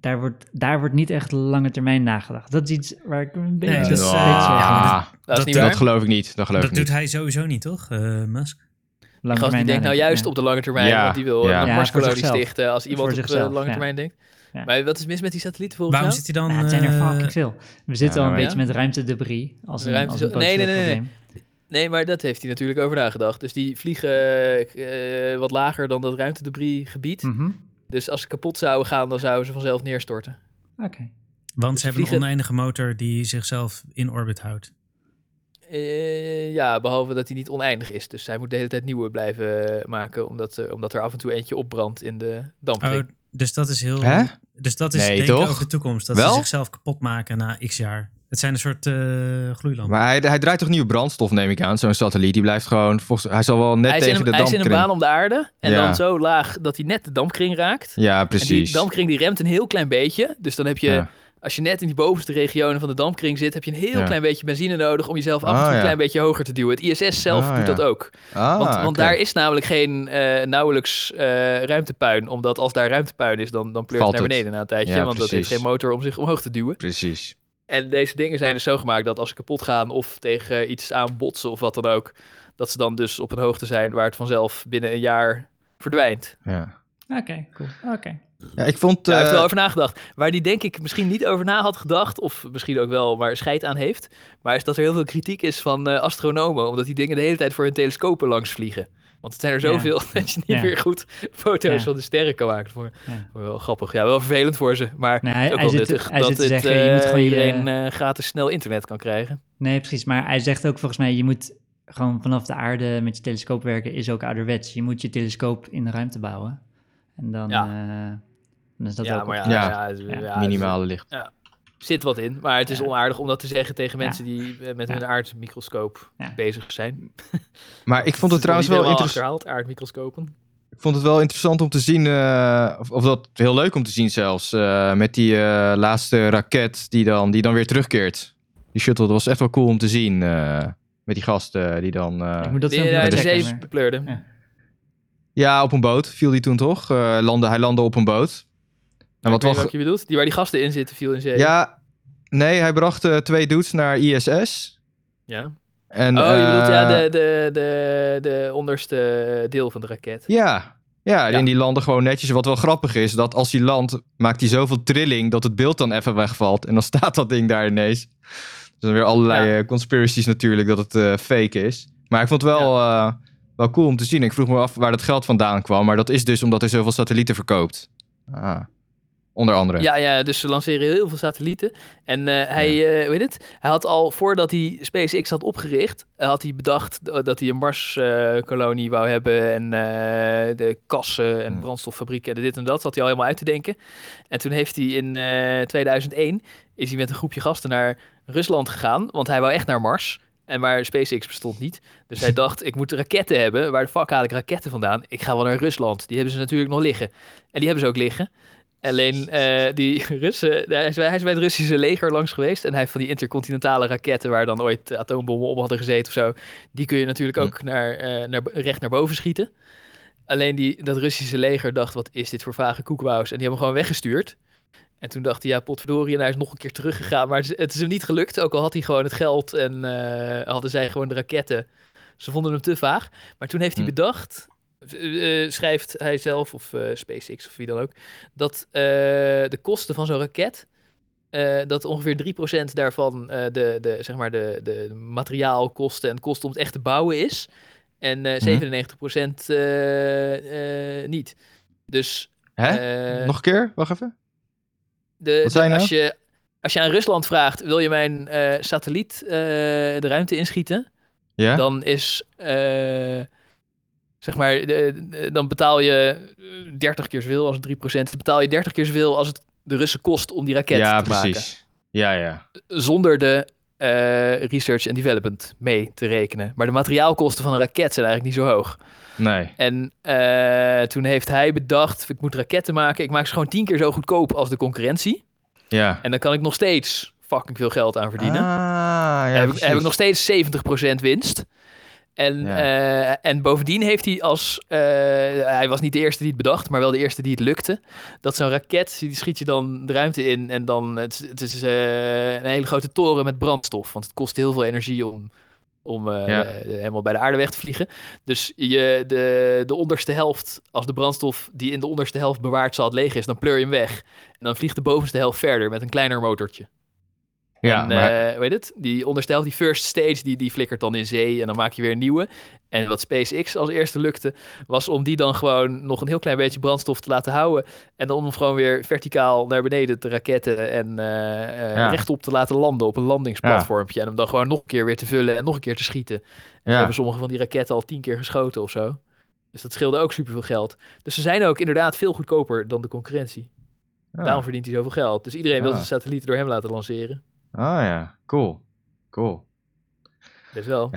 D: daar wordt, daar wordt niet echt lange termijn nagedacht. Dat is iets waar ik me een beetje
B: Nee, dat is, eh,
D: een beetje zorgen om maak.
A: Ja,
C: Dat is
B: Dat-
C: niet
A: dat
C: waar.
A: geloof ik niet. Dat geloof
B: Dat
A: ik
B: doet
A: niet.
B: hij sowieso niet, toch, eh, Musk?
D: Lange
C: Gast die
D: termijn
C: denkt nou
D: nadenken,
C: juist
D: ja.
C: op de lange termijn,
A: Ja,
C: want die
A: ja.
C: wil een
D: Ja, voor
C: Mars-kolonie
D: zichzelf.
C: stichten als iemand
D: Voor
C: op de
D: zichzelf,
C: lange
D: ja.
C: termijn denkt.
D: Ja.
C: Maar wat is mis met die satelliet volgens
B: Waarom
C: jou?
B: zit hij dan...
D: Ja, het zijn er
B: eh,
D: fucking veel. We zitten
A: ja,
D: al een
A: maar-
D: beetje met ruimtedebris als een,
C: Ruimte-
D: als een
C: nee, nee,
D: potentieel
C: nee, nee.
D: probleem.
C: Nee, maar dat heeft hij natuurlijk over nagedacht. Dus die vliegen eh, eh, wat lager dan dat ruimtedebris gebied.
D: Mhm.
C: Dus als ze kapot zouden gaan, dan zouden ze vanzelf neerstorten.
D: Oké.
B: Want ze hebben een
C: vliegen-
B: oneindige motor die zichzelf in orbit houdt.
C: Eh, ja, behalve dat hij niet oneindig is. Dus hij moet de hele tijd nieuwe blijven eh, maken, omdat, eh, omdat er af en toe eentje opbrandt in de dampkring.
B: Oh, dus dat is heel...
A: Hè?
B: Dus dat is
A: Nee,
B: denken
A: toch?
B: over de toekomst. Dat
A: Wel?
B: ze zichzelf kapot maken na x jaar. Het zijn een soort eh gloeilampen.
A: Maar hij, hij draait toch nieuwe brandstof, neem ik aan. Zo'n satelliet, die blijft gewoon... Volgens, hij zal wel net
C: hij, is in
A: tegen
C: een,
A: de
C: hij is in een baan
A: dampkring...
C: om de aarde en
A: Ja.
C: dan zo laag dat hij net de dampkring raakt.
A: Ja,
C: En die
A: precies.
C: dampkring die remt een heel klein beetje. Dus dan heb je,
A: Ja.
C: als je net in die bovenste regionen van de dampkring zit, heb je een heel
A: Ja.
C: klein beetje benzine nodig om jezelf af en
A: Ah,
C: toe een
A: ja.
C: klein beetje hoger te duwen. Het ISS zelf
A: Ah,
C: doet
A: ja.
C: dat ook.
A: Ah,
C: Want, want
A: oké.
C: daar is namelijk geen eh, nauwelijks eh, ruimtepuin. Omdat als daar ruimtepuin is, dan, dan pleurt het
A: Valt
C: naar
A: het.
C: beneden na een tijdje.
A: Ja,
C: want dat heeft
A: precies.
C: geen motor om zich omhoog te duwen.
A: Precies.
C: En deze dingen zijn dus zo gemaakt dat als ze kapot gaan of tegen eh, iets aanbotsen of wat dan ook. Dat ze dan dus op een hoogte zijn waar het vanzelf binnen een jaar verdwijnt.
A: Ja.
D: Oké, cool. Oké.
A: Ja, ik vond...
C: Daar heeft
A: eh,
C: hij wel over nagedacht. Waar die denk ik misschien niet over na had gedacht. Of misschien ook wel, maar scheid aan heeft. Maar is dat er heel veel kritiek is van eh, astronomen. Omdat die dingen de hele tijd voor hun telescopen langs vliegen. Want het zijn er
D: Ja.
C: zoveel dat je niet
D: Ja.
C: meer goed foto's
D: Ja.
C: van de sterren kan maken. Voor,
D: Ja.
C: Wel grappig. Ja, wel vervelend voor ze. Maar
D: Nee,
C: het
D: hij,
C: is ook
D: hij
C: wel
D: zit,
C: nuttig
D: hij
C: dat
D: zit te
C: het,
D: zeggen, je moet
C: eh,
D: gewoon je-
C: iedereen eh, gratis snel internet kan krijgen.
D: Nee, precies. Maar hij zegt ook volgens mij, je moet gewoon vanaf de aarde met je telescoop werken, is ook ouderwets. Je moet je telescoop in de ruimte bouwen. En dan,
C: Ja.
D: eh, dan is dat
C: ja,
D: ook...
C: maar ja,
A: Ja.
C: ja, het-
D: Ja,
C: ja,
A: minimale licht.
C: Er zit wat in, maar het is
D: Ja.
C: onaardig om dat te zeggen tegen
D: Ja.
C: mensen die eh, met
D: Ja.
C: hun aardmicroscoop
D: Ja.
C: bezig zijn.
A: Maar ik vond het trouwens wel
C: interessant.
A: interessant.
C: achterhaald, aardmicroscopen.
A: Ik vond het wel interessant om te zien, eh, of, of dat heel leuk om te zien zelfs, eh, met die eh, laatste raket die dan, die dan weer terugkeert. Die shuttle, dat was echt wel cool om te zien. eh, met die gasten die dan... eh,
D: Ik moet dat
C: Die
D: filmpje
C: uit de
D: nog checken,
C: zee
D: maar-
C: pleurden.
D: Ja.
A: Ja, op een boot viel die toen toch? Eh, landde, hij landde op een boot. En
C: Ik
A: wat
C: weet
A: wel...
C: niet wat je bedoelt? Die waar die gasten in zitten viel in
A: ge-
C: zee. Oh,
A: Ja, nee, hij bracht eh, twee dudes naar ISS.
C: Ja.
A: En,
C: oh, je bedoelt ja,
A: eh,
C: de, de, de, de onderste deel van de raket.
A: Ja. Ja,
C: Ja.
A: en die landen gewoon netjes. Wat wel grappig is, dat als die landt, maakt hij zoveel trilling dat het beeld dan even wegvalt. En dan staat dat ding daar ineens. Dus dan weer allerlei eh, conspiracies natuurlijk dat het eh, fake is. Maar ik vond het wel, eh, wel cool om te zien. Ik vroeg me af waar dat geld vandaan kwam. Maar dat is dus omdat hij zoveel satellieten verkoopt. Ah, onder andere.
C: Ja, ja, dus ze lanceren heel veel satellieten. En eh, hij, eh, weet het, hij had al voordat hij SpaceX had opgericht, eh, had hij bedacht eh, dat hij een Mars-kolonie wou hebben en eh, de kassen en
A: Hmm.
C: brandstoffabrieken en dit en dat. had hij al helemaal uit te denken. En toen heeft hij in eh, 2001 is hij met een groepje gasten naar Rusland gegaan, want hij wou echt naar Mars. En maar SpaceX bestond niet. Dus hij dacht, ik moet raketten hebben. Waar de fuck haal ik raketten vandaan? Ik ga wel naar Rusland. Die hebben ze natuurlijk nog liggen. En die hebben ze ook liggen. Alleen eh, die Russen, hij is, bij, hij is bij het Russische leger langs geweest. En hij heeft van die intercontinentale raketten waar dan ooit atoombommen op hadden gezeten of zo. Die kun je natuurlijk ook naar, eh, naar, recht naar boven schieten. Alleen die, dat Russische leger dacht, wat is dit voor vage koekwous? En die hebben hem gewoon weggestuurd. En toen dacht hij, ja, potverdorie. En hij is nog een keer teruggegaan. Maar het is, het is hem niet gelukt. Ook al had hij gewoon het geld en eh, hadden zij gewoon de raketten. Ze vonden hem te vaag. Maar toen heeft hij
A: Hm.
C: bedacht, eh, eh, schrijft hij zelf of eh, SpaceX of wie dan ook dat eh, de kosten van zo'n raket, eh, dat ongeveer 3% daarvan eh, de, de, zeg maar de, de materiaalkosten en de kosten om het echt te bouwen is. En
A: Mhm.
C: eh, 97% eh, eh, niet. Dus
A: Hè?
C: eh,
A: Nog een keer? Wacht even.
C: de,
A: Wat zei je
C: de-
A: nou?
C: als, je, als je aan Rusland vraagt, wil je mijn eh, satelliet eh, de ruimte inschieten?
A: Ja?
C: Dan is, eh, zeg maar, de- de- dan betaal je eh, 30 keer zoveel als 3%. Dan betaal je 30 keer zoveel als het de Russen kost om die raket
A: ja,
C: te maken.
A: precies. Ja, ja.
C: Zonder de eh, research en development mee te rekenen. Maar de materiaalkosten van een raket zijn eigenlijk niet zo hoog.
A: Nee.
C: En eh, toen heeft hij bedacht, ik moet raketten maken. Ik maak ze gewoon tien keer zo goedkoop als de concurrentie.
A: Ja.
C: En dan kan ik nog steeds fucking veel geld aan verdienen.
A: Ah, ja,
C: heb, ik,
A: precies.
C: heb ik nog steeds 70% winst. En,
A: Ja.
C: eh, en bovendien heeft hij als... eh, hij was niet de eerste die het bedacht, maar wel de eerste die het lukte. Dat zo'n raket, die schiet je dan de ruimte in. En dan, het, is- het is eh, een hele grote toren met brandstof. Want het kost heel veel energie om, om eh,
A: Ja.
C: eh, helemaal bij de aarde weg te vliegen. Dus je, de, de onderste helft, als de brandstof die in de onderste helft bewaard zal leeg is, dan pleur je hem weg. En dan vliegt de bovenste helft verder met een kleiner motortje.
A: Ja,
C: En,
A: maar-
C: eh, weet het? Die onderstelt, die first stage, die, die flikkert dan in zee en dan maak je weer een nieuwe. En wat SpaceX als eerste lukte, was om die dan gewoon nog een heel klein beetje brandstof te laten houden. En dan om gewoon weer verticaal naar beneden te raketten en eh, eh,
A: Ja.
C: rechtop te laten landen op een landingsplatformpje. En hem dan gewoon nog een keer weer te vullen en nog een keer te schieten. En ze
A: ja.
C: hebben sommige van die raketten al tien keer geschoten of zo. Dus dat scheelde ook superveel geld. Dus ze zijn ook inderdaad veel goedkoper dan de concurrentie.
A: Ja.
C: Daarom verdient hij zoveel geld. Dus iedereen wil
A: Ah.
C: zijn satellieten door hem laten lanceren.
A: Ah ja, cool. Cool.
C: Best wel.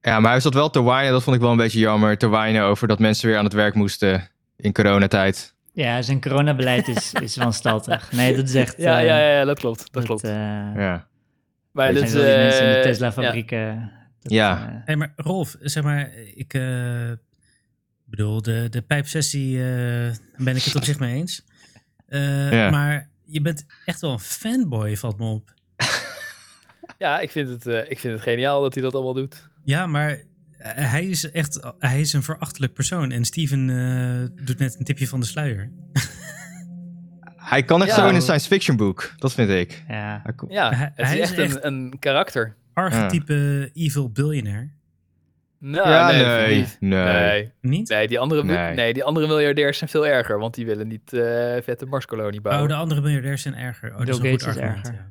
A: Ja, maar hij zat wel te whinen, dat vond ik wel een beetje jammer. Te whinen over dat mensen weer aan het werk moesten in coronatijd.
D: Ja, zijn coronabeleid is, is wanstaltig. Nee, dat is echt...
C: Ja,
D: eh,
C: ja, ja, ja, dat klopt. Dat
D: dat,
C: klopt.
D: eh,
A: Ja.
C: maar
D: er
C: dat
D: zijn
C: is.
D: wel die mensen in de
C: eh, ja.
D: Tesla-fabrieken. dat,
A: Ja.
D: eh,
B: Hey, maar Rolf, zeg maar, ik eh, bedoel, de, de pijpsessie eh, daar ben ik het op zich mee eens. Eh,
A: Ja.
B: Maar je bent echt wel een fanboy, valt me op.
C: Ja, ik vind, het, eh, ik vind het geniaal dat hij dat allemaal doet.
B: Ja, maar eh, hij is echt, hij is een verachtelijk persoon. En Steven eh, doet net een tipje van de sluier.
A: Hij kan echt
C: Ja.
A: zo in een science fiction boek, dat vind ik.
D: ja.
A: Hij ko-
C: Ja,
B: Hij-
C: het
B: hij
C: is
B: is
C: echt,
B: echt-
C: Een, een karakter.
B: Archetype evil billionaire.
C: Nou,
A: ja, nee,
C: nee, vind ik
A: nee,
C: niet. Nee.
B: Niet?
C: Nee, die andere, mil- nee.
A: Nee.
C: die andere miljardairs zijn veel erger, want die willen niet eh, vette Marskolonie
B: Oh,
C: bouwen.
B: de andere miljardairs zijn erger. Oh, dat
D: Bill
B: is een goed
D: Gates is
B: argument.
D: erger.
B: ja.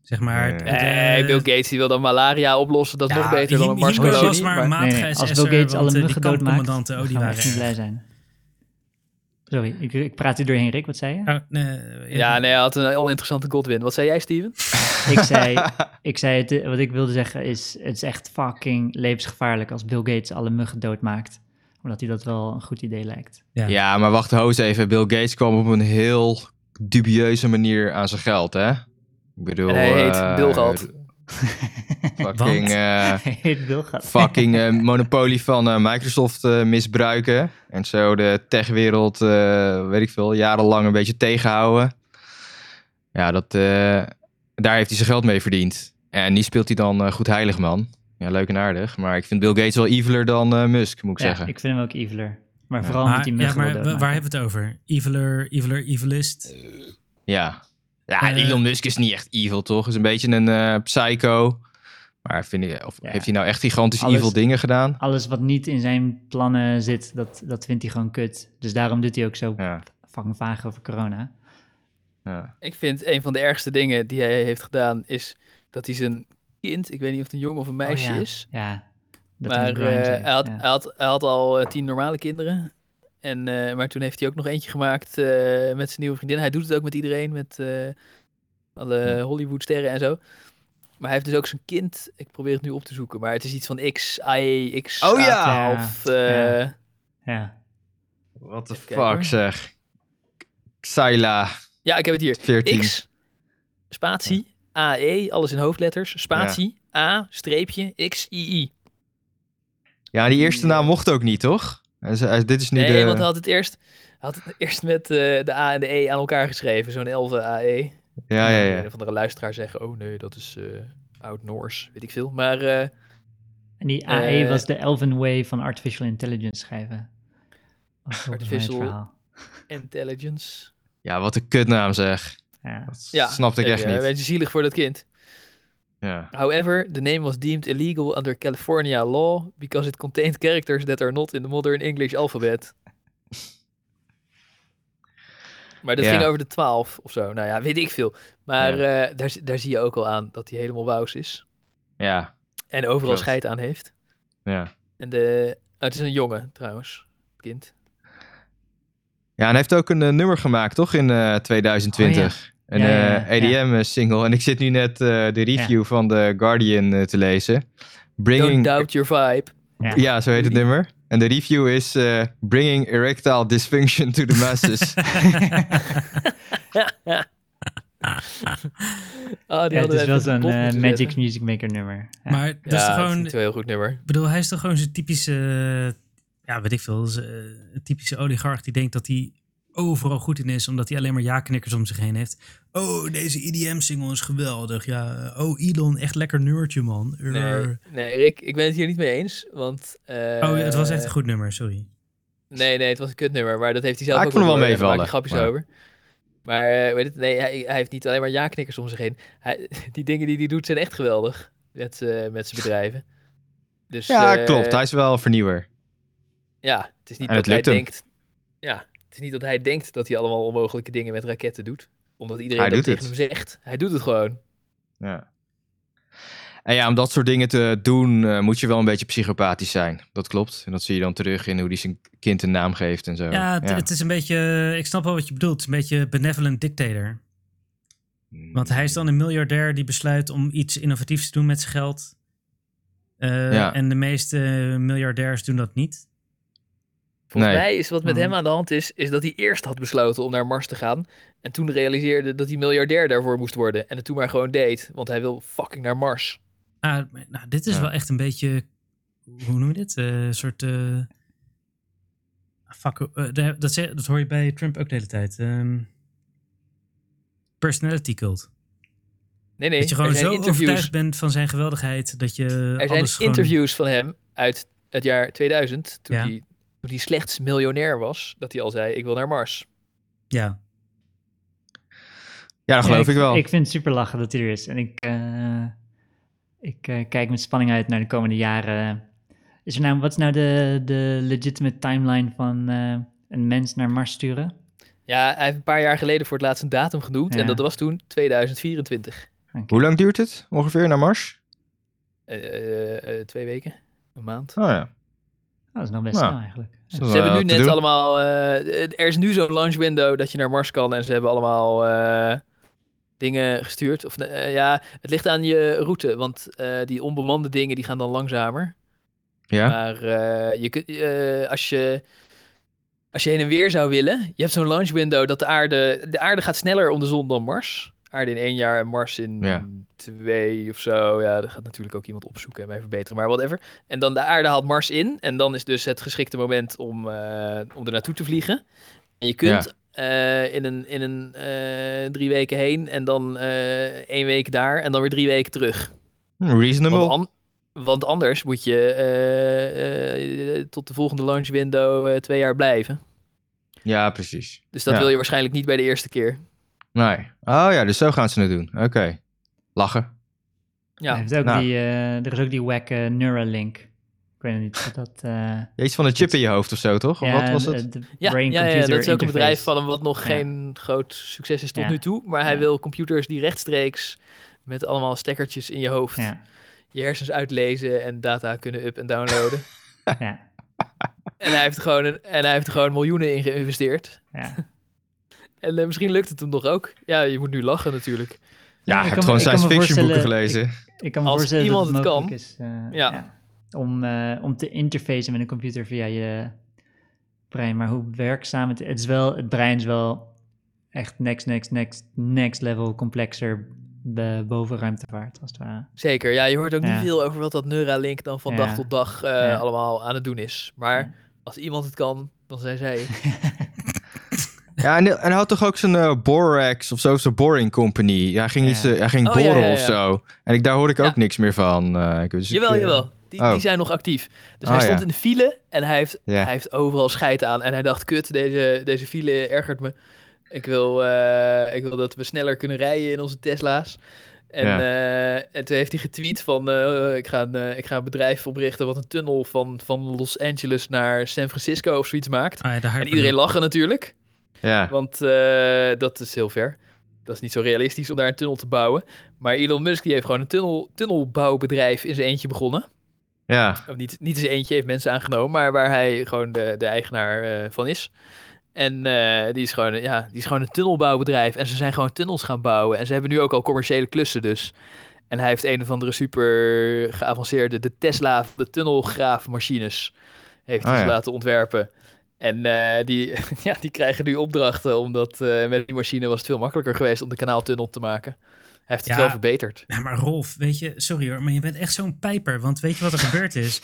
B: Zeg maar...
A: Nee.
B: de-
C: nee, Bill Gates die wil dan malaria oplossen, dat is nog beter dan een
B: Him- Himmler
C: Marskolonie.
B: was maar een
C: maar-
D: Nee,
B: matige
D: nee, Als Bill
B: SS'er,
D: Gates
B: want,
D: alle
B: eh, die
D: muggen doodmaakt, dan
B: kampcommandanten,
D: gaan
B: oh, die
D: we echt niet
B: waren
D: blij zijn. Sorry, ik, ik praat hier doorheen, Rick. Wat zei je?
B: Oh, nee,
C: Ja, nee, hij had een oninteressante Godwin. Wat zei jij, Steven?
D: Ik zei, ik zei het, eh, wat ik wilde zeggen is, het is echt fucking levensgevaarlijk als Bill Gates alle muggen doodmaakt. Omdat hij dat wel een goed idee lijkt.
A: Ja, maar wacht hoos even. Bill Gates kwam op een heel dubieuze manier aan zijn geld, hè? Ik bedoel...
C: En hij heet
A: eh,
C: Bill Galt.
A: Fucking...
B: Want?
A: eh,
D: Hij heet Bill Gates.
A: fucking eh, monopolie van eh, Microsoft eh, misbruiken. En zo de techwereld, eh, weet ik veel, jarenlang een beetje tegenhouden. Ja, dat, eh, daar heeft hij zijn geld mee verdiend. En die speelt hij dan eh, goed heilig, man. Ja, leuk en aardig. Maar ik vind Bill Gates wel eviler dan eh, Musk, moet ik
D: Ja,
A: zeggen.
D: ik vind hem ook eviler. Maar
A: Ja.
D: vooral omdat
B: Maar,
D: hij
B: ja,
D: muggen wil
B: maar wa-
D: doodmaken.
B: waar hebben we het over? Eviler, eviler, evilist.
C: Eh,
A: Ja. Ja,
B: Eh,
A: Elon Musk is niet echt evil, toch? Is een beetje een eh, psycho. Maar vind ik, of
D: Ja.
A: heeft hij nou echt gigantisch
D: Alles-
A: evil dingen gedaan?
D: Alles wat niet in zijn plannen zit, dat, dat vindt hij gewoon kut. Dus daarom doet hij ook zo
A: Ja.
D: fucking vaag over corona.
A: ja.
C: Ik vind een van de ergste dingen die hij heeft gedaan, is dat hij zijn kind, ik weet niet of het een jongen of een meisje
D: ja.
C: is,
D: Ja. Dat hij
C: maar
D: een grind
C: eh,
D: heeft,
C: hij, had,
D: ja.
C: hij, had, hij had al eh, tien normale kinderen. En, eh, maar toen heeft hij ook nog eentje gemaakt eh, met zijn nieuwe vriendin. Hij doet het ook met iedereen, met eh, alle Hollywoodsterren en zo. Maar hij heeft dus ook zijn kind. Ik probeer het nu op te zoeken, maar het is iets van X, I, X.
A: Oh ja!
C: A12, eh,
D: Ja.
A: What the
C: Even kijken, hoor.
A: fuck, zeg. Xyla,
C: ja, ik heb het hier.
A: 14.
C: X, spatie, AE, alles in hoofdletters, spatie, A, streepje, X, I, I.
A: Ja, die eerste naam mocht ook niet, toch? Hij is- hij is- dit is nu
C: Nee,
A: de...
C: want hij had het eerst, hij had het eerst met eh, de A en de E aan elkaar geschreven, zo'n E. 11 AE.
A: Ja, ja, ja.
C: Nou, Een of andere luisteraar zeggen, oh nee, dat is eh, oud-Noors, weet ik veel. Maar eh,
D: En die AE
C: Eh,
D: was de Elven Way van Artificial Intelligence schrijven. Dat is volgens mij het
C: Artificial-
D: verhaal.
C: intelligence.
A: Ja, wat een kutnaam, zeg.
D: Ja.
A: Dat
C: Ja,
A: snapte ik
C: eh,
A: echt
C: Een
A: niet.
C: beetje zielig voor dat kind.
A: Ja.
C: However, the name was deemed illegal under California law because it contained characters that are not in the modern English alphabet. Maar dat
A: Ja.
C: ging over de 12 of zo. Nou ja, weet ik veel. Maar eh, daar, zi- daar zie je ook al aan dat hij helemaal wauws is.
A: Ja.
C: En overal
A: Klopt.
C: scheid aan heeft.
A: Ja.
C: En de... oh, het is een jongen trouwens. Kind.
A: Ja, en hij heeft ook een eh, nummer gemaakt, toch? In eh,
C: Oh,
A: 2020. Een
D: Ja, ja, ja,
A: eh, EDM eh, single. En ik zit nu net eh, de review van The Guardian eh, te lezen.
C: Don't
A: Bringing.
C: doubt your vibe.
A: Ja, zo heet het nummer. En de review is eh, Bringing Erectile Dysfunction to the Masses.
C: Ah, die
D: Ja, het
C: hadden we
D: is wel
C: even op
D: zo'n
C: de bot
D: eh,
C: moeten
D: Magic
C: zetten.
D: Music Maker nummer. Ja.
B: Maar dat
C: Ja,
B: is
C: dat
B: toch
C: is
B: gewoon...
C: niet wel een heel goed nummer.
B: Ik bedoel, hij is toch gewoon zo'n typische... eh, Ja, weet ik veel. z- eh, Een typische oligarch die denkt dat hij overal goed in is... omdat hij alleen maar ja-knikkers om zich heen heeft. Oh, deze EDM-single is geweldig. Ja, oh, Elon, echt lekker nummertje, man. Urr.
C: Nee, nee, Rick, ik ben het hier niet mee eens. Want,
B: Oh, het was echt
C: eh,
B: een goed nummer, sorry.
C: Nee, nee, het was een kutnummer, maar dat heeft hij zelf
A: Ah, ik
C: ook
A: vond hem wel
C: door en daar maakt
A: meevallen,
C: hij grapjes over. Maar eh, weet het, nee, hij, hij heeft niet alleen maar ja-knikkers om zich heen. Hij, die dingen die hij doet zijn echt geweldig met, eh, met zijn bedrijven. Dus,
A: ja,
C: eh,
A: klopt. Hij is wel een vernieuwer.
C: Ja, het is niet
A: En
C: dat
A: het
C: hij
A: lukt hem.
C: denkt... Ja, het is niet dat hij denkt dat hij allemaal onmogelijke dingen met raketten doet. Omdat iedereen
A: Hij
C: dat
A: doet
C: tegen hem zegt. Hij doet het gewoon.
A: Ja. En ja, om dat soort dingen te doen eh, moet je wel een beetje psychopathisch zijn. Dat klopt. En dat zie je dan terug in hoe hij zijn kind een naam geeft en zo.
B: Ja, het, het is een beetje... Ik snap wel wat je bedoelt. Het is Een beetje benevolent dictator. Want hij is dan een miljardair die besluit om iets innovatiefs te doen met zijn geld. Eh,
A: Ja.
B: En de meeste miljardairs doen dat niet.
C: Volgens
A: Nee.
C: mij is wat met
D: Mhm.
C: hem aan de hand is, is dat hij eerst had besloten om naar Mars te gaan. En toen realiseerde dat hij miljardair daarvoor moest worden. En het toen maar gewoon deed, want hij wil fucking naar Mars.
B: Ah, maar, nou, dit is
A: Ja.
B: wel echt een beetje, hoe noem je dit? Eh, Een soort. eh, fuck, eh, daar- dat, ze- dat hoor je bij Trump ook de hele tijd. Ehm, personality cult.
C: Nee, nee.
B: dat je gewoon
C: er zijn
B: zo
C: interviews,
B: overtuigd bent van zijn geweldigheid dat je
C: er zijn
B: alles gewoon-
C: interviews van hem uit het jaar 2000, toen,
B: Ja.
C: hij, toen hij slechts miljonair was, dat hij al zei, ik wil naar Mars.
B: Ja,
A: Ja, dat
D: Ja,
A: geloof ik, wel.
D: Ik vind het super lachen dat hij er is. En ik, eh, ik eh, kijk met spanning uit naar de komende jaren. Is er nou, wat is nou de, de legitimate timeline van eh, een mens naar Mars sturen?
C: Ja, hij heeft een paar jaar geleden voor het laatst een datum genoemd.
D: Ja.
C: En dat was toen 2024.
D: Oké.
A: Hoe lang duurt het ongeveer naar Mars?
C: Eh, eh, eh, twee weken, een maand.
A: Oh ja.
D: Oh, dat is nog best
A: Nou,
D: snel eigenlijk.
A: Is
D: Ja.
A: dat
C: Ze hebben
A: wel
C: nu
A: te
C: net
A: doen?
C: allemaal. eh, er is nu zo'n launch window dat je naar Mars kan en ze hebben allemaal eh, dingen gestuurd. Of eh, ja, het ligt aan je route, want eh, die onbemande dingen die gaan dan langzamer.
A: Ja?
C: Maar eh, je kunt, eh, als je als je heen en weer zou willen, je hebt zo'n launch window dat de aarde de aarde gaat sneller om de zon dan Mars. Aarde in één jaar en Mars in
A: Ja.
C: twee of zo. Ja, dat gaat natuurlijk ook iemand opzoeken en mij verbeteren, maar whatever. En dan de aarde haalt Mars in. En dan is dus het geschikte moment om, eh, om er naartoe te vliegen. En je kunt eh, in een, in een eh, drie weken heen en dan eh, één week daar en dan weer drie weken terug.
A: Hm, Reasonable.
C: Want, an- want anders moet je eh, eh, tot de volgende launch window eh, twee jaar blijven.
A: Ja, precies.
C: Dus dat
A: Ja.
C: wil je waarschijnlijk niet bij de eerste keer.
A: Nee. Oh ja, dus zo gaan ze het doen. Oké. Lachen.
C: Ja,
D: Hij heeft ook
A: Nou.
D: die, eh, er is ook die wacke Neuralink. Ik weet niet of dat... eh,
A: Je iets van een chip in je hoofd of zo, toch? Of
D: ja,
A: wat was
D: de-
A: het?
D: de
C: ja,
D: brain
C: ja, ja, dat is ook
D: computer
C: een bedrijf
D: interface.
C: van hem wat nog
D: Ja.
C: geen groot succes is tot
D: Ja.
C: nu toe. Maar hij
D: Ja.
C: wil computers die rechtstreeks met allemaal stekkertjes in je hoofd
D: Ja,
C: je hersens uitlezen en data kunnen up- en downloaden.
D: ja,
C: en, hij heeft er gewoon een, en hij heeft er gewoon miljoenen in geïnvesteerd.
D: ja.
C: En eh, misschien lukt het hem nog ook. Ja, je moet nu lachen natuurlijk.
A: Ja, ik heb
D: ik kan me-
A: gewoon
D: ik kan
A: science
D: me
A: fiction boeken
D: voorstellen-
A: gelezen.
D: Ik kan me
C: Als
D: voorstellen dat
C: iemand
D: het
C: het
D: mogelijk
C: kan.
D: is eh,
C: Ja.
D: om, eh, om te interfacen met een computer via je brein. Maar hoe werkzaam het, het is wel, het brein is wel echt next, next, next, next level complexer be- boven ruimtevaart, als het ware.
C: Zeker, ja, je hoort ook
D: Ja.
C: niet veel over wat dat Neuralink dan van
D: Ja.
C: dag tot dag eh,
D: Ja.
C: allemaal aan het doen is. Maar
D: Ja.
C: als iemand het kan, dan zijn zij. het.
A: Ja, en, en hij had toch ook zijn eh, Borax of zo, zijn Boring Company. Ja, hij ging,
D: Ja.
A: iets, eh, hij ging
C: Oh, ja,
A: boren
C: ja, ja.
A: of zo. En ik, daar hoorde ik
C: Ja.
A: ook niks meer van. eh, ik- dus ik,
C: jawel,
A: eh,
C: jawel. Die,
A: oh.
C: die zijn nog actief. Dus
A: Oh,
C: hij stond
A: ja.
C: in de file en hij heeft,
A: Ja.
C: hij heeft overal scheid aan. En hij dacht, kut, deze, deze file ergert me. Ik wil, eh, ik wil dat we sneller kunnen rijden in onze Tesla's. En,
A: Ja.
C: eh, en toen heeft hij getweet van, eh, ik, ga een, eh, ik ga een bedrijf oprichten wat een tunnel van, van Los Angeles naar San Francisco of zoiets maakt.
B: Ah ja, de
C: En
B: hyperloop.
C: iedereen lachen natuurlijk,
A: Ja.
C: want eh, dat is heel ver. Dat is niet zo realistisch om daar een tunnel te bouwen. Maar Elon Musk die heeft gewoon een tunnel, tunnelbouwbedrijf in zijn eentje begonnen.
A: Ja.
C: Of niet, niet eens eentje heeft mensen aangenomen, maar waar hij gewoon de, de eigenaar eh, van is. En eh, die, is gewoon, eh, ja, die is gewoon een tunnelbouwbedrijf. En ze zijn gewoon tunnels gaan bouwen. En ze hebben nu ook al commerciële klussen dus. En hij heeft een of andere super geavanceerde, de Tesla, de tunnelgraafmachines, heeft hij
A: Oh ja.
C: laten ontwerpen. En eh, die, ja, die krijgen nu opdrachten, omdat eh, met die machine was het veel makkelijker geweest om de kanaaltunnel te maken. Hij heeft het
B: Ja.
C: wel verbeterd.
B: Ja, maar Rolf, weet je, sorry hoor, maar je bent echt zo'n pijper. Want weet je wat er gebeurd is?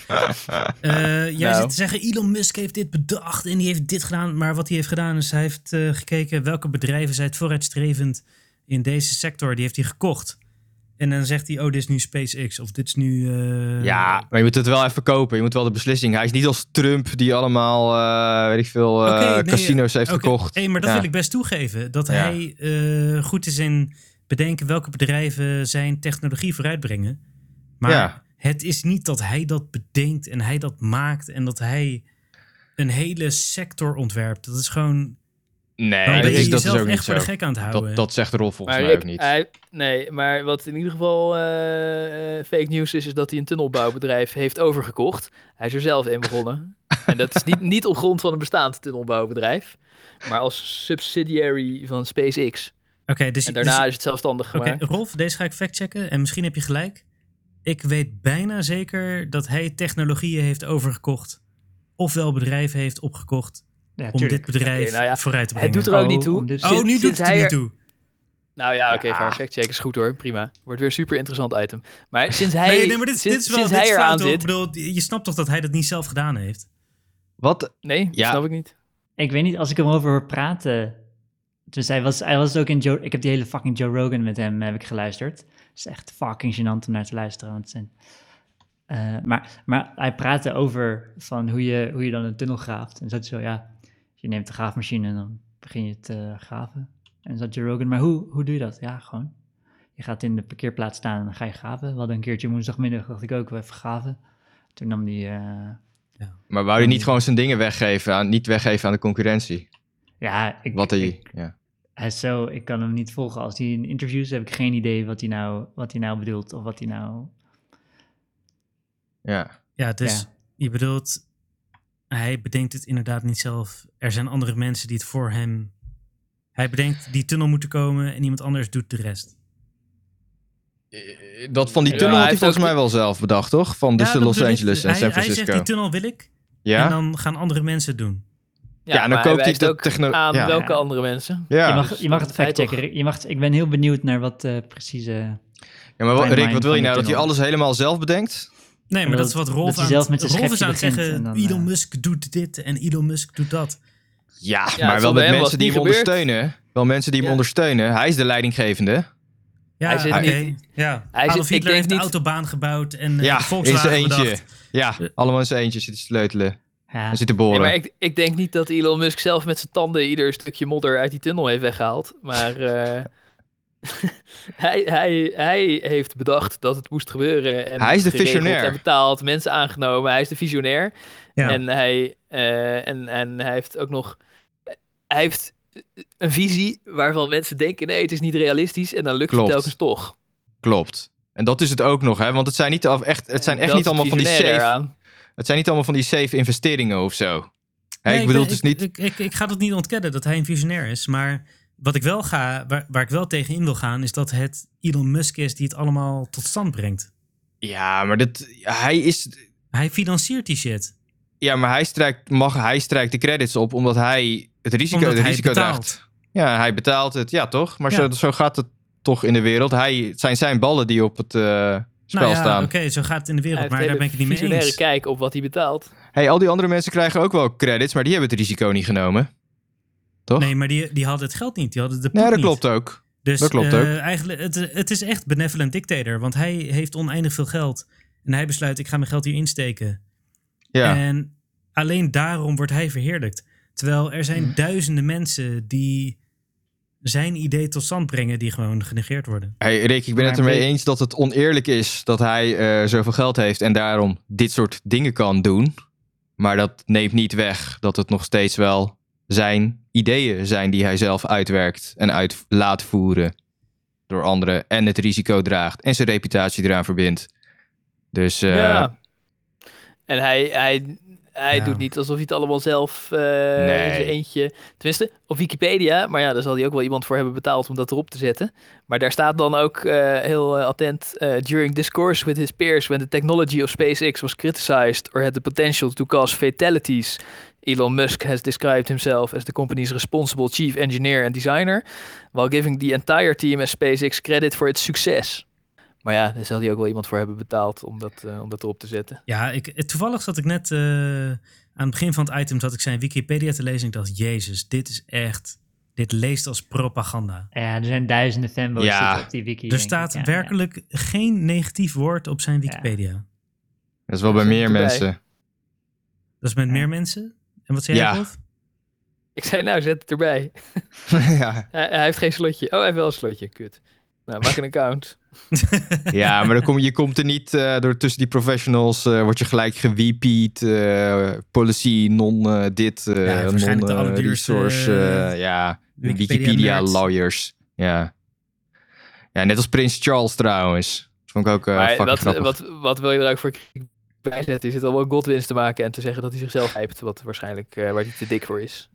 B: Eh, jij
C: Nou.
B: zit te zeggen, Elon Musk heeft dit bedacht en die heeft dit gedaan. Maar wat hij heeft gedaan is, hij heeft eh, gekeken welke bedrijven zijn het vooruitstrevend in deze sector. Die heeft hij gekocht. En dan zegt hij, oh, dit is nu SpaceX of dit is nu... eh,
A: Ja, maar je moet het wel even kopen. Je moet wel de beslissing. Hij is niet als Trump die allemaal, eh, weet ik veel, eh,
B: Oké, nee,
A: casinos heeft
B: Oké,
A: gekocht.
B: hé, maar dat
A: Ja.
B: wil ik best toegeven. Dat
A: Ja.
B: hij eh, goed is in bedenken welke bedrijven zijn technologie vooruitbrengen. Maar
A: Ja.
B: het is niet dat hij dat bedenkt en hij dat maakt en dat hij een hele sector ontwerpt. Dat is gewoon.
A: Nee,
B: dan
A: dat
B: ben je
A: is, dat is
B: jezelf
A: ook
B: echt
A: niet
B: voor
A: zo.
B: de gek aan het houden.
A: Dat, dat zegt Rolf volgens
C: Maar
A: mij ook
C: Rick,
A: niet.
C: hij- nee, maar wat in ieder geval eh, eh, fake news is, is dat hij een tunnelbouwbedrijf heeft overgekocht. Hij is er zelf in begonnen. en dat is niet, niet op grond van een bestaand tunnelbouwbedrijf, maar als subsidiary van SpaceX.
B: Oké, dus,
C: En daarna
B: dus-
C: is het zelfstandig
B: oké,
C: gemaakt.
B: Rolf, deze ga ik factchecken en misschien heb je gelijk. Ik weet bijna zeker dat hij technologieën heeft overgekocht. Ofwel bedrijven heeft opgekocht
D: Ja,
B: om dit
D: tuurlijk.
B: bedrijf
C: Oké, nou ja,
B: vooruit te
C: Het
B: brengen.
C: doet er ook
D: Oh,
C: niet toe.
D: om dit-
C: Sinds-
B: Oh, nu doet
C: sinds
B: het er
C: hij
B: niet
C: er-
B: toe.
C: Nou ja, oké, fact factcheck is goed hoor, prima. Wordt weer super interessant item. Maar sinds hij,
B: nee, nee, maar dit,
C: sinds,
B: dit is wel
C: sinds
B: dit
C: hij
B: is fout,
C: eraan
B: hoor. Ik
C: zit...
B: bedoel, je snapt toch dat hij dat niet zelf gedaan heeft?
A: Wat?
C: Nee,
A: Ja.
C: snap ik niet.
D: Ik weet niet, als ik hem over hoor praten. Dus hij was, hij was ook in Joe. Ik heb die hele fucking Joe Rogan met hem heb ik geluisterd. Het is echt fucking gênant om naar te luisteren. Want het zijn, eh, maar, maar hij praatte over van hoe je, hoe je dan een tunnel graaft. En zat zo, ja, je neemt de graafmachine en dan begin je te graven. En zat Joe Rogan, maar hoe, hoe doe je dat? Ja, gewoon. Je gaat in de parkeerplaats staan en dan ga je graven. We hadden een keertje woensdagmiddag, dacht ik ook, we even graven. Toen nam die... eh,
A: Maar wou
B: Hmm.
A: hij niet gewoon zijn dingen weggeven aan, niet weggeven aan de concurrentie?
D: ja, ik,
A: Wat hij...
D: ik-
A: Ja.
D: Hij is zo, ik kan hem niet volgen. Als hij in interviews heb ik geen idee wat hij nou, wat hij nou bedoelt of wat hij nou.
A: ja.
B: Ja, dus
D: Ja.
B: je bedoelt, hij bedenkt het inderdaad niet zelf. Er zijn andere mensen die het voor hem... Hij bedenkt die tunnel moet er komen en iemand anders doet de rest.
A: Dus Eh, Dat van die
C: Ja,
A: tunnel
C: hij
A: had hij
C: heeft
A: volgens
C: ook-
A: mij wel zelf bedacht, toch? Van dus
B: Ja,
A: de
B: dat
A: Los
B: bedoel ik.
A: Angeles en
B: Hij-
A: San
B: Hij
A: Francisco.
B: zegt, die tunnel wil ik. En
A: ja?
B: dan gaan andere mensen het doen.
A: Ja, en dan
C: maar
A: koopt
C: hij
A: hij
C: wijst
A: de
C: ook
A: techno-
C: aan
A: ja.
C: welke andere mensen.
A: Ja.
D: je, mag,
C: dus
D: je mag
C: dat
D: het
C: hij toch-
D: factchecken. Je mag, ik ben heel benieuwd naar wat eh, precieze.
A: ja, maar wat,
D: timeline
A: Rick, wat wil je nou?
D: van die
A: Dat hij
D: tunnel.
A: alles helemaal zelf bedenkt?
B: Nee, maar
D: En
B: dat,
D: dat-
B: is wat
D: dat
B: Rolf
D: hij
B: aan,
D: zelf met zijn
B: Rolf is
D: gekje
B: aan het
D: begint
B: zeggen.
D: en dan,
B: Elon
D: eh,
B: Musk doet dit en Elon Musk doet dat.
A: Ja, maar
C: Ja,
A: wel
C: zonder
A: met
C: hem was
A: mensen
C: het
A: die hem
C: niet gebeurd.
A: ondersteunen. Wel mensen die hem
C: Ja.
A: ondersteunen. Hij is de leidinggevende.
B: Ja,
C: Hij zit
B: oké.
C: niet-
B: Ja.
C: Hij zit-
B: Adolf
C: ik
B: Hitler
C: denk
B: heeft de
C: niet-
B: autobaan gebouwd en eh,
A: Ja,
B: de
A: in zijn
B: Volkswagen
A: eentje.
B: bedacht.
A: Ja, allemaal in zijn eentje zitten sleutelen
D: Ja,
A: en zitten
C: Nee,
A: boren.
C: maar ik, ik denk niet dat Elon Musk zelf met zijn tanden ieder stukje modder uit die tunnel heeft weggehaald. Maar eh, hij, hij, hij heeft bedacht dat het moest gebeuren. En
A: Hij is de
C: geregeld
A: visionair.
C: En betaald, mensen aangenomen. Hij is de visionair.
B: Ja.
C: En, hij, eh, en, en hij heeft ook nog. Hij heeft een visie waarvan mensen denken: nee, het is niet realistisch. En dan lukt
A: Klopt.
C: het telkens toch.
A: Klopt. En dat is het ook nog, hè? Want het zijn niet, af, echt, het zijn echt
C: Dat
A: niet
C: is het
A: allemaal van die safe.
C: visionaire eraan.
A: Het zijn niet allemaal van die safe investeringen of zo. Hè,
B: Nee,
A: ik bedoel, het
B: ben-
A: is niet.
B: Ik, ik, ik ga dat niet ontkennen dat hij een visionair is. Maar wat ik wel ga, waar, waar ik wel tegen in wil gaan, is dat het Elon Musk is die het allemaal tot stand brengt.
A: Ja, maar dat, hij is.
B: Hij financiert die shit.
A: Ja, maar hij strijkt, mag, hij strijkt de credits op omdat hij het risico,
B: Omdat
A: de
B: hij
A: risico
B: betaalt.
A: draagt. Ja, hij betaalt het. Ja, toch? Maar
B: Ja.
A: Zo, zo gaat het toch in de wereld. Hij, het zijn zijn ballen die op het eh, spel
B: nou ja,
A: staan.
B: oké, zo gaat het in de
C: Hij
B: wereld.
C: heeft
B: Maar daar
C: hele
B: ben ik het niet mee
C: visionaire
B: eens.
C: kijk op wat hij betaalt.
A: Hey, al die andere mensen krijgen ook wel credits, maar die hebben het risico niet genomen. Toch?
B: Nee, maar die, die hadden het geld niet. Die hadden de
A: Nee,
B: poep
A: dat
B: niet.
A: klopt ook.
B: Dus
A: Dat klopt
B: eh,
A: ook.
B: eigenlijk, het, het is echt benevolent dictator. Want hij heeft oneindig veel geld. En hij besluit, ik ga mijn geld hier insteken.
A: Ja.
B: En
A: Hmm.
B: alleen daarom wordt hij verheerlijkt. Terwijl er zijn duizenden mensen die zijn idee tot stand brengen die gewoon genegeerd worden.
A: Hey, Rick, ik ben het
D: Maar
A: ermee
D: weet-
A: eens dat het oneerlijk is dat hij eh, zoveel geld heeft en daarom dit soort dingen kan doen. Maar dat neemt niet weg dat het nog steeds wel zijn ideeën zijn die hij zelf uitwerkt en uit laat voeren door anderen. En het risico draagt en zijn reputatie eraan verbindt. Dus eh,
C: Ja. En hij, hij, hij
B: Ja.
C: doet niet alsof hij het allemaal zelf eh, in
A: Nee.
C: zijn eentje... Tenminste, op Wikipedia, maar ja, daar zal hij ook wel iemand voor hebben betaald om dat erop te zetten. Maar daar staat dan ook eh, heel eh, attent... eh, During discourse with his peers when the technology of SpaceX was criticized... or had the potential to cause fatalities... Elon Musk has described himself as the company's responsible chief engineer and designer... while giving the entire team at SpaceX credit for its success. Maar ja, daar zal hij ook wel iemand voor hebben betaald om dat, eh, om dat erop te zetten.
B: Ja, ik, eh, toevallig zat ik net eh, aan het begin van het item dat ik zijn Wikipedia te lezen. en Ik dacht, jezus, dit is echt, dit leest als propaganda.
D: Ja, er zijn duizenden fanboys
A: Ja.
D: zitten op die wiki.
B: Er
D: denk
B: staat
D: ik. Ja,
B: werkelijk geen negatief woord op zijn Wikipedia.
A: dat is wel bij
C: Zet
A: meer
C: erbij.
A: mensen.
B: Dat is met
D: Ja.
B: meer mensen. En wat zei
A: Ja.
B: jij, Rolf?
C: Ik zei, nou, zet het erbij.
A: ja.
C: Hij, hij heeft geen slotje. Oh, hij heeft wel een slotje. Kut. Nou, maak een account.
A: ja, maar dan kom, je komt er niet eh, door tussen die professionals, eh, word je gelijk gewiepied, eh, policy, non eh, dit, eh,
B: Ja, waarschijnlijk
A: non
B: de
A: eh,
B: allerduurste,
A: resource, eh,
B: eh,
A: ja,
B: Wikipedia
A: Wikipedia
B: nerd.
A: lawyers. Ja. ja, net als Prins Charles trouwens. Dat vond ik ook eh
C: maar
A: fucking
C: wat,
A: grappig.
C: wat, wat wil je er ook voor kritiek bij zetten? Is het allemaal Godwins te maken en te zeggen dat hij zichzelf hypt, wat waarschijnlijk eh, waar hij te dik voor is.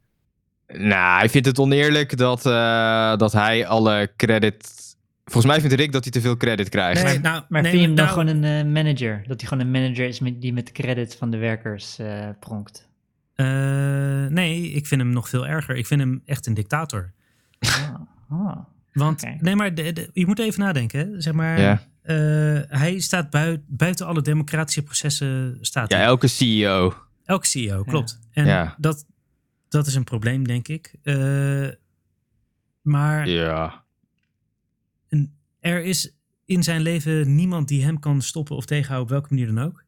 A: Nou, hij vindt het oneerlijk dat, eh, dat hij alle credit... Volgens mij vindt Rick dat hij te veel credit krijgt.
B: Nee, nou,
D: Maar
B: nee,
D: vind je hem dan
B: nou,
D: gewoon een eh, manager? Dat hij gewoon een manager is met, die met de credits van de werkers eh, pronkt.
B: eh, nee, ik vind hem nog veel erger. Ik vind hem echt een dictator.
D: Ah, ah.
B: Want,
D: Oké.
B: nee, maar de- de- je moet even nadenken. hè. Zeg maar,
A: Ja.
B: eh, hij staat bui- buiten alle democratische processen. Staat
A: Ja,
B: hij.
A: elke E CEO.
B: Elk CEO, klopt. En
A: Ja.
B: dat, dat is een probleem, denk ik. Eh, maar
A: Ja.
B: er is in zijn leven niemand die hem kan stoppen of tegenhouden, op welke manier dan ook.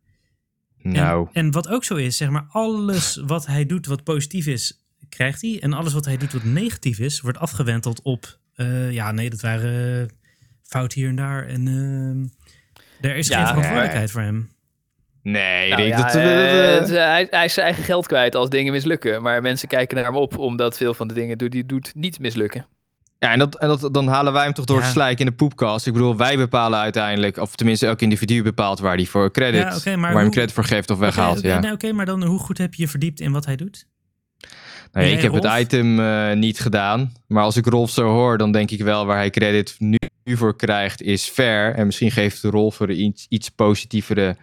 B: En-
A: Nou,
B: En, wat ook zo is, zeg maar, alles wat hij doet wat positief is, krijgt hij. En alles wat hij doet wat negatief is, wordt afgewenteld op, eh, ja, nee, dat waren eh, fout hier en daar. En ehm, er is
C: Ja,
B: geen
C: ja,
B: verantwoordelijkheid voor hem.
A: nee,
C: Nou
A: Rick,
C: ja,
A: dat...
C: eh, het- hij, hij is zijn eigen geld kwijt als dingen mislukken. Maar mensen kijken naar hem op omdat veel van de dingen die hij doet niet mislukken.
A: Ja, en, dat, en dat, dan halen wij hem toch door
B: Ja.
A: het slijk in de poepkast. Ik bedoel, wij bepalen uiteindelijk, of tenminste elk individu bepaalt waar hij voor credit,
B: Ja, oké, maar
A: waar hem
B: hoe-
A: credit voor geeft of weghaalt.
B: Oké,
A: ja.
B: nou, oké, maar dan hoe goed heb je je verdiept in wat hij doet?
A: Nee,
B: Nee,
A: ik heb
B: Rolf?
A: het item eh, niet gedaan, maar als ik Rolf zo hoor, dan denk ik wel waar hij credit nu voor krijgt is fair. En misschien geeft Rolf er iets, iets positievere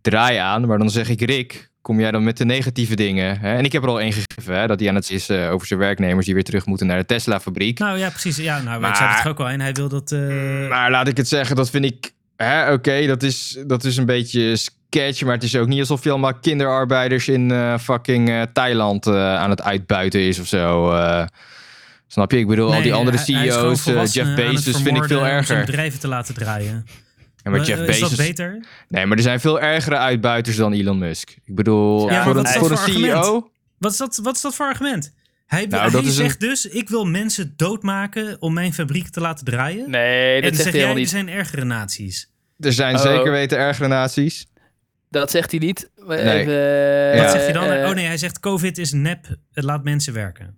A: draai aan, maar dan zeg ik Rick, kom jij dan met de negatieve dingen? Hè? En ik heb er al één gegeven, hè, dat hij aan het is eh, over zijn werknemers die weer terug moeten naar de Tesla-fabriek.
B: Nou ja, precies. Ja, nou, ik
A: Maar- Mm, nou,
B: zei het toch ook al. En hij wil dat... eh,
A: Maar laat ik het zeggen, dat vind ik. hè, Oké, dat, is, dat is een beetje sketch. Maar het is ook niet alsof je allemaal kinderarbeiders in eh, fucking eh, Thailand eh, aan het uitbuiten is of zo. eh. snap je? Ik bedoel, al
B: Nee,
A: die andere
B: hij- hij is gewoon
A: CEO's, eh,
B: volwassenen
A: Jeff
B: aan het
A: Bezos, vind ik
B: vermoorden
A: veel
B: om zijn
A: erger.
B: bedrijven te laten draaien.
A: Ja, maar Jeff
B: eh,
A: Bezos.
B: Is dat beter?
A: Nee, maar er zijn veel ergere uitbuiters dan Elon Musk. Ik bedoel,
C: Ja, maar
A: voor, een,
C: wat is dat
A: voor een E
B: voor
A: CEO.
B: argument? Wat is dat, wat is dat voor argument? Hij,
A: Nou,
B: hij
A: dat is een-
B: zegt dus, ik wil mensen doodmaken om mijn fabriek te laten draaien.
C: Nee,
B: en
C: dat
B: dan
C: zegt
B: zeg jij,
C: hij helemaal
B: er
C: niet.
B: zijn ergere naties.
A: Er zijn
C: Oh.
A: zeker weten ergere naties.
C: Dat zegt hij niet. Maar
A: Nee.
C: Even,
A: Ja.
B: Wat zeg je dan?
C: eh,
B: oh nee, hij zegt, covid is nep, het laat mensen werken.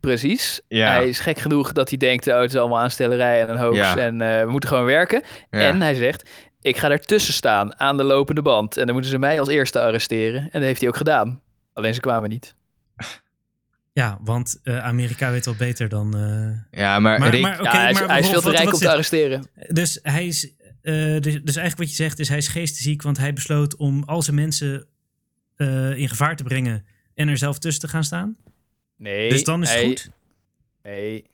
C: Precies.
A: Ja.
C: Hij is gek genoeg dat hij denkt, oh, het is allemaal aanstellerij en een hoax
A: Ja.
C: en eh, we moeten gewoon werken.
A: Ja.
C: En hij zegt, ik ga daartussen staan aan de lopende band en dan moeten ze mij als eerste arresteren. En dat heeft hij ook gedaan. Alleen ze kwamen niet.
B: Ja, want eh, Amerika weet wel beter dan... eh,
A: ja, maar,
B: maar
A: Rick,
B: maar, oké,
C: ja, hij, is,
B: maar
C: hij is
B: Rolf,
C: veel te
B: wat-
C: rijk
B: wat
C: om te
B: zegt-
C: arresteren.
B: Dus hij is. eh, dus, dus eigenlijk wat je zegt is hij is geestesziek, want hij besloot om al zijn mensen eh, in gevaar te brengen en er zelf tussen te gaan staan.
C: Nee,
B: dus dan is het
C: hij,
B: goed.
C: Nee.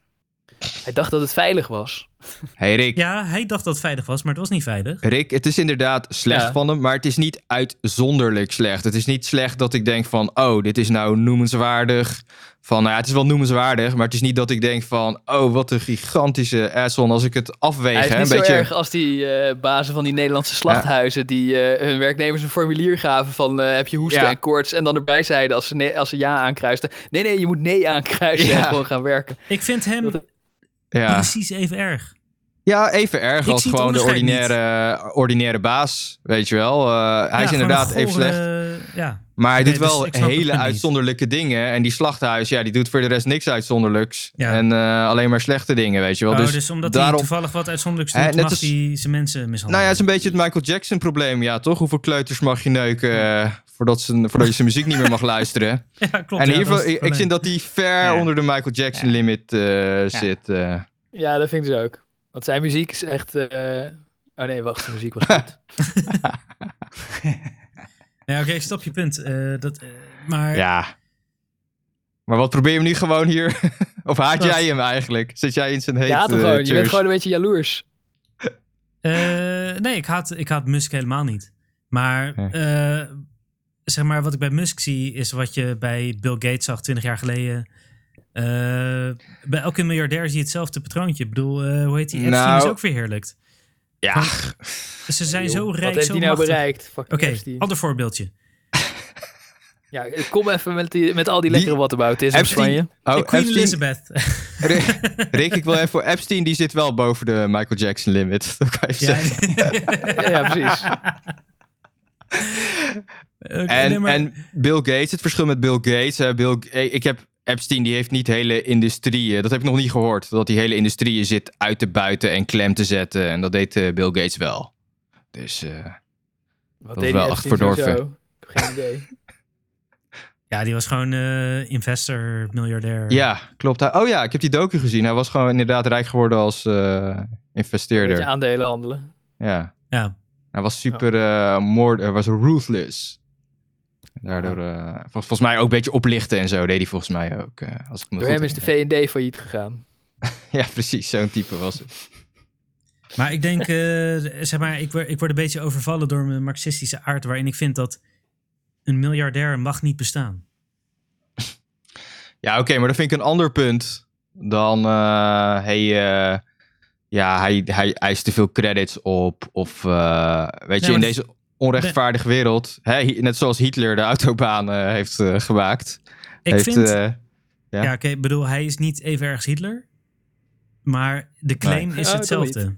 C: Hij dacht dat het veilig was.
A: hey Rick,
B: Ja, hij dacht dat het veilig was, maar het was niet veilig.
A: Rick, het is inderdaad slecht
C: Ja.
A: van hem, maar het is niet uitzonderlijk slecht. Het is niet slecht dat ik denk van, oh, dit is nou noemenswaardig. Van, nou ja, het is wel noemenswaardig, maar het is niet dat ik denk van, oh, wat een gigantische asshole. Als ik het afweeg,
C: Hij is
A: hè,
C: niet
A: een
C: zo
A: beetje.
C: erg als die eh, bazen van die Nederlandse slachthuizen... die eh, hun werknemers een formulier gaven van... eh, heb je hoesten
A: Ja.
C: en koorts? En dan erbij zeiden als ze, nee, als ze ja aankruisten... nee, nee, je moet nee aankruisen
A: Ja.
C: en gewoon gaan werken.
B: Ik vind hem.
A: Ja,
B: Precies even erg.
A: ja even erg
B: Ik
A: als
B: zie het
A: gewoon de
B: onderscheid
A: ordinaire, ordinaire baas, weet je wel. Eh, hij
B: Ja,
A: is
B: gewoon
A: inderdaad
B: een
A: even
B: gore,
A: slecht.
B: Ja,
A: Maar hij
B: Nee,
A: doet
B: dus
A: wel
B: ik snap het
A: hele
B: punt niet.
A: uitzonderlijke dingen. En die slachthuis, ja, die doet voor de rest niks uitzonderlijks.
B: Ja.
A: En eh, alleen maar slechte dingen, weet je wel.
B: Oh, dus,
A: dus,
B: omdat hij
A: daarom...
B: toevallig wat uitzonderlijks
A: Eh,
B: doet,
A: net
B: mag
A: als-
B: hij zijn mensen
A: Nou
B: mishandelen.
A: ja, het is een beetje het Michael Jackson probleem, ja, toch? Hoeveel kleuters mag je neuken eh, voordat, ze, voordat je zijn muziek niet meer mag luisteren?
B: Ja, klopt.
A: en
B: ja,
A: in ieder
B: dat is
A: geval, ik,
B: het
A: ik vind dat die ver
D: Ja.
A: onder de Michael Jackson
D: Ja.
A: limit eh, zit. eh.
C: Ja, dat vind ik dus ook. Want zijn muziek is echt... eh, Oh nee, wacht, de muziek was goed.
B: probleem. Ja, oké, ik snap je punt. Eh, dat, eh, maar
A: Ja. Maar wat probeer je hem nu gewoon hier? of haat
B: Dat-
A: jij hem eigenlijk? Zit jij in zijn hate
C: ja, toch
A: eh,
C: gewoon. Je bent
A: church?
C: gewoon een beetje jaloers.
B: Eh, nee, ik haat, ik haat Musk helemaal niet. Maar
A: Nee.
B: eh, zeg maar, wat ik bij Musk zie, is wat je bij Bill Gates zag 20 jaar geleden. Eh, bij elke miljardair zie je hetzelfde patroontje. Ik bedoel, eh, hoe heet die? Epstein
A: Nou.
B: is ook verheerlijkt. Dus
A: Ja,
B: Ze zijn
C: Joh,
B: zo rijk,
C: Wat heeft
B: zo
C: hij nou
B: machtig.
C: bereikt? Fucking
B: Oké,
C: Epstein.
B: ander voorbeeldje.
C: Ja, kom even met, die, met al die
A: Die-
C: lekkere whataboutisms van je.
A: Epstein- oh,
B: Eh, Queen
A: Epstein-
B: Elizabeth.
A: Rick- Rick, ik wil even voor Epstein, die zit wel boven de Michael Jackson limit. Dat kan je
B: Ja,
A: zeggen.
C: Ja, precies.
B: Oké, nee,
A: En,
B: maar-
A: en Bill Gates, het verschil met Bill Gates. hè, Bill, eh, ik heb Epstein, die heeft niet hele industrieën. Dat heb ik nog niet gehoord. Dat die hele industrieën zit uit te buiten en klem te zetten. En dat deed eh, Bill Gates wel. Dus eh,
C: Wat
A: is wel echt
C: Epstein sowieso?
A: verdorven.
C: Ik heb Geen idee.
B: ja, die was gewoon eh, investor, miljardair.
A: ja, klopt. Hij- Oh ja, ik heb die docu gezien. Hij was gewoon inderdaad rijk geworden als eh,
C: Een beetje
A: investeerder.
C: aandelen handelen.
A: Ja.
B: Ja.
A: Hij was super eh moord, hij was ruthless. Daardoor, eh, vol- volgens mij ook een beetje oplichten en zo deed hij volgens mij ook. eh, als ik me
C: Door
A: goed
C: hem is de
A: herinner.
C: V&D failliet gegaan.
A: Ja, precies, zo'n type was het.
B: Maar ik denk, eh, zeg maar, ik word, ik word een beetje overvallen door mijn marxistische aard, waarin ik vind dat een miljardair mag niet bestaan.
A: Ja, oké, maar dat vind ik een ander punt dan eh, hij, eh, ja, hij, hij eist te veel credits op. Of eh, weet je,
B: maar
A: in
B: dat-
A: deze onrechtvaardige wereld, hè, hi- net zoals Hitler de autobaan eh, heeft eh, gemaakt.
B: Ik
A: heeft,
B: vind,
A: eh,
B: ja,
A: ja.
B: oké, ik bedoel, hij is niet even erg als Hitler, maar de claim
C: Nee.
B: is
C: Oh, dat
B: hetzelfde.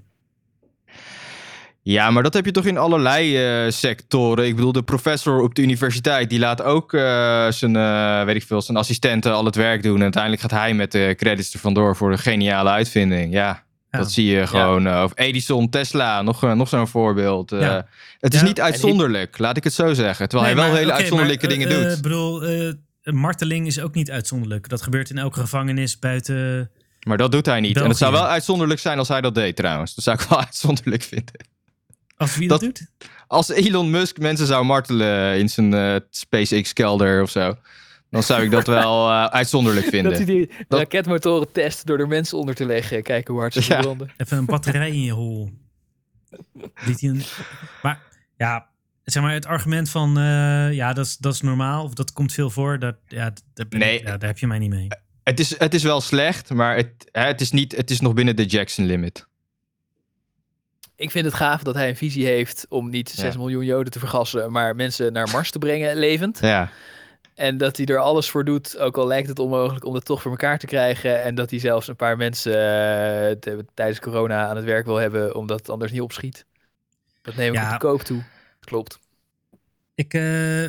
A: Ja, maar dat heb je toch in allerlei eh, sectoren. Ik bedoel, de professor op de universiteit die laat ook eh, zijn, eh, weet ik veel, zijn assistenten al het werk doen. En uiteindelijk gaat hij met de credits er vandoor voor een geniale uitvinding. Ja,
B: Ja.
A: dat zie je gewoon. eh, of Edison, Tesla, nog, eh, nog zo'n voorbeeld. eh.
B: Ja.
A: Het is
B: Ja.
A: niet uitzonderlijk, laat ik het zo zeggen. Terwijl
B: Nee,
A: hij wel
B: maar,
A: hele
B: oké,
A: uitzonderlijke
B: maar,
A: dingen
B: eh,
A: doet.
B: eh, Ik bedoel, eh, marteling is ook niet uitzonderlijk. Dat gebeurt in elke gevangenis buiten.
A: maar dat doet hij niet. En het zou
B: België.
A: wel uitzonderlijk zijn als hij dat deed trouwens. Dat zou ik wel uitzonderlijk vinden.
B: Als wie dat,
A: Dat-
B: doet?
A: Als Elon Musk mensen zou martelen in zijn eh, SpaceX-kelder of zo, dan zou ik dat wel eh, uitzonderlijk
C: Dat hij
A: vinden.
C: die
A: Dat-
C: raketmotoren test door er mensen onder te leggen. Kijken hoe hard ze
A: Ja.
C: branden.
B: Even een batterij in je hol. Liet hij een- Maar ja, zeg maar het argument van eh, ja, dat is, dat is normaal of dat komt veel voor. Dat, ja, d- daar, ben ik-
A: Nee.
B: ja, daar heb je mij niet mee.
A: Het is, het is wel slecht, maar het, hè, het, is niet, het is nog binnen de Jackson-limit.
C: Ik vind het gaaf dat hij een visie heeft om niet 6
A: Ja.
C: miljoen joden te vergassen, maar mensen naar Mars te brengen levend.
A: Ja.
C: En dat hij er alles voor doet, ook al lijkt het onmogelijk om dat toch voor elkaar te krijgen. En dat hij zelfs een paar mensen eh, te- tijdens corona aan het werk wil hebben, omdat het anders niet opschiet. Dat neem ik
B: Ja.
C: op de koop toe. Klopt.
B: Ik, eh,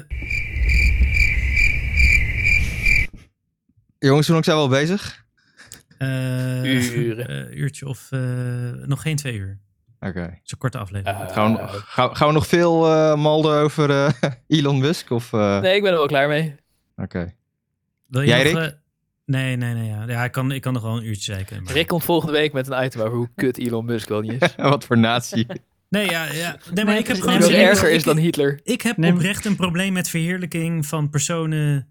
A: Jongens, hoe lang zijn we al bezig?
B: eh,
C: Uren.
B: eh, uurtje of eh, nog geen twee uur.
A: Oké.
B: Zo'n korte aflevering.
C: Eh,
A: Gaan, we nog- gaan, gaan we nog veel eh, malden over eh, Elon Musk? Of, eh,
C: nee, ik ben er wel klaar mee.
A: Oké.
B: Wil je
A: jij,
B: nog,
A: Rick?
B: eh, nee, nee, nee. Ja, ja ik, kan, ik kan nog wel een uurtje zeiken. maar-
C: Rick komt volgende week met een item over hoe kut Elon Musk wel niet is.
A: Wat voor natie.
B: Nee, ja, ja. nee, maar
D: Nee,
B: ik heb
D: precies.
B: gewoon...
C: Die nog
D: Rick-
C: erger is
B: ik-
C: dan Hitler.
B: Ik heb
D: Nee, maar-
B: oprecht een probleem met verheerlijking van personen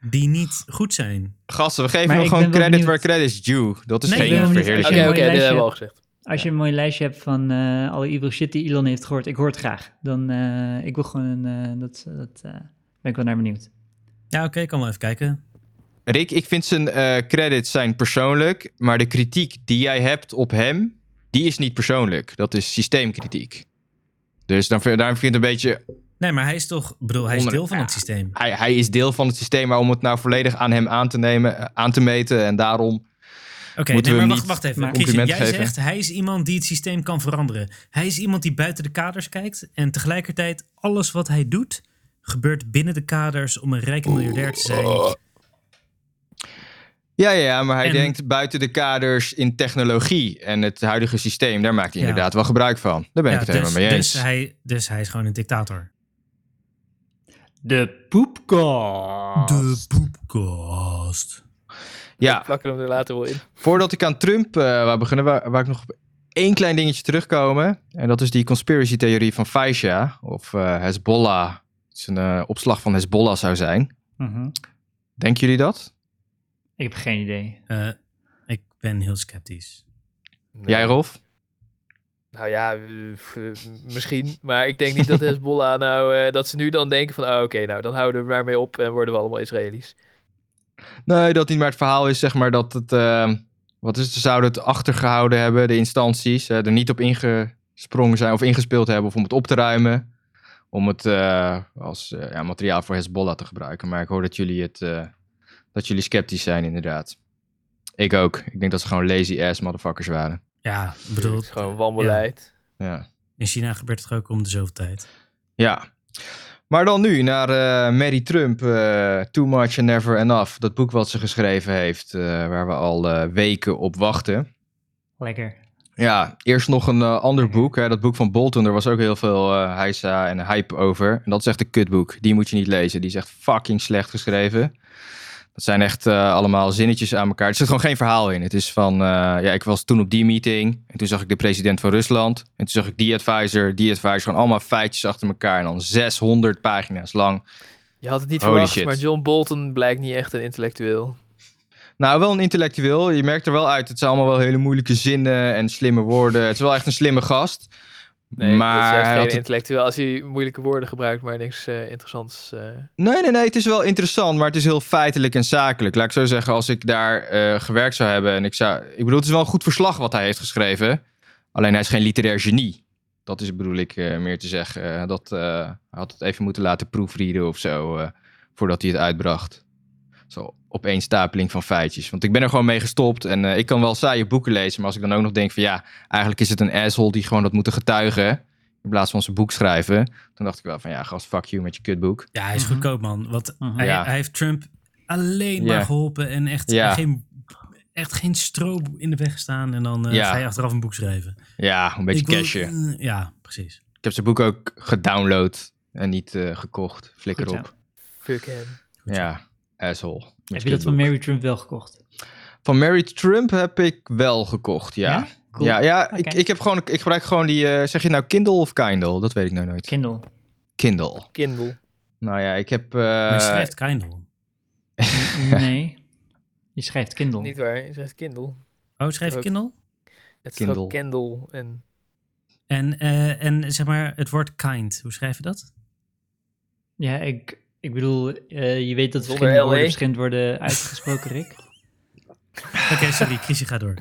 B: die niet goed zijn.
A: Gasten, we geven
D: Maar
A: hem
D: ik
A: gewoon
D: ben wel
A: credit waar
D: benieuwd.
A: credit's due. Dat is
B: Nee, ik ben
A: geen
B: wel benieuwd.
C: Oké,
A: verheerlijking.
D: Als je
C: oké,
D: een
C: dit
D: mooi
C: hebben
D: lijstje
C: we al gezegd.
D: Als je een mooi lijstje hebt van eh, alle evil shit die Elon heeft gehoord, ik hoor het graag. Dan eh, ik wil gewoon een, eh, dat, dat eh, ben ik wel naar benieuwd.
B: Ja, oké, ik kan wel even kijken.
A: Rick, ik vind zijn eh, credits zijn persoonlijk, maar de kritiek die jij hebt op hem, die is niet persoonlijk. Dat is systeemkritiek. Dus dan, vind- daarom vind ik het een beetje,
B: Nee, maar hij is toch, ik bedoel, hij is
A: Onder-
B: deel van het systeem.
A: hij, hij is deel van het systeem, maar om het nou volledig aan hem aan te nemen, eh, aan te meten en daarom
B: Oké, Oké,
A: Moeten
B: nee,
A: we
B: maar
A: hem niet
B: wacht, wacht even.
D: maar
B: Christian,
A: compliment
B: jij
A: geven?
B: zegt hij is iemand die het systeem kan veranderen. Hij is iemand die buiten de kaders kijkt en tegelijkertijd alles wat hij doet gebeurt binnen de kaders om een rijke miljardair te zijn.
A: Oh, Ja, ja, ja, maar hij
B: En-
A: denkt buiten de kaders in technologie en het huidige systeem. Daar maakt hij
B: Ja.
A: inderdaad wel gebruik van. Daar ben
B: Ja,
A: ik het
B: dus,
A: helemaal mee eens.
B: Dus hij, dus hij is gewoon een dictator.
D: De poepkast.
B: poepkast.
A: Ja,
C: Plakken we hem er later wel in.
A: voordat ik aan Trump eh wou beginnen, waar, waar ik nog op één klein dingetje terugkomen. En dat is die conspiracy theorie van Faisha of eh, Hezbollah. Het is een eh, opslag van Hezbollah zou zijn.
D: Mhm.
A: Denken jullie dat?
D: Ik heb geen idee.
B: Eh, ik ben heel sceptisch.
A: Jij, Rolf?
C: Nou ja, eh, f- eh, misschien. Maar ik denk niet dat Hezbollah nou... eh, dat ze nu dan denken van... ah, oké, nou, dan houden we er maar mee op en worden we allemaal Israëli's.
A: Nee, dat niet. Maar het verhaal is zeg maar dat het. eh, wat is het? Ze zouden het achtergehouden hebben, de instanties. eh, er niet op ingesprongen zijn of ingespeeld hebben. Of om het op te ruimen. Om het eh, als eh, ja, materiaal voor Hezbollah te gebruiken. Maar ik hoor dat jullie, het, eh, dat jullie sceptisch zijn, inderdaad. Ik ook. Ik denk dat ze gewoon lazy ass motherfuckers waren.
B: Ja, ik
C: Het
B: bedoel,
C: is gewoon wanbeleid.
A: Ja.
B: in China gebeurt het ook om de zoveel tijd.
A: ja. Maar dan nu naar eh Mary Trump. eh, Too Much and Never Enough. Dat boek wat ze geschreven heeft. eh, waar we al eh, weken op wachten.
D: Lekker.
A: Ja, eerst nog een eh, ander
C: Mhm.
A: boek. Hè, dat boek van Bolton, daar was ook heel veel eh heisa en hype over. En dat is echt een kutboek. Die moet je niet lezen. Die is echt fucking slecht geschreven. Dat zijn echt eh, allemaal zinnetjes aan elkaar. Er zit gewoon geen verhaal in. Het is van, eh, ja, ik was toen op die meeting. En toen zag ik de president van Rusland. En toen zag ik die advisor, die advisor. Gewoon allemaal feitjes achter elkaar. En dan 600 pagina's lang.
C: Je had het niet
A: Holy
C: verwacht,
A: shit.
C: maar John Bolton blijkt niet echt een intellectueel.
A: Nou, wel een intellectueel. Je merkt er wel uit. Het zijn allemaal wel hele moeilijke zinnen en slimme woorden. Het is wel echt een slimme gast. maar
C: Nee, maar het is
A: hij
C: juist
A: had
C: geen
A: het
C: intellectueel als hij moeilijke woorden gebruikt, maar niks eh, interessants. eh.
A: Nee, nee, nee. Het is wel interessant, maar het is heel feitelijk en zakelijk. Laat ik zo zeggen, als ik daar eh, gewerkt zou hebben en ik zou... Ik bedoel, het is wel een goed verslag wat hij heeft geschreven. Alleen hij is geen literair genie. Dat is bedoel ik eh, meer te zeggen. Eh, dat, eh, hij had het even moeten laten proefrieden of zo, eh, voordat hij het uitbracht. Zo opeenstapeling van feitjes. Want ik ben er gewoon mee gestopt en eh, ik kan wel saaie boeken lezen. Maar als ik dan ook nog denk van ja, eigenlijk is het een asshole die gewoon dat moeten getuigen. In plaats van zijn boek schrijven. Toen dacht ik wel van ja, gast, fuck you met je kutboek.
B: Ja, hij is
D: Mhm.
B: goedkoop, man. Want
D: Mhm.
B: hij,
A: Ja.
B: hij heeft Trump alleen
A: Ja.
B: maar geholpen en echt,
A: Ja.
B: geen, echt geen stroop in de weg gestaan. En dan eh,
A: Ja.
B: ga je achteraf een boek schrijven.
A: Ja, een beetje
B: Ik wil-
A: cashen.
B: eh, ja, precies.
A: Ik heb zijn boek ook gedownload en niet eh, gekocht. Flikker
D: Goed zo.
A: op.
C: Fuck hem.
A: Ja,
B: Goed zo.
A: asshole.
D: Heb je dat van Mary Trump wel gekocht?
A: Van Mary Trump heb ik wel gekocht, ja. Ja,
D: Cool.
A: ja, ik,
D: Oké.
A: ik, heb gewoon, ik gebruik gewoon die... eh, zeg je nou Kindle of Kindle? Dat weet ik nou nooit.
D: Kindle.
A: Kindle.
C: Kindle.
A: Nou ja, ik heb...
B: maar je
A: eh,
B: schrijft Kindle.
D: Nee. Je schrijft Kindle.
C: Niet waar, je zegt Kindle.
B: Oh, schrijf je
C: Ook.
B: Kindle?
C: Het is ook
A: Kindle.
C: Kendall en
B: En, eh, en zeg maar het woord kind, hoe schrijf je dat?
D: Ja, ik, ik bedoel, eh, je weet dat
C: Zonder E.
D: verschillende
C: LA.
D: woorden verschillend worden uitgesproken, Rick.
B: Oké, sorry, Chrisje, ga door.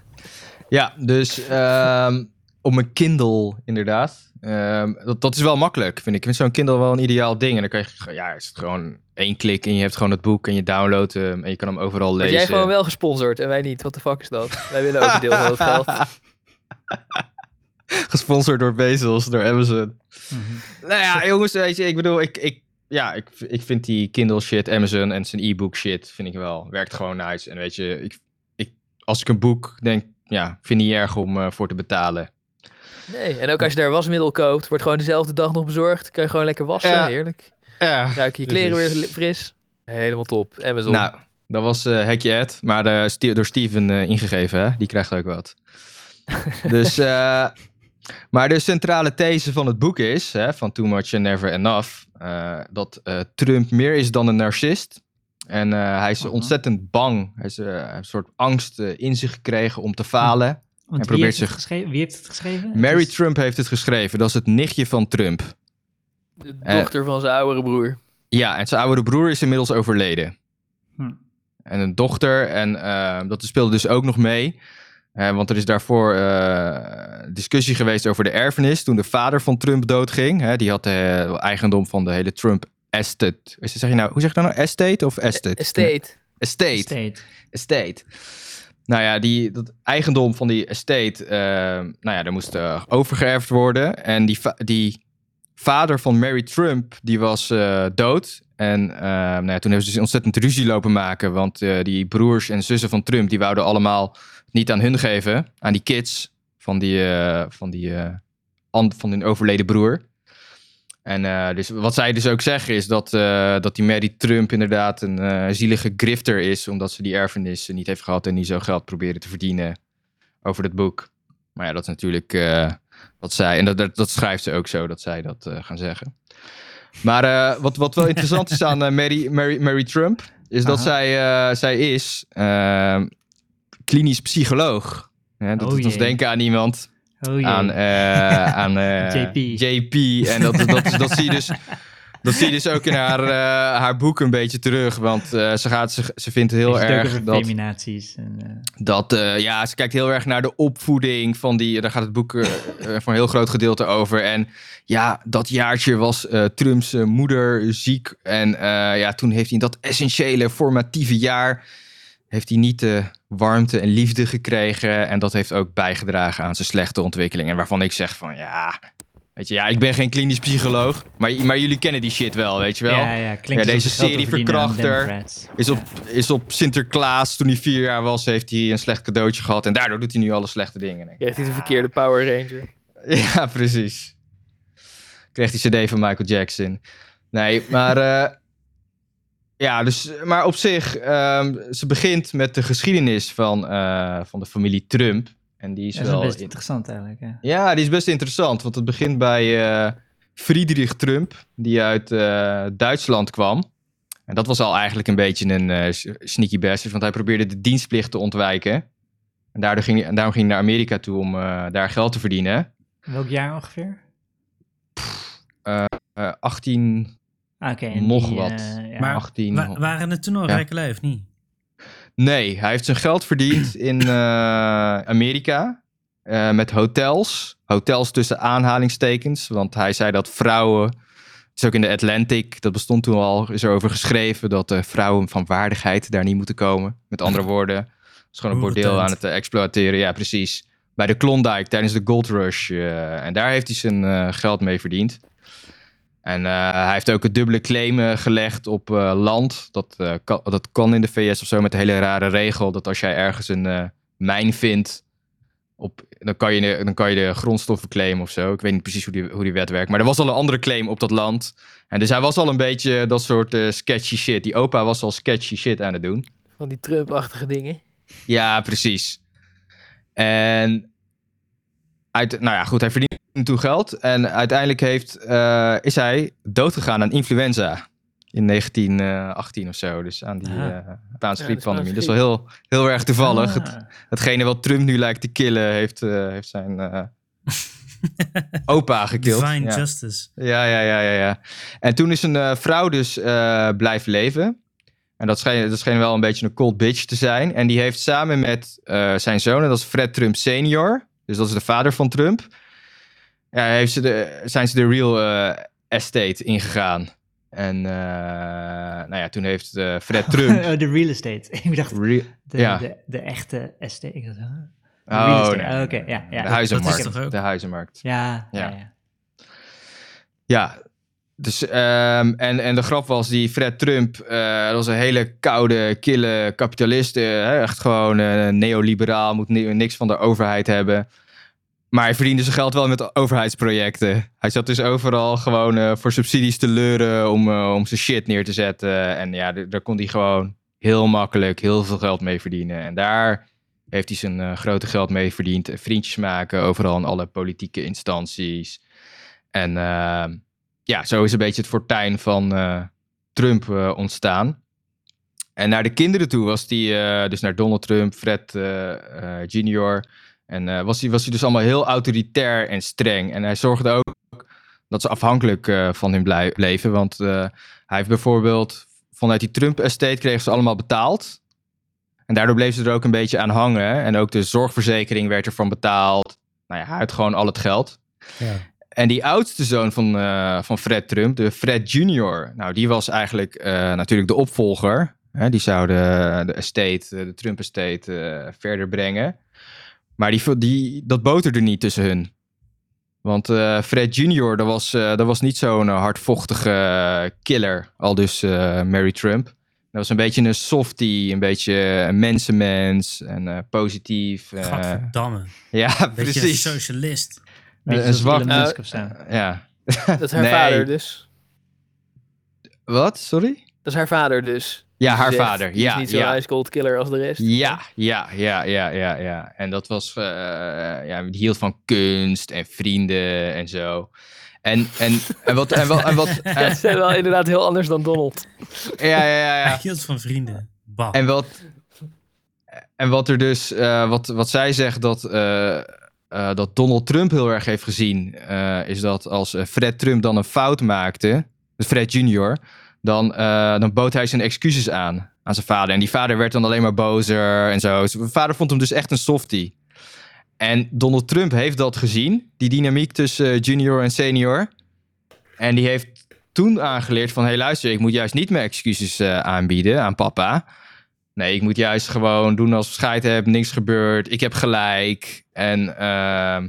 A: Ja, dus ehm op mijn Kindle inderdaad. Ehm, dat, dat is wel makkelijk, vind ik. Ik vind zo'n Kindle wel een ideaal ding. En dan kan je, ge- ja, is het gewoon één klik en je hebt gewoon het boek en je downloadt hem en je kan hem overal
C: Word
A: lezen.
C: jij gewoon wel gesponsord en wij niet. Wat de fuck is dat? Wij willen ook een deel van het geld.
A: Gesponsord door Bezos, door Amazon.
D: Mhm.
A: Nou ja, jongens, weet je, ik bedoel, ik, ik, ja, ik, ik vind die Kindle shit, Amazon en zijn e-book shit, vind ik wel, werkt gewoon nice. En weet je, ik, ik, als ik een boek denk, ja, vind ik niet erg om eh, voor te betalen.
C: Nee, en ook als je daar wasmiddel koopt, wordt gewoon dezelfde dag nog bezorgd. Kan je gewoon lekker wassen,
A: Ja.
C: heerlijk.
A: Ja,
C: Ruik je kleren weer
A: Precies.
C: li- fris. Helemaal top. Amazon.
A: nou, dat was eh Hekje Ed, maar eh, Ste- door Steven eh, ingegeven, hè? die krijgt ook wat. dus, eh, maar de centrale these van het boek is, hè, van Too Much and Never Enough, eh, dat eh, Trump meer is dan een narcist. En eh, hij is
D: Mhm.
A: ontzettend bang. Hij is, eh, hij heeft een soort angst eh, in zich gekregen om te falen.
D: Want wie
A: probeert
D: heeft, het
A: zich-
D: geschreven? wie heeft het geschreven? Het
A: Mary
D: is-
A: Trump heeft het geschreven. Dat is het nichtje van Trump.
C: de
A: eh,
C: dochter van zijn oudere broer.
A: Ja, en zijn oudere broer is inmiddels overleden.
D: Hm.
A: en een dochter. En eh, dat speelde dus ook nog mee. Eh, want er is daarvoor eh, discussie geweest over de erfenis. Toen de vader van Trump doodging. Hè, die had eh, eigendom van de hele Trump estate. Is het- Zeg je nou, hoe zeg je dat nou? Estate of estate?
C: Estate.
A: Estate.
D: State.
A: Estate. Nou ja, die, dat eigendom van die estate, eh, nou ja, daar moest eh, overgeërfd worden. En die, va- die vader van Mary Trump, die was eh, dood. En eh, nou ja, toen hebben ze dus ontzettend ruzie lopen maken. Want eh, die broers en zussen van Trump, die wouden allemaal niet aan hun geven. Aan die kids van die, eh, van die eh, an- van hun overleden broer. En eh, dus wat zij dus ook zeggen is dat, eh, dat die Mary Trump inderdaad een eh, zielige grifter is. Omdat ze die erfenis niet heeft gehad en die zo geld probeerde te verdienen over dat boek. Maar ja, dat is natuurlijk eh, wat zij... En dat, dat, dat schrijft ze ook zo, dat zij dat eh, gaan zeggen. Maar eh, wat, wat wel interessant is aan eh, Mary, Mary, Mary Trump... is dat
D: Aha.
A: zij, eh, zij is eh, klinisch psycholoog. Hè, dat
D: Oh
A: doet ons
D: jee.
A: denken aan iemand
D: Oh jee.
A: aan, eh, aan eh,
D: JP.
A: JP. En dat, dat, dat, zie je dus. Dat zie je dus ook in haar, eh, haar boek een beetje terug. Want eh, ze, gaat, ze, ze vindt
D: Heeft
A: heel
D: het ook
A: erg
D: over
A: dat.
D: feminaties en, eh,
A: dat eh, ja, ze kijkt heel erg naar de opvoeding van die. Daar gaat het boek eh, eh, voor een heel groot gedeelte over. En ja, dat jaartje was eh, Trumps eh, moeder ziek. En eh, ja, toen heeft hij in dat essentiële formatieve jaar. Heeft hij niet de warmte en liefde gekregen. En dat heeft ook bijgedragen aan zijn slechte ontwikkeling. En waarvan ik zeg van ja. Weet je, ja, ik ben geen klinisch psycholoog. Maar, maar jullie kennen die shit wel, weet je wel.
D: ja, ja, klinkt
A: Ja,
D: alsof
A: deze
D: ze geld
A: serie
D: verdienen aan
A: verkrachter.
D: Democrats.
A: Is op, is op Sinterklaas, toen hij vier jaar was, heeft hij een slecht cadeautje gehad. En daardoor doet hij nu alle slechte dingen. En ik-
C: Krijgt hij de verkeerde Power Ranger.
A: Ja, precies. Kreeg die cd van Michael Jackson. Nee, maar... eh, ja, dus, maar op zich, ehm, ze begint met de geschiedenis van, eh, van de familie Trump. En die is
D: Dat is
A: wel...
D: best
A: in-
D: interessant eigenlijk. Ja.
A: ja, die is best interessant, want het begint bij eh, Friedrich Trump, die uit eh, Duitsland kwam. En dat was al eigenlijk een beetje een eh, s- sneaky bastard, want hij probeerde de dienstplicht te ontwijken. En, daardoor ging, en daarom ging hij naar Amerika toe om eh, daar geld te verdienen.
D: Welk jaar ongeveer?
A: Eh, 18,
D: Ah, Oké. en
A: Nog
D: die,
A: wat.
D: eh, ja.
B: Maar-
A: 18...
B: Wa- waren het toen al
A: Ja.
B: rijke lui of niet?
A: Nee, hij heeft zijn geld verdiend in eh, Amerika. eh, met hotels. Hotels tussen aanhalingstekens. Want hij zei dat vrouwen. Het is ook in de Atlantic, dat bestond toen al, is erover geschreven dat eh, vrouwen van waardigheid daar niet moeten komen. Met andere woorden, het is gewoon een bordeel
B: Hoerentent.
A: aan het eh, exploiteren. Ja, precies. Bij de Klondike tijdens de Gold Rush. eh, en daar heeft hij zijn eh, geld mee verdiend. En eh, hij heeft ook een dubbele claim eh, gelegd op eh, land. Dat, eh, kan, dat kan in de VS of zo met de hele rare regel dat als jij ergens een eh, mijn vindt, op, dan, kan je de, dan kan je de grondstoffen claimen of zo. Ik weet niet precies hoe die, hoe die wet werkt. Maar er was al een andere claim op dat land. En dus hij was al een beetje dat soort eh, sketchy shit. Die opa was al sketchy shit aan het doen.
C: Van die Trump-achtige dingen.
A: Ja, precies. En uit, nou ja, goed, hij verdiende toen geld. En uiteindelijk heeft, eh, is hij doodgegaan aan influenza. In 1918 of zo. Dus aan die
D: Aha.
A: eh Spaanse
C: Ja, de
A: grieppandemie. Dat is wel
C: Spaanse
A: heel, heel erg toevallig. Het-
D: Ah,
A: Hetgene wat Trump nu lijkt te killen, heeft, eh, heeft zijn eh, opa gekild.
B: Divine
A: Ja.
B: justice.
A: Ja, ja, ja, ja, ja. En toen is een eh, vrouw dus eh, blijven leven. En dat scheen, dat scheen wel een beetje een cold bitch te zijn. En die heeft samen met eh, zijn zoon, en dat is Fred Trump senior, dus dat is de vader van Trump, ja, heeft ze de, zijn ze de real eh, estate ingegaan. En eh, nou ja, toen heeft eh, Fred Trump...
D: oh, de real estate. ik dacht,
A: Real-
D: de,
A: ja.
D: de, de echte estate. Ik dacht, huh? De real
A: Oh,
D: estate.
A: nee.
D: Ah, Oké, ja, ja.
A: de
D: dat-
A: huizenmarkt.
B: dat is toch ook?
A: de huizenmarkt.
D: Ja, ja.
A: Ja.
D: ja.
A: Ja, dus, ehm, en, en de grap was die Fred Trump, eh, dat was een hele koude, kille kapitalist. eh, hè, echt gewoon eh, neoliberaal, moet ni- niks van de overheid hebben. Maar hij verdiende zijn geld wel met overheidsprojecten. Hij zat dus overal gewoon eh, voor subsidies te leuren om, eh, om zijn shit neer te zetten. En ja, d- daar kon hij gewoon heel makkelijk heel veel geld mee verdienen. En daar heeft hij zijn eh, grote geld mee verdiend. Vriendjes maken overal in alle politieke instanties. En ehm, ja, zo is een beetje het fortuin van eh, Trump eh, ontstaan. En naar de kinderen toe was die, eh, dus naar Donald Trump, Fred eh, eh, Jr. En eh, was hij was die dus allemaal heel autoritair en streng. En hij zorgde ook dat ze afhankelijk eh, van hem blij- bleven. Want eh, hij heeft bijvoorbeeld vanuit die Trump-estate kregen ze allemaal betaald. En daardoor bleef ze er ook een beetje aan hangen. En ook de zorgverzekering werd ervan betaald. Nou ja, hij had gewoon al het geld.
B: Ja.
A: En die oudste zoon van, eh, van Fred Trump, de Fred Jr., nou, die was eigenlijk eh, natuurlijk de opvolger. Hè, die zouden eh, de estate, eh, de Trump estate, eh, verder brengen. Maar die, die, dat boterde niet tussen hun. Want eh, Fred Jr., dat was, eh, dat was niet zo'n eh, hardvochtige eh, killer, al dus eh, Mary Trump. Dat was een beetje een softie, een beetje een mensenmens en eh, positief. eh,
B: Gadverdamme.
A: ja,
B: Beetje
A: precies.
B: socialist.
A: Een-
D: Beetje
A: een
D: zoals
A: zwart-
D: Elon Musk
C: Eh,
D: of zo.
A: Ja.
C: Dat is haar
A: Nee.
C: vader dus.
A: Wat? Sorry?
C: Dat is haar vader dus.
A: Ja, haar
C: Die zegt,
A: vader.
C: "Die
A: Ja,
C: is niet zo'n
A: ja.
C: ice cold killer als de rest.
A: Ja, ja, ja, ja, ja, ja. En dat was, eh, ja, die hield van kunst en vrienden en zo. En, en, en wat, en wat, en wat, en-
C: Dat is wel inderdaad heel anders dan Donald.
A: ja, ja, ja,
B: Hij
A: ja.
B: hield van vrienden. Bah.
A: En wat, en wat er dus, eh, wat, wat zij zegt dat, eh, eh, dat Donald Trump heel erg heeft gezien, eh, is dat als eh, Fred Trump dan een fout maakte, dus Fred Jr., dan, eh, dan bood hij zijn excuses aan, aan zijn vader. En die vader werd dan alleen maar bozer en zo. Zijn vader vond hem dus echt een softie. En Donald Trump heeft dat gezien, die dynamiek tussen eh, junior en senior. En die heeft toen aangeleerd van, hé hey, luister, ik moet juist niet mijn excuses eh, aanbieden aan papa. Nee, ik moet juist gewoon doen als ik scheid heb, niks gebeurt, ik heb gelijk. En ehm,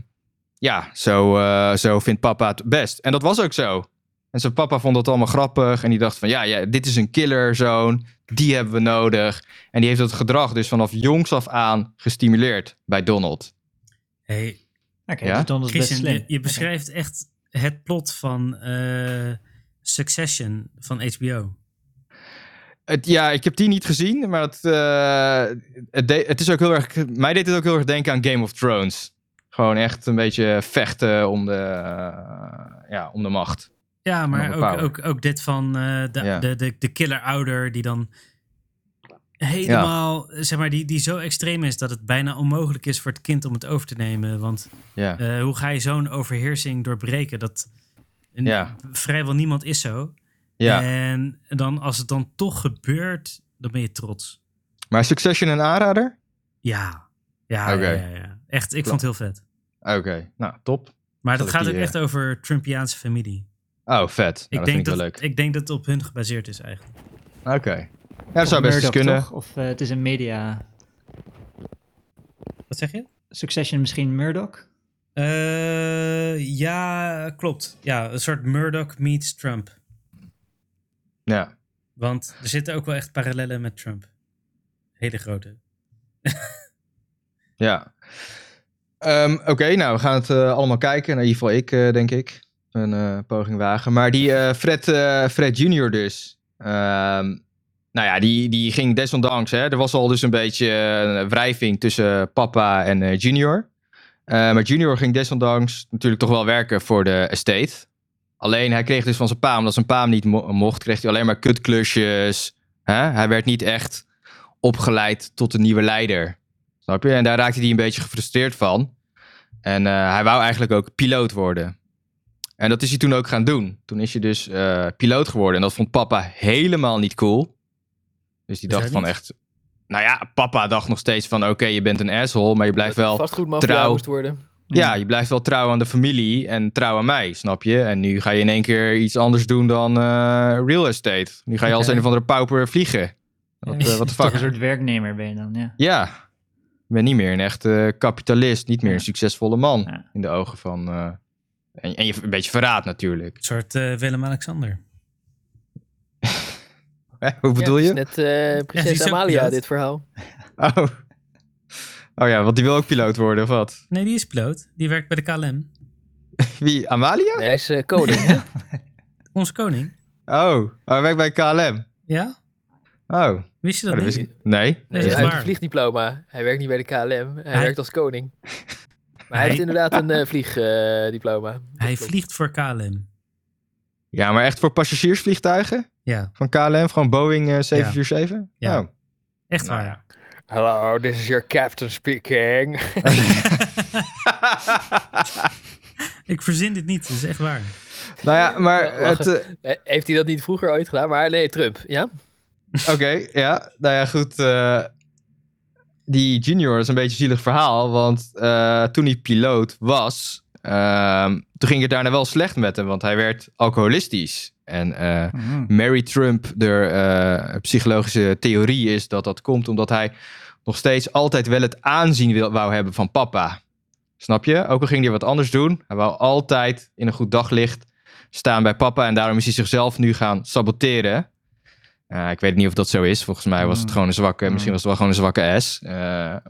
A: ja, zo, eh, zo vindt papa het best. En dat was ook zo. En zijn papa vond dat allemaal grappig en die dacht van, ja, ja dit is een killerzoon, die hebben we nodig. En die heeft dat gedrag dus vanaf jongs af aan gestimuleerd bij Donald.
B: hey,
D: Oké,
A: Ja?
D: dus Donald is best
B: Christian,
D: slim.
B: je, je beschrijft echt het plot van eh, Succession van HBO.
A: Het, ja, ik heb die niet gezien, maar het, eh, het, de- het is ook heel erg. Mij deed het ook heel erg denken aan Game of Thrones. Gewoon echt een beetje vechten om de, eh, ja, om de macht.
B: Ja, maar
A: Nog
B: ook,
A: een power.
B: ook, ook dit van eh, de,
A: Ja.
B: de, de, de killer-ouder die dan helemaal, zeg maar, die, die zo extreem is dat het bijna onmogelijk is voor het kind om het over te nemen. Want
A: Ja,
B: eh, hoe ga je zo'n overheersing doorbreken? Dat n-
A: Ja.
B: vrijwel niemand is zo. eh.
A: ja.
B: En dan als het dan toch gebeurt, dan ben je trots.
A: maar Succession een aanrader?
B: Ja, ja,
A: Oké.
B: ja, ja, ja. echt. Ik vond het heel vet.
A: Oké, nou top.
B: Maar
A: Zal
B: dat
A: ik
B: gaat ook
A: die, eh,
B: echt over Trumpiaanse familie.
A: Oh, vet. Nou,
B: ik,
A: dat
B: denk
A: vind
B: dat,
A: ik wel leuk.
B: ik denk dat het op hun gebaseerd is eigenlijk.
A: Oké. Ja, dat zou best eens
D: Murdoch,
A: kunnen.
D: toch? Of eh, het is een media...
B: Wat zeg je?
D: Succession misschien Murdoch?
B: Eh, ja, klopt. Ja, een soort Murdoch meets Trump.
A: Ja.
B: Want er zitten ook wel echt parallellen met Trump. Hele grote.
A: ja. Ehm, Oké, nou, we gaan het eh, allemaal kijken. Nou, in ieder geval ik, eh, denk ik. Een eh, poging wagen. Maar die eh, Fred, eh, Fred Jr. dus. Ehm, nou ja, die, die ging desondanks. Hè, er was al dus een beetje eh, een wrijving tussen papa en eh, Junior. Eh, maar Junior ging desondanks natuurlijk toch wel werken voor de estate. Alleen hij kreeg dus van zijn pa, omdat zijn pa hem niet mo- mocht, kreeg hij alleen maar kutklusjes. Hè? Hij werd niet echt opgeleid tot een nieuwe leider. Snap je? En daar raakte hij een beetje gefrustreerd van. En eh, hij wou eigenlijk ook piloot worden. En dat is hij toen ook gaan doen. Toen is hij dus eh, piloot geworden. En dat vond papa helemaal niet cool. Dus die
B: Hoezo
A: dacht van
B: niet?
A: echt... Nou ja, papa dacht nog steeds van... Oké, je bent een asshole, maar je blijft
C: Dat
A: wel...
C: vastgoedmafia
A: trouw.
C: moest worden.
A: Ja, je blijft wel trouw aan de familie en trouw aan mij, snap je? En nu ga je in één keer iets anders doen dan eh, real estate. Nu ga je als
D: Oké.
A: een of andere pauper vliegen.
D: Ja,
A: Wat, eh, wat de fuck?
D: Een soort werknemer ben je dan, ja.
A: Ja, je bent niet meer een echte kapitalist, niet meer een succesvolle man
D: Ja.
A: in de ogen van... eh, en, en je een beetje verraad natuurlijk.
B: Een soort eh, Willem-Alexander.
A: Hè, Hoe bedoel
C: Ja,
A: je?
C: het is net eh
B: Ja, die is
C: prinses
B: ook
C: Amalia,
B: piloot.
C: dit verhaal.
A: Oh. oh ja, want die wil ook piloot worden, of wat?
B: Nee, die is piloot. Die werkt bij de KLM.
A: Wie, Amalia?
C: Nee, hij is eh, koning. hè?
B: Onze koning.
A: Oh, oh, hij werkt bij KLM.
B: Ja?
A: Oh, oh,
B: Wist je dat
A: dat
B: niet?
A: wist ik... Nee?
B: Nee,
C: hij
B: dat is
C: heeft
B: waar.
C: een vliegdiploma. Hij werkt niet bij de KLM. Hij,
B: Hij-
C: werkt als koning. Maar
B: Hij-
C: hij heeft inderdaad een eh, vliegdiploma.
B: Hij vliegt voor KLM.
A: Ja, maar echt voor passagiersvliegtuigen?
B: Ja,
A: Van KLM, gewoon Boeing eh, 747?
B: Ja.
A: Oh.
B: echt waar. Nou ja.
C: Hello, this is your captain speaking.
B: Ik verzin dit niet, dat is echt waar.
A: nou ja, maar
C: Ja,
A: het...
C: lachen.
A: eh,
C: Eh, Heeft hij dat niet vroeger ooit gedaan? Maar nee, Trump, ja?
A: eh, Oké, ja. Nou ja, goed. eh, die junior is een beetje een zielig verhaal. Want eh, toen hij piloot was... ehm, toen ging het daarna wel slecht met hem. Want hij werd alcoholistisch. En eh,
D: Mhm.
A: Mary Trump, de eh, psychologische theorie is dat dat komt omdat hij nog steeds altijd wel het aanzien wil, wou hebben van papa. Snap je? Ook al ging hij wat anders doen, hij wou altijd in een goed daglicht staan bij papa en daarom is hij zichzelf nu gaan saboteren. Eh, ik weet niet of dat zo is. Volgens mij was het
D: Mm.
A: gewoon een zwakke, misschien
D: Mm.
A: was het wel gewoon een zwakke S. Eh,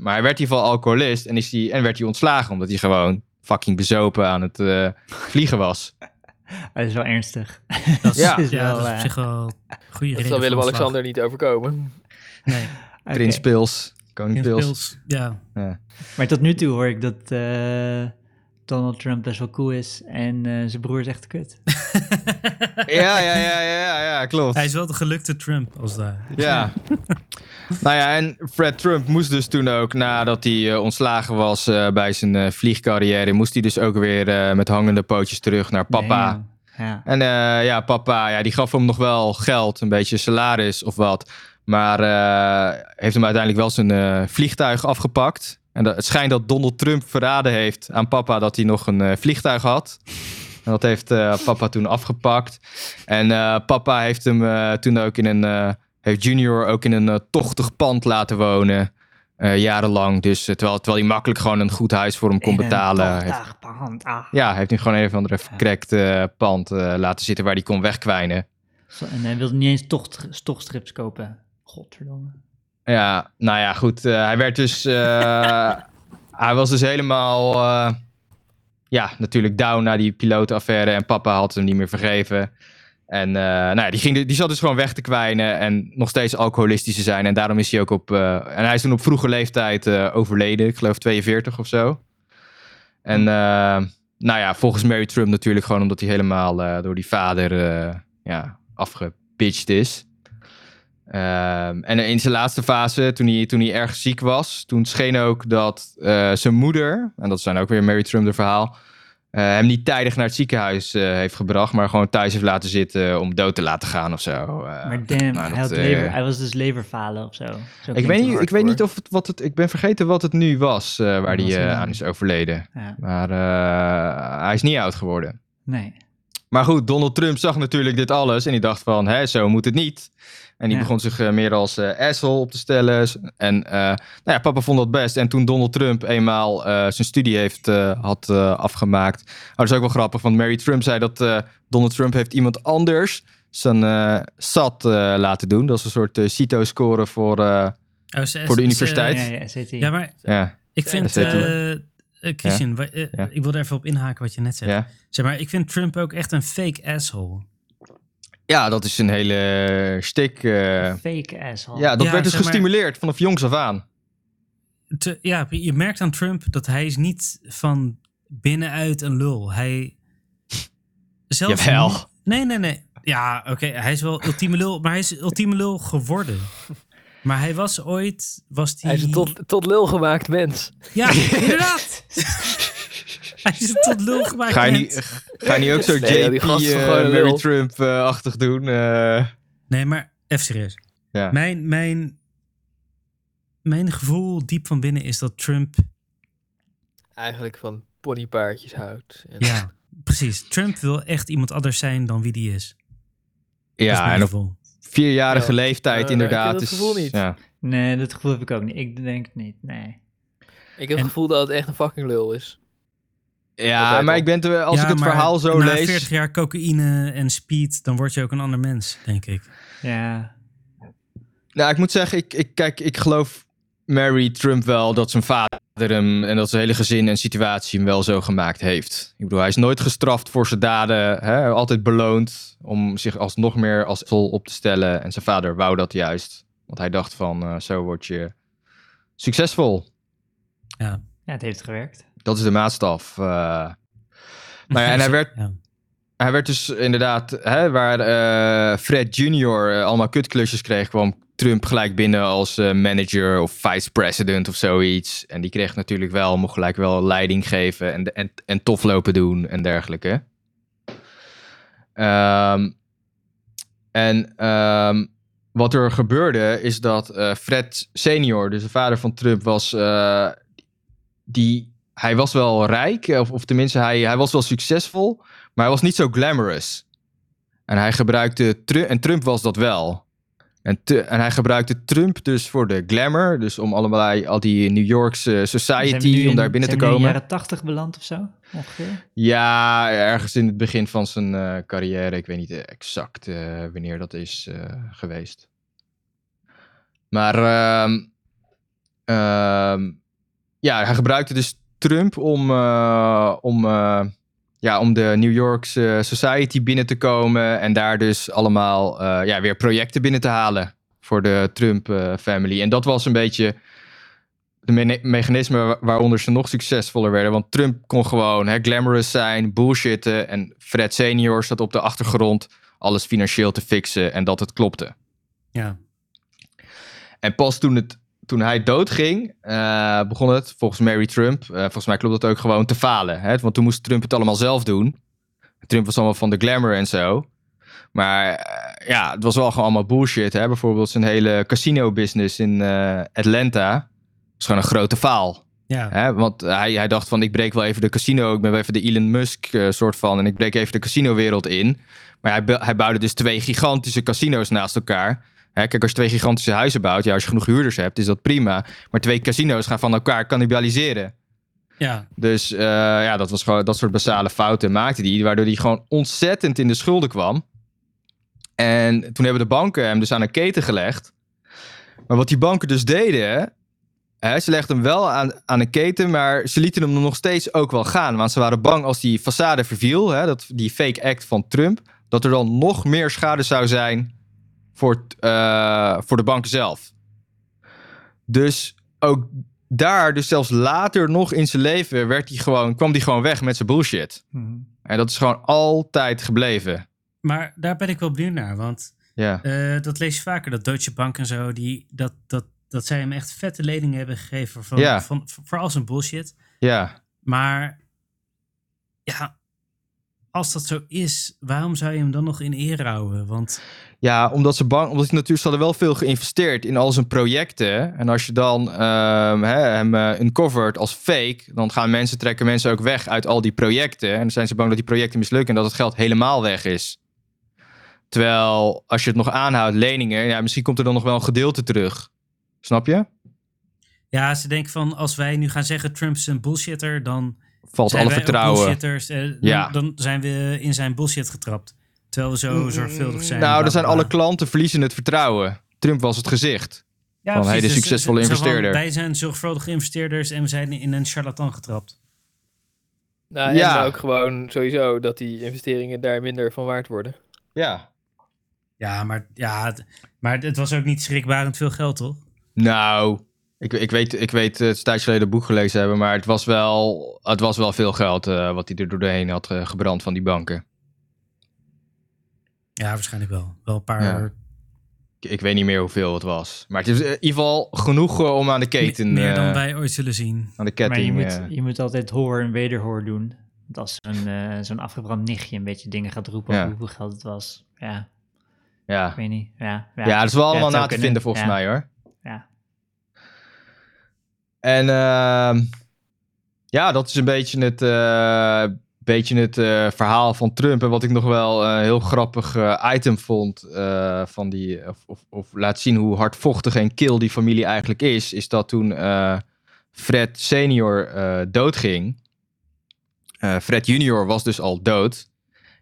A: maar hij werd in ieder geval alcoholist en, is hij, en werd hij ontslagen omdat hij gewoon fucking bezopen aan het eh, vliegen was.
D: Oh, Dat is wel ernstig.
B: Dat is,
A: Ja.
B: ja,
D: Is wel,
B: dat is op
D: eh,
B: zich wel een goede
C: Dat
B: reden.
C: zal
B: voor ontslag.
C: Willem-Alexander niet overkomen.
B: Nee,
D: Oké.
A: Prins Pils, koning
B: Prins
A: Pils.
B: Pils, Ja,
D: Maar tot nu toe hoor ik dat eh, Donald Trump best wel cool is en eh, zijn broer is echt kut.
A: Ja, ja, ja, ja, ja, ja, klopt.
B: hij is wel de gelukte Trump als daar.
A: Ja. nou ja, en Fred Trump moest dus toen ook, nadat hij eh, ontslagen was eh, bij zijn eh, vliegcarrière, moest hij dus ook weer eh, met hangende pootjes terug naar papa.
D: Nee, ja.
A: En eh, ja, papa, ja, die gaf hem nog wel geld, een beetje salaris of wat. Maar eh, heeft hem uiteindelijk wel zijn eh, vliegtuig afgepakt. En dat, het schijnt dat Donald Trump verraden heeft aan papa dat hij nog een eh, vliegtuig had. En dat heeft eh, papa toen afgepakt. En eh, papa heeft hem eh, toen ook in een. eh, heeft Junior ook in een eh, tochtig pand laten wonen. eh, jarenlang. Dus eh, terwijl, terwijl hij makkelijk gewoon een goed huis voor hem kon
D: In een
A: betalen. Heeft-
D: tanddag per hand. Ah.
A: ja, hij heeft nu gewoon een of andere verkrekt eh, pand eh, laten zitten waar hij kon wegkwijnen.
D: Zo, En hij wilde niet eens tocht, tochtstrips kopen. Godverdomme.
A: Ja, nou ja, goed. eh, hij werd dus. eh, hij was dus helemaal. eh, ja, natuurlijk down na die pilootaffaire. En papa had hem niet meer vergeven. En eh, nou ja, die, ging, die zat dus gewoon weg te kwijnen. En nog steeds alcoholistisch te zijn. En daarom is hij ook op. eh, en hij is toen op vroege leeftijd eh, overleden. Ik geloof 42 of zo. En. eh, nou ja, volgens Mary Trump natuurlijk gewoon omdat hij helemaal eh, door die vader eh, ja, afgepitcht is. Ehm, en in zijn laatste fase, toen hij, toen hij erg ziek was, toen scheen ook dat eh, zijn moeder, en dat zijn ook weer Mary Trump de verhaal, eh, hem niet tijdig naar het ziekenhuis eh, heeft gebracht, maar gewoon thuis heeft laten zitten om dood te laten gaan of zo. Eh,
D: maar damn,
A: nou,
D: hij,
A: dat,
D: had
A: eh,
D: lever, hij was dus leverfalen of zo. Zo
A: ik
D: klinkt
A: weet,
D: het.
A: niet, ik weet niet of het, wat het, ik ben vergeten wat het nu was eh, waar
D: Dat
A: hij
D: was een-
A: eh, aan is overleden.
D: Ja,
A: Maar eh, hij is niet oud geworden.
D: nee.
A: Maar goed, Donald Trump zag natuurlijk dit alles en die dacht van, hè, zo moet het niet. En die
D: Ja.
A: begon zich eh, meer als eh asshole op te stellen. En eh, nou ja, papa vond dat best. En toen Donald Trump eenmaal eh, zijn studie heeft, eh, had eh, afgemaakt. Oh, dat is ook wel grappig, want Mary Trump zei dat eh, Donald Trump heeft iemand anders zijn eh SAT eh, laten doen. Dat is een soort eh, CITO-score voor... eh,
B: Oh, ze-
A: Voor de
B: ze-
A: universiteit.
D: Ja, ja, SAT.
B: Ja, maar
A: ja,
B: ik vind...
A: dat weten
B: eh, eh, Christian, wa- eh,
A: Ja.
B: ik wil er even op inhaken wat je net zei.
A: ja.
B: Zeg maar, ik vind Trump ook echt een fake asshole.
A: ja, dat is een hele stik. eh.
D: Fake asshole.
A: ja, dat
B: Ja,
A: werd dus
B: zeg maar-
A: gestimuleerd vanaf jongs af aan.
B: Te- ja, je merkt aan Trump dat hij is niet van binnenuit een lul. Hij... Zelfs
A: Jawel.
B: Nee, nee, nee. Ja, oké. Hij is wel ultieme lul, maar hij is ultieme lul geworden. Maar hij was ooit... Was die...
C: Hij is een tot, tot lul gemaakt mens.
B: Ja, inderdaad. hij is een tot lul gemaakt.
A: Ga je,
B: mens.
A: niet, ga je niet ook zo
C: Nee, ja, die
A: JP,
C: gast is
A: eh,
C: gewoon een
A: Mary
C: lul.
A: Trump-achtig doen? eh?
B: Nee, maar even serieus.
A: Ja.
B: Mijn, mijn, mijn gevoel diep van binnen is dat Trump...
C: Eigenlijk van ponypaardjes houdt. En
B: Ja, precies. Trump wil echt iemand anders zijn dan wie die is. Dat is
A: ja,
B: mijn
A: en op
B: gevoel.
A: vierjarige
C: Ja.
A: leeftijd
C: Eh,
A: inderdaad.
C: ik heb dat
A: is-
C: gevoel niet.
A: Ja.
D: Nee, dat gevoel heb ik ook niet. Ik denk het niet, nee.
C: Ik heb
B: En-
C: het gevoel dat het echt een fucking lul is.
A: Ja,
C: Altijd
A: maar
C: al.
A: ik ben te, als
B: Ja,
A: ik het
B: maar
A: verhaal zo
B: na
A: lees...
B: 40 jaar cocaïne en speed, dan word je ook een ander mens, denk ik.
D: Ja,
A: Nou, ik moet zeggen, ik, ik, kijk, ik geloof Mary Trump wel dat zijn vader hem... en dat zijn hele gezin en situatie hem wel zo gemaakt heeft. Ik bedoel, hij is nooit gestraft voor zijn daden. Hè? Altijd beloond om zich alsnog meer als vol op te stellen. En zijn vader wou dat juist. Want hij dacht van, eh, zo word je succesvol.
B: Ja.
D: ja het heeft gewerkt.
A: Dat is de maatstaf. eh. nou ja, en hij werd,
B: Ja.
A: hij werd dus inderdaad, hè, waar eh, Fred Jr. eh, allemaal kutklusjes kreeg, kwam Trump gelijk binnen als eh, manager of vice president of zoiets. En die kreeg natuurlijk wel, mocht gelijk wel leiding geven en, en, en tof lopen doen en dergelijke. Ehm, en ehm, wat er gebeurde is dat eh, Fred senior, dus de vader van Trump, was eh, die hij was eh, wel rijk, of, of tenminste hij, hij was wel succesvol, maar hij was niet zo glamorous. En hij gebruikte Tru- en Trump was dat wel. En, te- en hij gebruikte Trump dus voor de glamour, dus om allerlei al die New Yorkse
D: Zijn
A: society
D: we nu
A: om
D: in-
A: daar binnen te
D: zijn we nu
A: komen.
D: in de jaren tachtig beland of zo, ongeveer.
A: Ja, ergens in het begin van zijn eh, carrière. Ik weet niet eh, exact eh, wanneer dat is eh, geweest. Maar ehm, ehm, ja, hij gebruikte dus Trump om, eh, om, eh, ja, om de New Yorkse eh, society binnen te komen. En daar dus allemaal eh, ja, weer projecten binnen te halen voor de Trump-family. en dat was een beetje de mene- mechanismen wa- waaronder ze nog succesvoller werden. Want Trump kon gewoon hè, glamorous zijn, bullshitten. En Fred senior zat op de achtergrond alles financieel te fixen en dat het klopte.
B: Ja.
A: En pas toen, het, toen hij doodging, eh, begon het volgens Mary Trump, eh, volgens mij klopt dat ook gewoon, te falen. Hè? Want toen moest Trump het allemaal zelf doen. Trump was allemaal van de glamour en zo. Maar eh, ja, het was wel gewoon allemaal bullshit. Hè? Bijvoorbeeld zijn hele casino-business in eh, Atlanta. was gewoon een grote faal.
B: Ja.
A: Hè, want hij, hij dacht van, ik breek wel even de casino. Ik ben wel even de Elon Musk eh, soort van. En ik breek even de casinowereld in. Maar hij, bu- hij bouwde dus twee gigantische casino's naast elkaar. Hè, kijk, als je twee gigantische huizen bouwt, ja, als je genoeg huurders hebt, is dat prima. Maar twee casino's gaan van elkaar cannibaliseren.
B: Ja.
A: Dus eh, ja, dat, was gewoon, dat soort basale fouten maakte hij, waardoor hij gewoon ontzettend in de schulden kwam. En toen hebben de banken hem dus aan een keten gelegd. Maar wat die banken dus deden, hè, ze legden hem wel aan, aan een keten, maar ze lieten hem nog steeds ook wel gaan. Want ze waren bang als die façade verviel, hè, dat, die fake act van Trump, dat er dan nog meer schade zou zijn voor, t- eh, voor de banken zelf. Dus ook daar, dus zelfs later nog in zijn leven, werd hij gewoon, kwam hij gewoon weg met zijn bullshit.
D: Mhm.
A: En dat is gewoon altijd gebleven.
B: Maar daar ben ik wel benieuwd naar, want
A: Ja,
B: eh, dat lees je vaker, dat Deutsche Bank en zo, die, dat, dat, dat zij hem echt vette leningen hebben gegeven van,
A: Ja.
B: van, voor al zijn bullshit.
A: ja.
B: Maar ja, als dat zo is, waarom zou je hem dan nog in eer houden? Want
A: ja omdat ze bang, omdat hij natuurlijk, ze hadden wel veel geïnvesteerd in al zijn projecten. En als je dan ehm, hè, hem eh, uncovert als fake, dan gaan mensen, trekken mensen ook weg uit al die projecten. En dan zijn ze bang dat die projecten mislukken en dat het geld helemaal weg is. Terwijl, als je het nog aanhoudt, leningen, ja, misschien komt er dan nog wel een gedeelte terug. Snap je?
B: ja, ze denken van, als wij nu gaan zeggen Trump is een bullshitter, dan
A: Valt
B: zijn
A: alle
B: wij ook
A: vertrouwen.
B: bullshitters. eh, dan,
A: Ja.
B: dan zijn we in zijn bullshit getrapt. Terwijl we zo zorgvuldig zijn.
A: Nou,
B: bla,
A: dan zijn
B: bla,
A: alle
B: bla.
A: klanten verliezen het vertrouwen. Trump was het gezicht.
B: Ja,
A: van, hey, de
B: precies. Dus,
A: succesvolle
B: eh, zo van,
A: investeerder.
B: Wij zijn zorgvuldige investeerders en we zijn in een charlatan getrapt.
C: Nou,
A: Ja.
C: En maar ook gewoon sowieso dat die investeringen daar minder van waard worden.
A: Ja.
B: Ja, maar, ja, het- maar het was ook niet schrikbarend veel geld, toch?
A: Nou, ik, ik weet, ik weet eh, het is een tijdje geleden een boek gelezen hebben, maar het was wel, het was wel veel geld eh, wat hij er doorheen had eh, gebrand van die banken.
B: Ja, waarschijnlijk wel. Wel een paar
A: Ja. Ik, ik weet niet meer hoeveel het was. Maar het is eh, in ieder geval genoeg eh, om aan de keten,
B: me- meer dan
A: eh,
B: wij ooit zullen zien.
A: aan de
D: Maar je
A: ketting.
D: moet,
A: eh.
D: je moet altijd hoor en wederhoor doen. Want als zo'n eh, zo'n afgebrand nichtje een beetje dingen gaat roepen
A: Ja.
D: over hoeveel geld het was. Ja,
A: ja.
D: ik weet niet. Ja, ja.
A: ja, dat is wel allemaal
D: het zou
A: na te
D: kunnen.
A: vinden volgens
D: Ja.
A: mij hoor.
D: Ja.
A: En ehm, ja, dat is een beetje het, eh, beetje het eh, verhaal van Trump. En wat ik nog wel een heel grappig eh, item vond eh, van die, of, of, of laat zien hoe hardvochtig en kil die familie eigenlijk is, is dat toen eh, Fred senior eh, doodging. eh, Fred junior was dus al dood.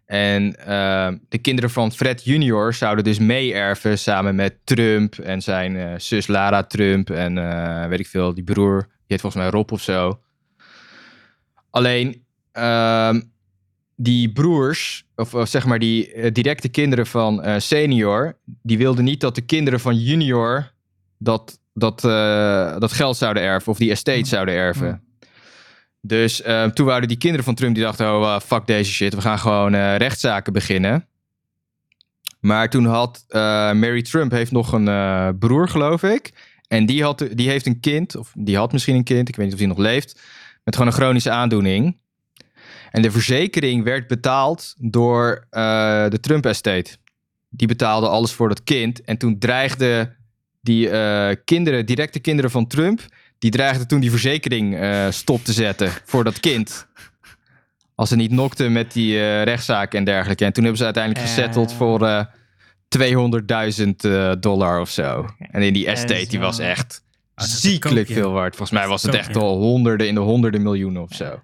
A: En ehm, de kinderen van Fred junior zouden dus meeerven samen met Trump en zijn eh, zus Lara Trump en eh, weet ik veel, die broer, die heet volgens mij Rob of zo. Alleen ehm, die broers, of, of zeg maar die eh, directe kinderen van eh, senior, die wilden niet dat de kinderen van junior dat, dat, eh, dat geld zouden erven of die estate zouden erven. Dus eh, toen waren die kinderen van Trump die dachten: oh, eh, fuck deze shit, we gaan gewoon eh, rechtszaken beginnen. Maar toen had eh, Mary Trump heeft nog een eh, broer, geloof ik. En die, had, die heeft een kind, of die had misschien een kind, ik weet niet of die nog leeft, met gewoon een chronische aandoening. En de verzekering werd betaald door eh, de Trump Estate. Die betaalde alles voor dat kind. En toen dreigden die eh, kinderen, directe kinderen van Trump, die dreigde toen die verzekering eh, stop te zetten voor dat kind. Als ze niet nokten met die eh, rechtszaken en dergelijke. En toen hebben ze uiteindelijk
D: Eh.
A: gesetteld voor eh, 200.000 eh, dollar of zo. En in die
D: dat
A: estate,
D: is
A: die was
D: wel-
A: echt
B: Ah, dat is
A: ziekelijk
B: goedkoop, ja.
A: veel waard. Volgens mij
B: Dat
A: was
B: is
A: het echt
B: goedkoop,
A: al honderden in de honderden miljoenen of zo.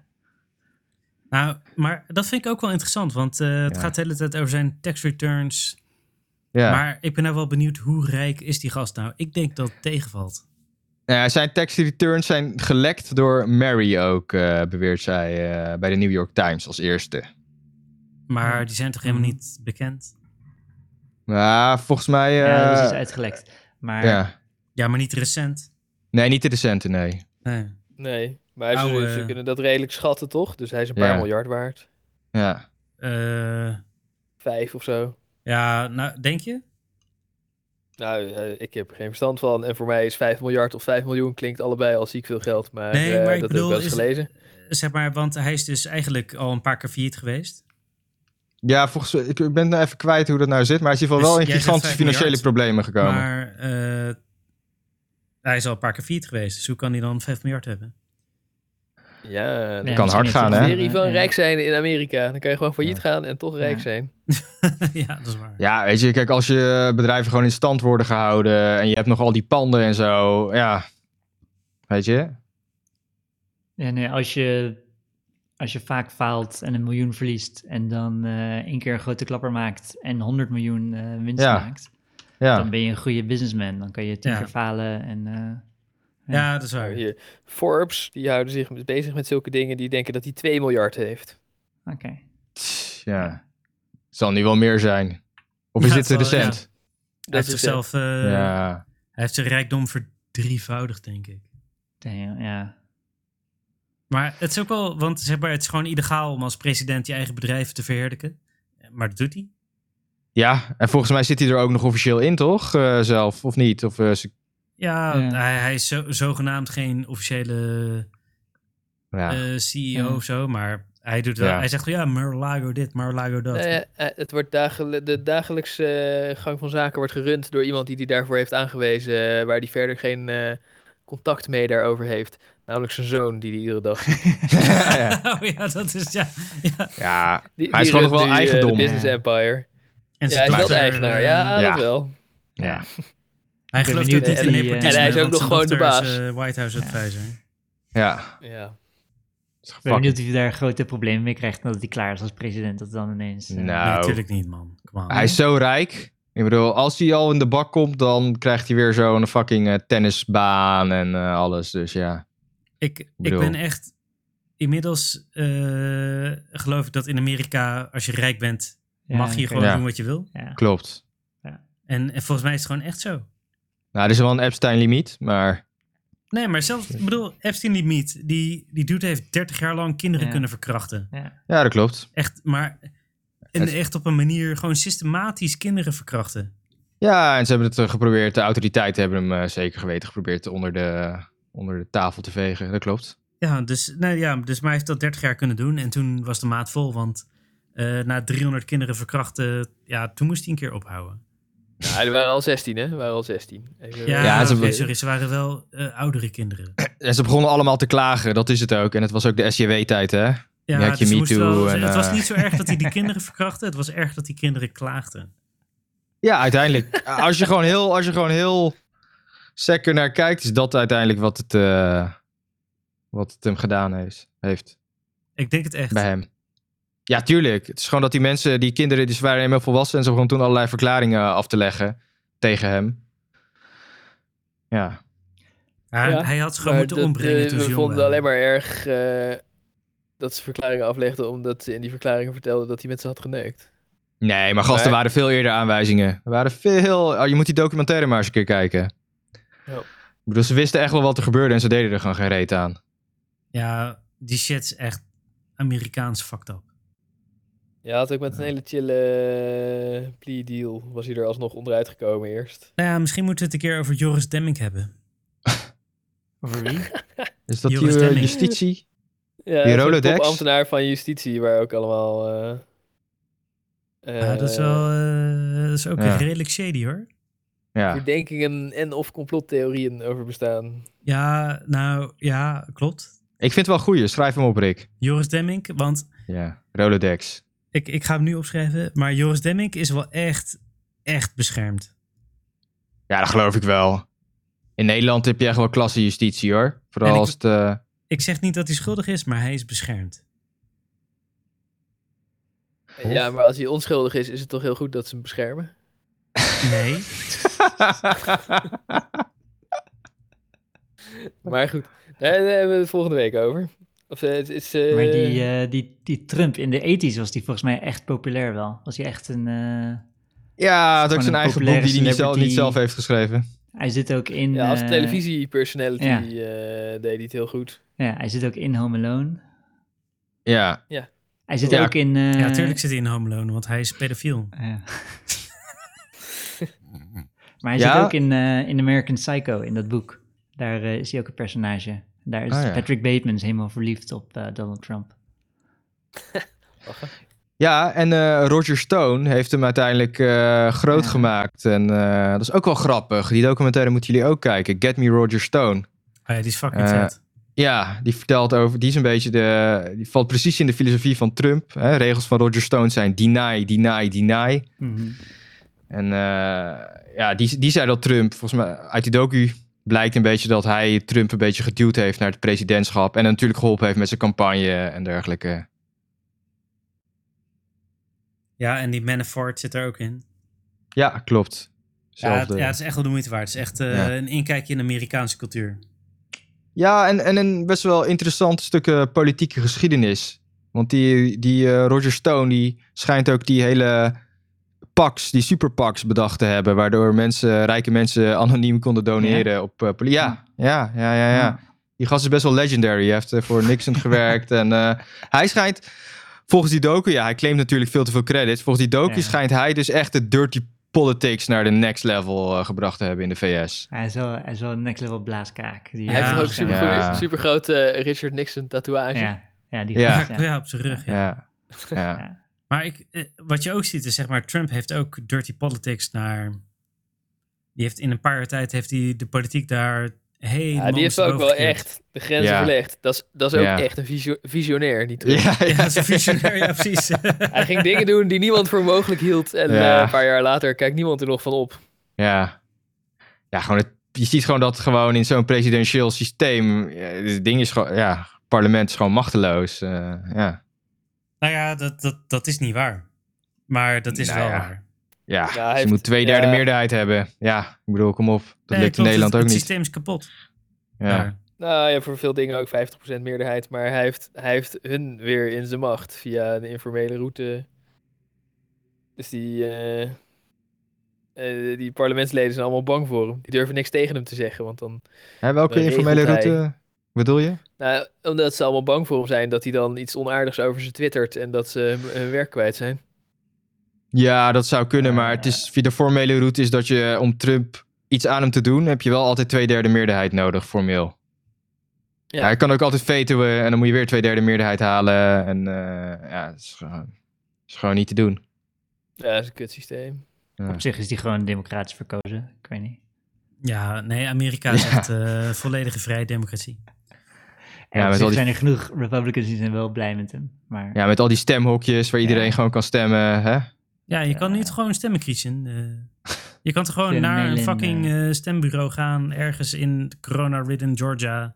B: Nou, maar dat vind ik ook wel interessant, want eh, het
A: Ja.
B: gaat de hele tijd over zijn tax returns.
A: Ja.
B: Maar ik ben nou wel benieuwd hoe rijk is die gast nou? Ik denk dat het tegenvalt.
A: Nou ja, zijn tax returns zijn gelekt door Mary ook, eh, beweert zij eh, bij de New York Times als eerste.
B: Maar die zijn toch
A: Mhm.
B: helemaal niet bekend?
A: Maar volgens mij... eh,
D: ja, dat is iets uitgelekt. Maar
A: ja.
B: Ja, maar niet recent.
A: Nee, niet de recente, nee.
B: Nee.
C: Nee, maar hij- ze-
B: Oude-
C: ze kunnen dat redelijk schatten, toch? Dus hij is een paar
A: Ja.
C: miljard waard.
A: Ja.
B: Eh,
C: Vijf of zo.
B: ja, nou, denk je?
C: Nou, eh, ik heb er geen verstand van. En voor mij is 5 miljard of 5 miljoen klinkt allebei al ziek veel geld. Maar,
B: Nee,
C: eh,
B: maar ik
C: dat
B: bedoel,
C: heb ik wel eens
B: is-
C: gelezen.
B: Zeg maar, want hij is dus eigenlijk al een paar keer failliet geweest.
A: Ja, volgens ik ben nou even kwijt hoe dat nou zit, maar hij is in ieder geval
B: Dus
A: wel in
B: jij zegt
A: gigantische
B: vijf miljard,
A: financiële problemen gekomen.
B: Maar eh, hij is al een paar keer failliet geweest. Dus hoe kan hij dan 5 miljard hebben?
C: Ja, dat
D: Ja,
A: kan
D: misschien
A: hard
D: heeft
A: gaan,
D: hij
A: hè?
D: een-
C: is serie van
D: een-
C: rijk zijn in Amerika. Dan kan je gewoon failliet
A: Ja.
C: gaan en toch rijk
D: Ja.
C: zijn.
B: ja, dat is waar.
A: Ja, weet je, kijk, als je bedrijven gewoon in stand worden gehouden en je hebt nog al die panden en zo, ja, weet je.
D: Ja, nee, als, je, als je vaak faalt en een miljoen verliest en dan eh één keer een grote klapper maakt en 100 miljoen eh, winst
A: Ja.
D: maakt,
A: Ja,
D: dan ben je een goede businessman. Dan kan je tien
B: Ja.
D: keer falen en eh,
B: Ja, dat is waar.
C: Hier, Forbes, die houden zich met- bezig met zulke dingen. Die denken dat hij 2 miljard heeft.
D: oké.
A: Tss, ja. Zal nu wel meer zijn. Of is
B: Ja,
A: dit
B: het zal-
A: recent?
B: Hij heeft zichzelf...
A: Ja.
B: eh, Hij heeft zijn rijkdom verdrievoudigd, denk ik.
D: Damn, ja.
B: Maar het is ook wel, want zeg maar, het is gewoon illegaal om als president je eigen bedrijf te verheerlijken. Maar dat doet hij.
A: Ja, en volgens mij zit hij er ook nog officieel in, toch? Eh, zelf, of niet? Of, eh, ze-
B: Ja,
D: Ja.
B: Hij, hij is zo, zogenaamd geen officiële
A: ja.
B: eh, CEO
D: Ja.
B: of zo, maar hij doet wel.
A: Ja.
B: Hij zegt wel, ja, Mar-a-Lago dit, Mar-a-Lago dat.
C: Nou ja, eh, het wordt dagel de dagelijkse eh, gang van zaken wordt gerund door iemand die die daarvoor heeft aangewezen, eh, waar die verder geen eh, contact mee daarover heeft. Namelijk zijn zoon, die die iedere dag. Die,
A: ja.
B: oh ja, dat is ja. ja.
A: ja.
C: die
A: Hij is gewoon
C: runt
A: nog wel
C: nu, eh, de
A: eigendom.
C: business empire.
B: En
C: Ja, hij is wel de
B: dochter,
C: eigenaar.
B: eh,
C: Ja,
A: Ja.
C: dat wel.
A: Ja.
B: Hij
D: ben
B: gelooft
D: benieuwd
B: ook niet
C: of
B: in
D: die, eh,
B: nepotisme.
D: En
C: hij is ook
B: want
C: nog
B: zijn
C: gewoon de
B: dochter Is,
C: baas.
B: eh, White House advisor.
A: ja.
C: Ja.
D: Ik ben benieuwd of je daar grote problemen mee krijgt nadat hij klaar is als president. Dat dan ineens... eh,
A: Nou.
B: Nee, natuurlijk niet, man. Come on.
A: Hij is zo rijk. Ik bedoel, als hij al in de bak komt, dan krijgt hij weer zo'n fucking eh, tennisbaan en eh, alles. Dus ja.
B: Ik, ik
A: bedoel-
B: ben echt. Inmiddels eh, geloof ik dat in Amerika, als je rijk bent,
D: ja,
B: mag je
D: oké.
B: gewoon
A: Ja.
B: doen wat je wil.
D: Ja.
A: Klopt.
B: En, en volgens mij is het gewoon echt zo.
A: Nou, er is wel een Epstein-limiet, maar
B: Nee, maar zelfs, ik bedoel, Epstein Limiet, die, die dude heeft 30 jaar lang kinderen
D: Ja.
B: kunnen verkrachten.
A: ja, dat klopt.
B: Echt, maar en
A: Het-
B: echt op een manier gewoon systematisch kinderen verkrachten.
A: Ja, en ze hebben het eh, geprobeerd, de autoriteiten hebben hem eh, zeker geweten geprobeerd onder de, onder de tafel te vegen. Dat klopt.
B: Ja, dus, nou ja, dus maar hij heeft dat 30 jaar kunnen doen en toen was de maat vol, want eh, na 300 kinderen verkrachten, ja, toen moest hij een keer ophouden.
C: Ja, er waren al 16, hè? Er waren al 16. Even-
B: Ja,
A: Ja, ze-
B: oké, sorry, ze waren wel eh, oudere kinderen.
A: En ze begonnen allemaal te klagen, dat is het ook. En het was ook de SJW-tijd, hè?
B: Ja,
A: Merk je
B: dus ze
A: Me
B: moesten
A: Too
B: wel-
A: en,
B: het was
A: eh,
B: niet zo erg dat hij die kinderen verkrachtte. Het was erg dat die kinderen klaagden.
A: Ja, uiteindelijk. als, je gewoon heel, als je gewoon heel sekker naar kijkt, is dat uiteindelijk wat het, eh, wat het hem gedaan heeft. heeft.
B: Ik denk het echt.
A: bij hem. Ja, tuurlijk. Het is gewoon dat die mensen, die kinderen, die waren helemaal volwassen en ze begonnen toen allerlei verklaringen af te leggen tegen hem. Ja,
B: Ja,
C: Ja,
B: hij had ze
C: Maar
B: gewoon moeten
C: dat,
B: ombrengen
C: eh,
B: toen
C: we
B: ze jong
C: vonden
B: waren.
C: alleen maar erg eh, dat ze verklaringen aflegde, omdat ze in die verklaringen vertelde dat hij met ze had geneukt.
A: nee, maar gasten
C: Nee.
A: waren veel eerder aanwijzingen. Er waren veel. Oh, je moet die documentaire maar eens een keer kijken.
C: Ja.
A: Ik bedoel, ze wisten echt wel wat er gebeurde en ze deden er gewoon geen reet aan.
B: Ja, die shit is echt Amerikaans fucked up.
C: Ja, had ook met een hele chille eh, plea deal was hij er alsnog onderuit gekomen eerst.
B: Nou ja, misschien moeten we het een keer over Joris Demming hebben.
D: Over wie?
A: Is dat
B: Joris
A: die eh,
B: Demming.
A: justitie?
C: Ja,
A: Die
C: een soort
A: Rolodex?
C: topambtenaar van justitie, waar ook allemaal... eh,
B: Ja, Ah, dat is
C: eh,
B: wel... eh, dat is ook
A: Ja.
B: redelijk shady, hoor.
A: Ja.
C: Verdenkingen en of complottheorieën over bestaan.
B: Ja, nou, ja, klopt.
A: Ik vind het wel goeie. Schrijf hem op, Rick.
B: Joris Demming, want
A: Ja, Rolodex.
B: Ik, ik ga hem nu opschrijven. Maar Joris Demmink is wel echt, echt beschermd.
A: Ja, dat geloof ik wel. In Nederland heb je echt wel klasse justitie hoor. Vooral
B: En ik-
A: als het... eh,
B: Ik zeg niet dat hij schuldig is, maar hij is beschermd.
C: Ja, maar als hij onschuldig is, is het toch heel goed dat ze hem beschermen?
B: Nee.
A: eh,
C: Maar goed, daar daar hebben we het volgende week over. Of eh, het is... eh,
D: Maar die, eh, die, die Trump in de 80s was die volgens mij echt populair wel. Was hij echt een... eh,
A: ja, het is ook
D: Gewoon
A: zijn
D: een
A: eigen boek die
D: populaire
A: hij niet zelf, niet
D: celebrity.
A: zelf heeft geschreven.
D: hij zit ook in...
C: ja, als
D: eh,
C: televisiepersonality
D: ja.
C: eh deed hij het heel goed.
D: Ja, hij zit ook in Home Alone.
A: Ja,
D: Hij zit
A: Ja.
D: ook in... eh,
B: Ja, tuurlijk zit hij in Home Alone, want hij is pedofiel.
D: Ja. maar hij
A: Ja?
D: zit ook in, eh, in American Psycho, in dat boek. Daar eh, is hij ook een personage. Daar is
A: Ah, ja.
D: Patrick Bateman is helemaal verliefd op eh, Donald Trump.
A: Ja, en eh, Roger Stone heeft hem uiteindelijk eh, groot
D: Ja.
A: gemaakt. En eh, dat is ook wel grappig. Die documentaire moeten jullie ook kijken. Get Me Roger Stone.
B: Oh ja, die is fucking
A: Eh,
B: vet.
A: Ja, die vertelt over. Die is een beetje de. Die valt precies in de filosofie van Trump. Hè? Regels van Roger Stone zijn deny, deny, deny. En eh, ja, die, die zei dat Trump, volgens mij uit die docu blijkt een beetje dat hij Trump een beetje geduwd heeft naar het presidentschap. En natuurlijk geholpen heeft met zijn campagne en dergelijke.
B: Ja, en die Manafort zit er ook in.
A: Ja, klopt.
B: Ja, het,
A: Zelfde-
B: ja, het is echt wel de moeite waard. Het is echt eh,
A: Ja.
B: een inkijkje in de Amerikaanse cultuur.
A: Ja, en, en een best wel interessant stuk eh, politieke geschiedenis. Want die, die eh, Roger Stone, die schijnt ook die hele pax, die superpax bedacht te hebben. Waardoor mensen, rijke mensen anoniem konden doneren op eh, poli- Ja, ja, ja, ja, ja. Die gast is best wel legendary. Hij heeft eh, voor Nixon gewerkt. En eh, hij schijnt, volgens die docu, ja, hij claimt natuurlijk veel te veel credits. Volgens die docu
D: Ja.
A: schijnt hij dus echt de dirty politics naar de next level eh, gebracht te hebben in de VS.
D: Hij, is wel, hij is wel een next level blaaskaak. Die eh,
C: hij heeft toch ook
B: super
C: super,
A: ja.
C: grote Richard Nixon tatoeage.
D: Ja, ja, die
A: Ja.
D: gast,
B: Ja,
D: ja.
B: ja, op zijn rug. ja.
A: Ja, ja.
B: Maar ik, eh, wat je ook ziet is, zeg maar, Trump heeft ook dirty politics naar... Die heeft in een paar jaar tijd heeft hij de politiek daar helemaal
C: Ja, die heeft ook wel
B: ondersteboven
C: echt de grenzen
A: Ja.
C: verlegd. Dat is, dat is ook
A: Ja.
C: echt een visio- visionair. Die Trump.
A: Ja,
B: gekeerd.
A: ja,
B: Ja, dat is een visionair, ja, precies.
C: Hij ging dingen doen die niemand voor mogelijk hield. En
A: Ja.
C: eh, een paar jaar later kijkt niemand er nog van op.
A: Ja. Ja, gewoon het, je ziet gewoon dat gewoon in zo'n presidentieel systeem. ja, Het ding is gewoon. Ja, het parlement is gewoon machteloos. eh, ja.
B: nou ja, dat, dat, dat is niet waar. Maar dat is
A: Nou
B: wel
A: ja.
B: waar.
A: Ja,
C: hij
A: ze
C: heeft-
A: moet twee derde
C: ja.
A: meerderheid hebben. Ja, ik bedoel, kom op. Dat
B: Nee,
A: lukt in
B: klopt,
A: Nederland
B: het,
A: ook
B: Het
A: niet.
B: systeem is kapot.
A: Ja.
B: daar.
C: Nou ja, voor veel dingen ook 50% meerderheid. Maar hij heeft, hij heeft hun weer in zijn macht via de informele route. Dus die, eh, eh, die parlementsleden zijn allemaal bang voor hem. Die durven niks tegen hem te zeggen. Want dan,
A: Hè, welke
C: Dan regelt
A: informele
C: hij.
A: route bedoel je?
C: nou, omdat ze allemaal bang voor hem zijn dat hij dan iets onaardigs over ze twittert. En dat ze hun- hun werk kwijt zijn.
A: Ja, dat zou kunnen, maar
C: Eh.
A: het is, via de formele route is dat je eh, om Trump iets aan hem te doen, heb je wel altijd twee derde meerderheid nodig, formeel.
C: Ja.
A: Ja. hij kan ook altijd vetoen en dan moet je weer twee derde meerderheid halen. En eh, ja, het is gewoon, is gewoon niet te doen.
C: Ja, dat is een kutsysteem.
A: Ja.
D: Op zich is die gewoon democratisch verkozen. Ik weet niet.
B: Ja, nee, Amerika is
A: Ja.
B: echt eh, volledige vrije democratie.
A: met
D: En op
A: al
D: zich
A: die-
D: zijn er genoeg Republicans die zijn wel blij met hem. Maar
A: Ja, met al die stemhokjes waar iedereen
D: Ja.
A: gewoon kan stemmen. Hè?
B: Ja, je
A: Eh.
B: kan niet gewoon stemmen kiezen. eh. je kan toch gewoon
D: Via
B: naar een
D: mail-in,
B: fucking eh, stembureau gaan, ergens in corona-ridden Georgia.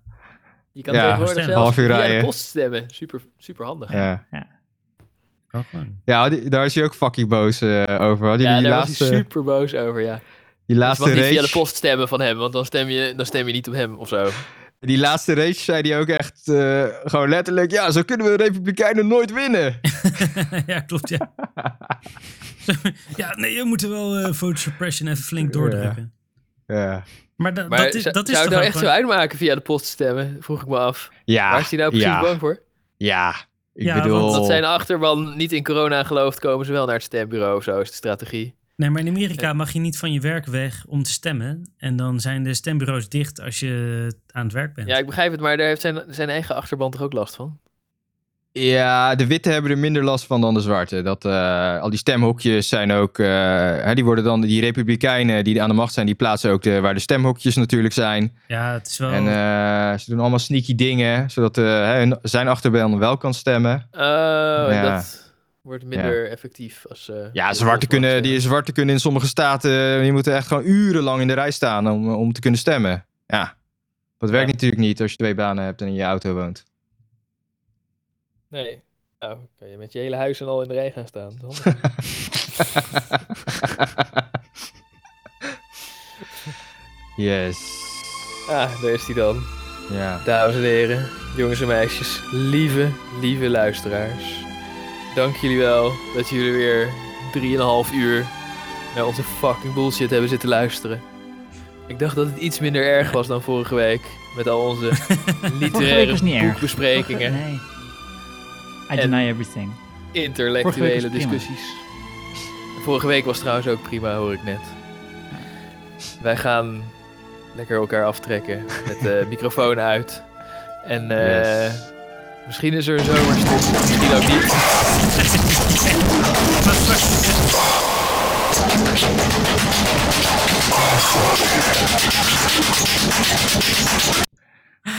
C: Je kan
A: Ja,
C: tegenwoordig
B: stemmen.
C: zelf
A: Half uur
C: via de
A: rijden.
C: post stemmen. Super, super handig. Ja,
A: Ja,
B: Kan gewoon.
A: ja die- daar is hij ook fucking boos eh, over. Hadden jullie
C: daar
A: die
C: was hij
A: laatste,
C: super boos over, ja.
A: die laatste
C: dus mag niet via de
A: race?
C: post stemmen van hem, want dan stem je, dan stem je niet op hem of zo.
A: Die laatste race zei hij ook echt eh, gewoon letterlijk... Ja, zo kunnen we Republikeinen nooit winnen.
B: ja, klopt, ja. ja, nee, je moet er wel eh vote suppression even flink doordrukken.
A: ja.
B: Maar, da-
C: Maar
B: dat is,
C: zou-
B: dat is
C: zou
B: toch
C: het nou
B: ook
C: echt zo
B: gewoon-
C: uitmaken via de post stemmen? Vroeg ik me af.
A: Ja,
C: Waar is hij nou precies
A: ja,
C: bang voor?
A: Ja, ik
B: Ja, want
A: bedoel...
C: Dat zijn achterban niet in corona gelooft, komen ze wel naar het stembureau of zo, is de strategie.
B: Nee, maar in Amerika mag je niet van je werk weg om te stemmen. En dan zijn de stembureaus dicht als je aan het werk bent.
C: Ja, ik begrijp het, maar daar heeft zijn, zijn eigen achterban toch ook last van?
A: Ja, de witte hebben er minder last van dan de zwarte. Dat, eh, al die stemhokjes zijn ook. eh, hè, die worden dan. Die Republikeinen die aan de macht zijn, die plaatsen ook de, waar de stemhokjes natuurlijk zijn.
B: Ja, het is wel...
A: En eh, ze doen allemaal sneaky dingen, zodat eh, hè, hun- zijn achterban wel kan stemmen.
C: Oh,
A: Ja.
C: dat wordt minder effectief als... eh,
A: Ja,
C: de
A: zwarte kunnen,
C: volkswacht,
A: die
C: eh.
A: zwarte kunnen in sommige staten. Die moeten echt gewoon urenlang in de rij staan om, om te kunnen stemmen. Ja. Dat werkt
C: Ja.
A: natuurlijk niet als je twee banen hebt en in je auto woont.
C: Nee. Nou, kan je met je hele huis en al in de rij gaan staan. Dan.
A: yes.
C: ah, daar is hij dan.
A: Ja.
C: Dames en heren, jongens en meisjes, lieve, lieve luisteraars. Dank jullie wel dat jullie weer 3,5 uur naar onze fucking bullshit hebben zitten luisteren. Ik dacht dat het iets minder erg was dan vorige week. Met al onze
D: Vorige week was niet
C: literaire
D: erg.
C: boekbesprekingen,
D: Nee.
C: En-
D: I deny everything. Vorige week
C: interlectuele
D: was prima.
C: discussies. Vorige week was trouwens ook prima, hoor ik net. Wij gaan lekker elkaar aftrekken met de microfoon uit. En eh.
A: Yes.
C: Misschien is er een zomerstop, misschien ook niet.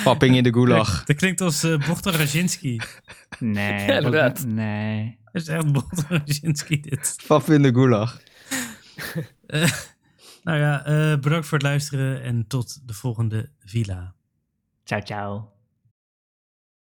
A: Papping in de gulag.
B: Dat klinkt als eh Bochter Razinski.
D: Nee.
C: Ja,
D: ook-
C: inderdaad.
D: Nee.
B: Dat is echt Bochter Razinski dit.
A: Pap in de gulag.
B: eh, Nou ja, eh, bedankt voor het luisteren en tot de volgende villa.
D: Ciao, ciao.